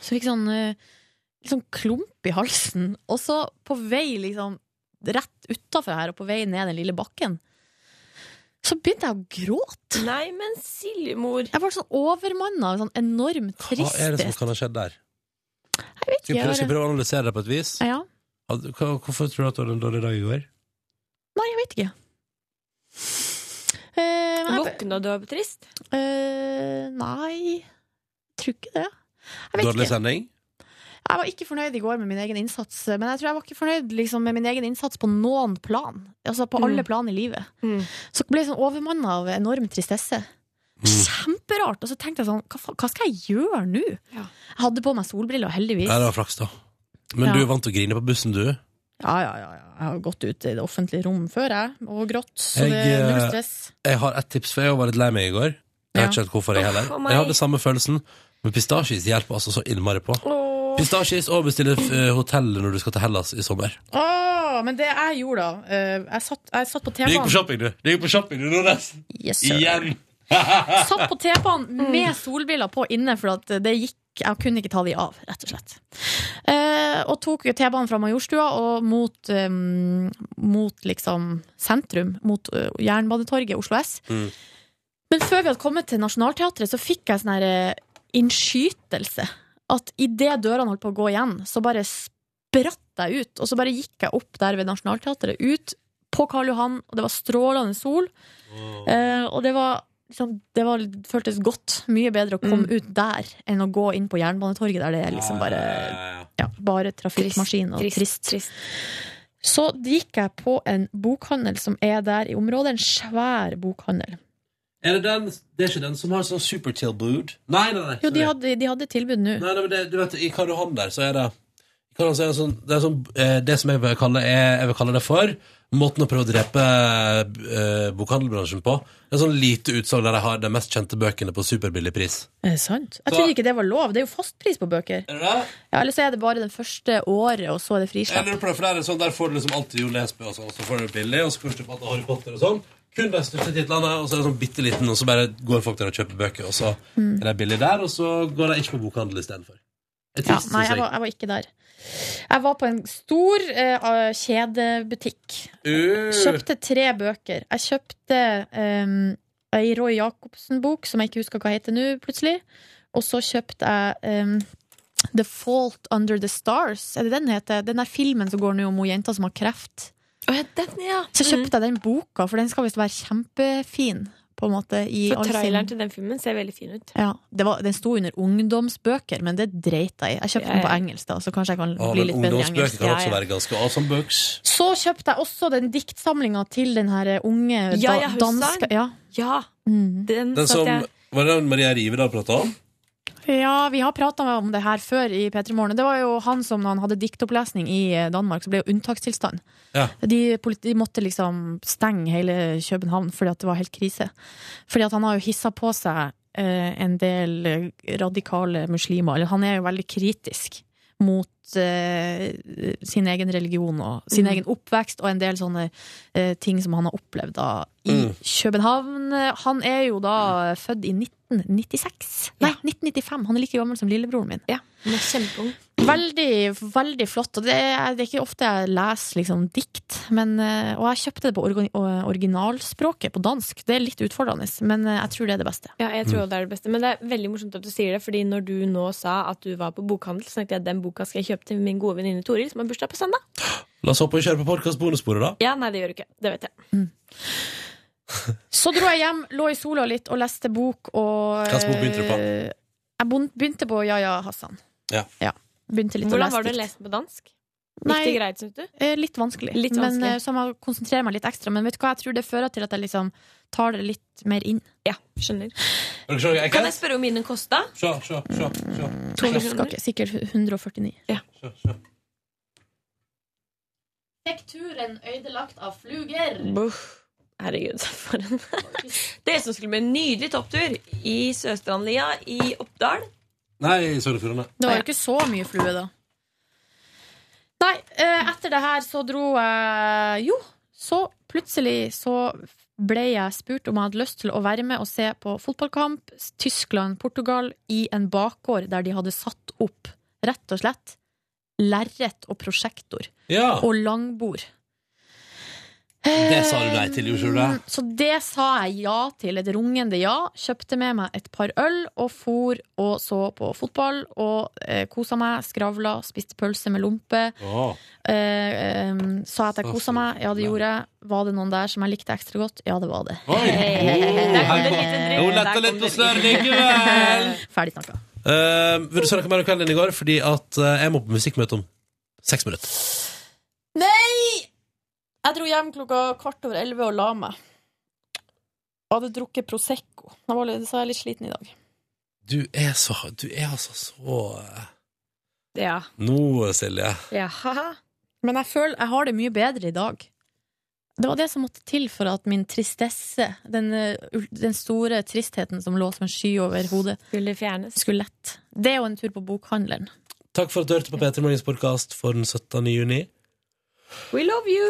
Så jeg fikk sånn eh, litt sånn klump i halsen. Og så på vei liksom rett utafor her, og på vei ned den lille bakken, så begynte jeg å gråte. Nei, men Siljemor Jeg var sånn overmanna av sånn enorm Hva er det som tristhet. kan ha skjedd der? Jeg vet Skal vi ikke. prøve, skal vi jeg bare- prøve å analysere det på et vis? Ja. Hadde- hva- Hvorfor tror du at du hadde en dårlig dag i går? Nei, jeg vet ikke. Eh, men jeg- Våkna du av trist? Eh, nei, tror ikke det. Jeg vet Dårlig ikke. sending? Jeg var ikke fornøyd i går med min egen innsats, eh, men jeg tror jeg var ikke fornøyd liksom, med min egen innsats på noen plan. Altså på Mm. alle plan i livet. Så ble jeg sånn overmanna av enorm tristesse. Mm. Kjemperart! Og så tenkte jeg sånn, hva, fa- hva skal jeg gjøre nå? Jeg hadde på meg solbriller, heldigvis. Nei, det var flaks, da. Men Ja. du er vant til å grine på bussen, du. Ja, ja, ja, ja. Jeg har gått ut i det offentlige rom før, jeg, og grått. Så Jeg, det er null eh, stress. Jeg har et tips, for jeg var litt lei meg i går. Jeg vet Ja. ikke helt hvorfor jeg heller. Åh, meg. Jeg hadde samme følelsen, men pistasjis hjelper altså så innmari på. Pistasjis og bestille eh, hotell når du skal til Hellas i sommer. Åh, men det jeg gjorde da eh, Jeg satt, jeg satt på Du gikk på T-banen. shopping, du. Du gikk på shopping, du, Nordnes. Yes, sir. Igjen. Satt på T-banen med solbriller på inne, for at det gikk jeg kunne ikke ta de av, rett og slett. Eh, og tok T-banen fra Majorstua og mot, eh, mot liksom sentrum, mot eh, Jernbanetorget, Oslo S. Mm. Men før vi hadde kommet til Nationaltheatret, så fikk jeg sånn her eh, innskytelse. At idet dørene holdt på å gå igjen, så bare spratt jeg ut. Og så bare gikk jeg opp der ved Nationaltheatret, ut på Karl Johan, og det var strålende sol. Eh, og det var liksom, det var, det føltes godt. Mye bedre å komme ut der enn å gå inn på Jernbanetorget, der det er liksom bare, Ah, ja, bare trafikkmaskin og Trist, trist. Så gikk jeg på en bokhandel som er der i området. En svær bokhandel. Er det den Det er ikke den som har sånn supertilbud? Nei, nei, nei. Jo, de sorry. hadde, de hadde tilbud nå. Nei, nei, men det, du vet, I Karl Johan der så er det i Karl Johan så er det, sånn, det, er sånn, eh, det som jeg vil kalle, er, jeg vil kalle det for Måten å prøve å drepe eh, bokhandelbransjen på. Det er sånn lite utsalg der de har de mest kjente bøkene på superbillig pris. Er det Eh, sant? Jeg Så- trodde ikke det var lov. Det er jo fastpris på bøker. Ja, Eller så er det bare det første året, og så er det Jeg frislipp. lurer på det, for det er sånn, Der får du liksom alltid Jo Nesbø, og sånn, og så får du billig, og så får du kjøpe alt av Harry Potter og sånn. Kun de største titlene, og så er det sånn bitte liten, og så bare går folk der og kjøper bøker, og så Mm. er de billig der, og så går de ikke på bokhandel istedenfor. Det er Ja, trist, nei, synes jeg var, jeg var ikke der. Jeg var på en stor eh, kjedebutikk. Uh. Kjøpte tre bøker. Jeg kjøpte um, ei Roy Jacobsen-bok som jeg ikke husker hva heter nå, plutselig. Og så kjøpte jeg em, The Fault Under The Stars. Er det den heter? Den der filmen som går nå om hun jenta som har kreft. Den, ja. Mm. Så kjøpte jeg den boka, for den skal visst være kjempefin. på en måte. I For all sin- Mm. traileren til den filmen ser veldig fin ut. ja, det var, Den sto under ungdomsbøker, men det dreit jeg i. Jeg kjøpte den på engelsk, da, så kanskje jeg kan Ja, bli men litt bedre i ungdomsbøker engelsk. kan Ja, også ja. være ganske awesome books. Så kjøpte jeg også den diktsamlinga til den her unge Ja, da, ja, hun sa danska... den. Ja. Mhm. Den, Den satt som jeg Var det den Maria Rivedal prata om? Ja, vi har prata om det her før i P3 Morgen. Det var jo han som når han hadde diktopplesning i eh, Danmark, så ble det jo unntakstilstand. Ja. De, politi- de måtte liksom stenge hele København fordi at det var helt krise. Fordi at han har jo hissa på seg eh, en del eh, radikale muslimer. Eller han er jo veldig kritisk mot eh, sin egen religion og sin Mm. egen oppvekst og en del sånne eh, ting som han har opplevd da i Mm. København. Han er jo da født i 1996. Nei, 1995. Han er like gammel som lillebroren min. Den er kjempeung. Veldig, veldig flott. Og det er, det er ikke ofte jeg leser liksom, dikt. Men, eh, og jeg kjøpte det på orgi- originalspråket, på dansk. Det er litt utfordrende, men eh, jeg tror det er det beste. Ja, jeg Mm. tror det er det beste. Men det er veldig morsomt at du sier det, Fordi når du nå sa at du var på bokhandel, så tenkte jeg at den boka skal jeg kjøpe til min gode venninne Toril, som har bursdag på søndag. La oss hoppe og kjøre på podkast-bonussporet, da. Ja, nei, det gjør du ikke. Det vet jeg. Så dro jeg hjem, lå i sola litt og leste bok og Hva slags bok begynte du på? eh, Jeg bon- begynte på Yahya Hassan. Ja. Begynte litt Hvordan å lese var det å dikt. lese den på dansk? Nei, Gikk det greit, synes du? Eh, Litt vanskelig. Litt vanskelig. Men, eh, så jeg må konsentrere meg litt ekstra. Men vet du hva, jeg tror det fører til at jeg liksom tar det litt mer inn. Ja, skjønner. Kan jeg Kan jeg spørre hvor mye den kosta? Se, se, se. se. skal ikke, sikkert 149. Tekturen ødelagt av fluger. Buff. Herregud, for en *laughs* Det som skulle bli en nydelig topptur i Søstrandlia i Oppdal. Nei, Sogn og Fjordane. Det var jo ikke så mye flue, da. Nei, eh, etter det her så dro jeg Jo, så plutselig så ble jeg spurt om jeg hadde lyst til å være med og se på fotballkamp Tyskland-Portugal i en bakgård der de hadde satt opp, rett og slett, lerret og prosjektor. Ja. Og langbord. Det sa du nei til, gjorde du det? Mm, Så det sa jeg ja til. Et rungende ja. Kjøpte med meg et par øl og for og så på fotball. Og eh, kosa meg, skravla, spiste pølse med lompe. Åh. Eh, eh, sa at jeg Så kosa meg. Ja, det gjorde jeg. Var det noen der som jeg likte ekstra godt? Ja, det var det. Oi! Eh, Der kom det en liten drill. Hun letta Der litt kom på det snørr en liten- likevel! Ferdig snakka. *laughs* Eh, vil du se noe mer om kvelden din i går? Fordi at eh, jeg må på musikkmøte om seks minutter. Nei! Jeg dro hjem klokka kvart over elleve og la meg. Og hadde drukket Prosecco. Jeg var litt, så jeg er litt sliten i dag. Du er så Du er altså så eh, Ja. Nå, Silje. Men jeg føler jeg har det mye bedre i dag. Det var det som måtte til for at min tristesse, den, eh, ul- den store tristheten som lå som en sky over hodet, skulle fjernes. Skulle lett. Det og en tur på bokhandleren. Takk for at du hørte på P3 Morgens podkast for den 17. juni. We love you!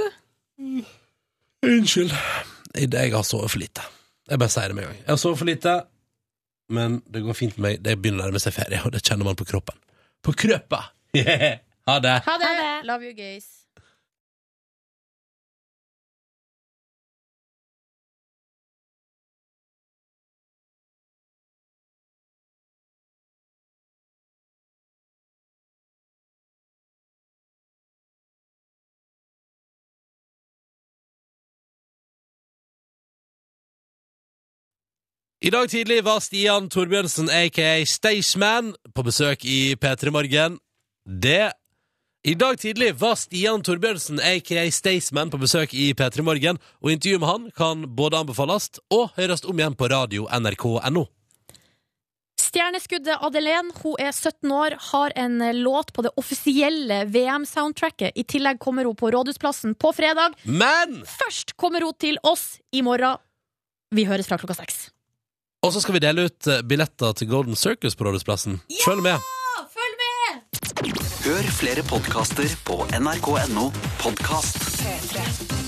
Unnskyld. I dag jeg har sovet for lite. Jeg bare sier det med en gang. Jeg har sovet for lite, men det går fint med meg. Det begynner å nærme seg ferie, og det kjenner man på kroppen. På krøpa! *laughs* ha det! Ha det! Love you, gays. I dag tidlig var Stian Torbjørnsen, aka Staysman, på besøk i P3 Morgen. Det I dag tidlig var Stian Torbjørnsen, aka Staysman, på besøk i P3 Morgen, og intervjuet med han kan både anbefales og høres om igjen på radio nrk.no. Stjerneskuddet Adelén hun er 17 år, har en eh, låt på det offisielle VM-soundtracket. I tillegg kommer hun på Rådhusplassen på fredag. Men Først kommer hun til oss i morgen. Vi høres fra klokka seks. Og så skal vi dele ut eh, billetter til Golden Circus på Rådhusplassen. Følg med! Følg med! Hør flere podkaster på nrk.no podkast. P3.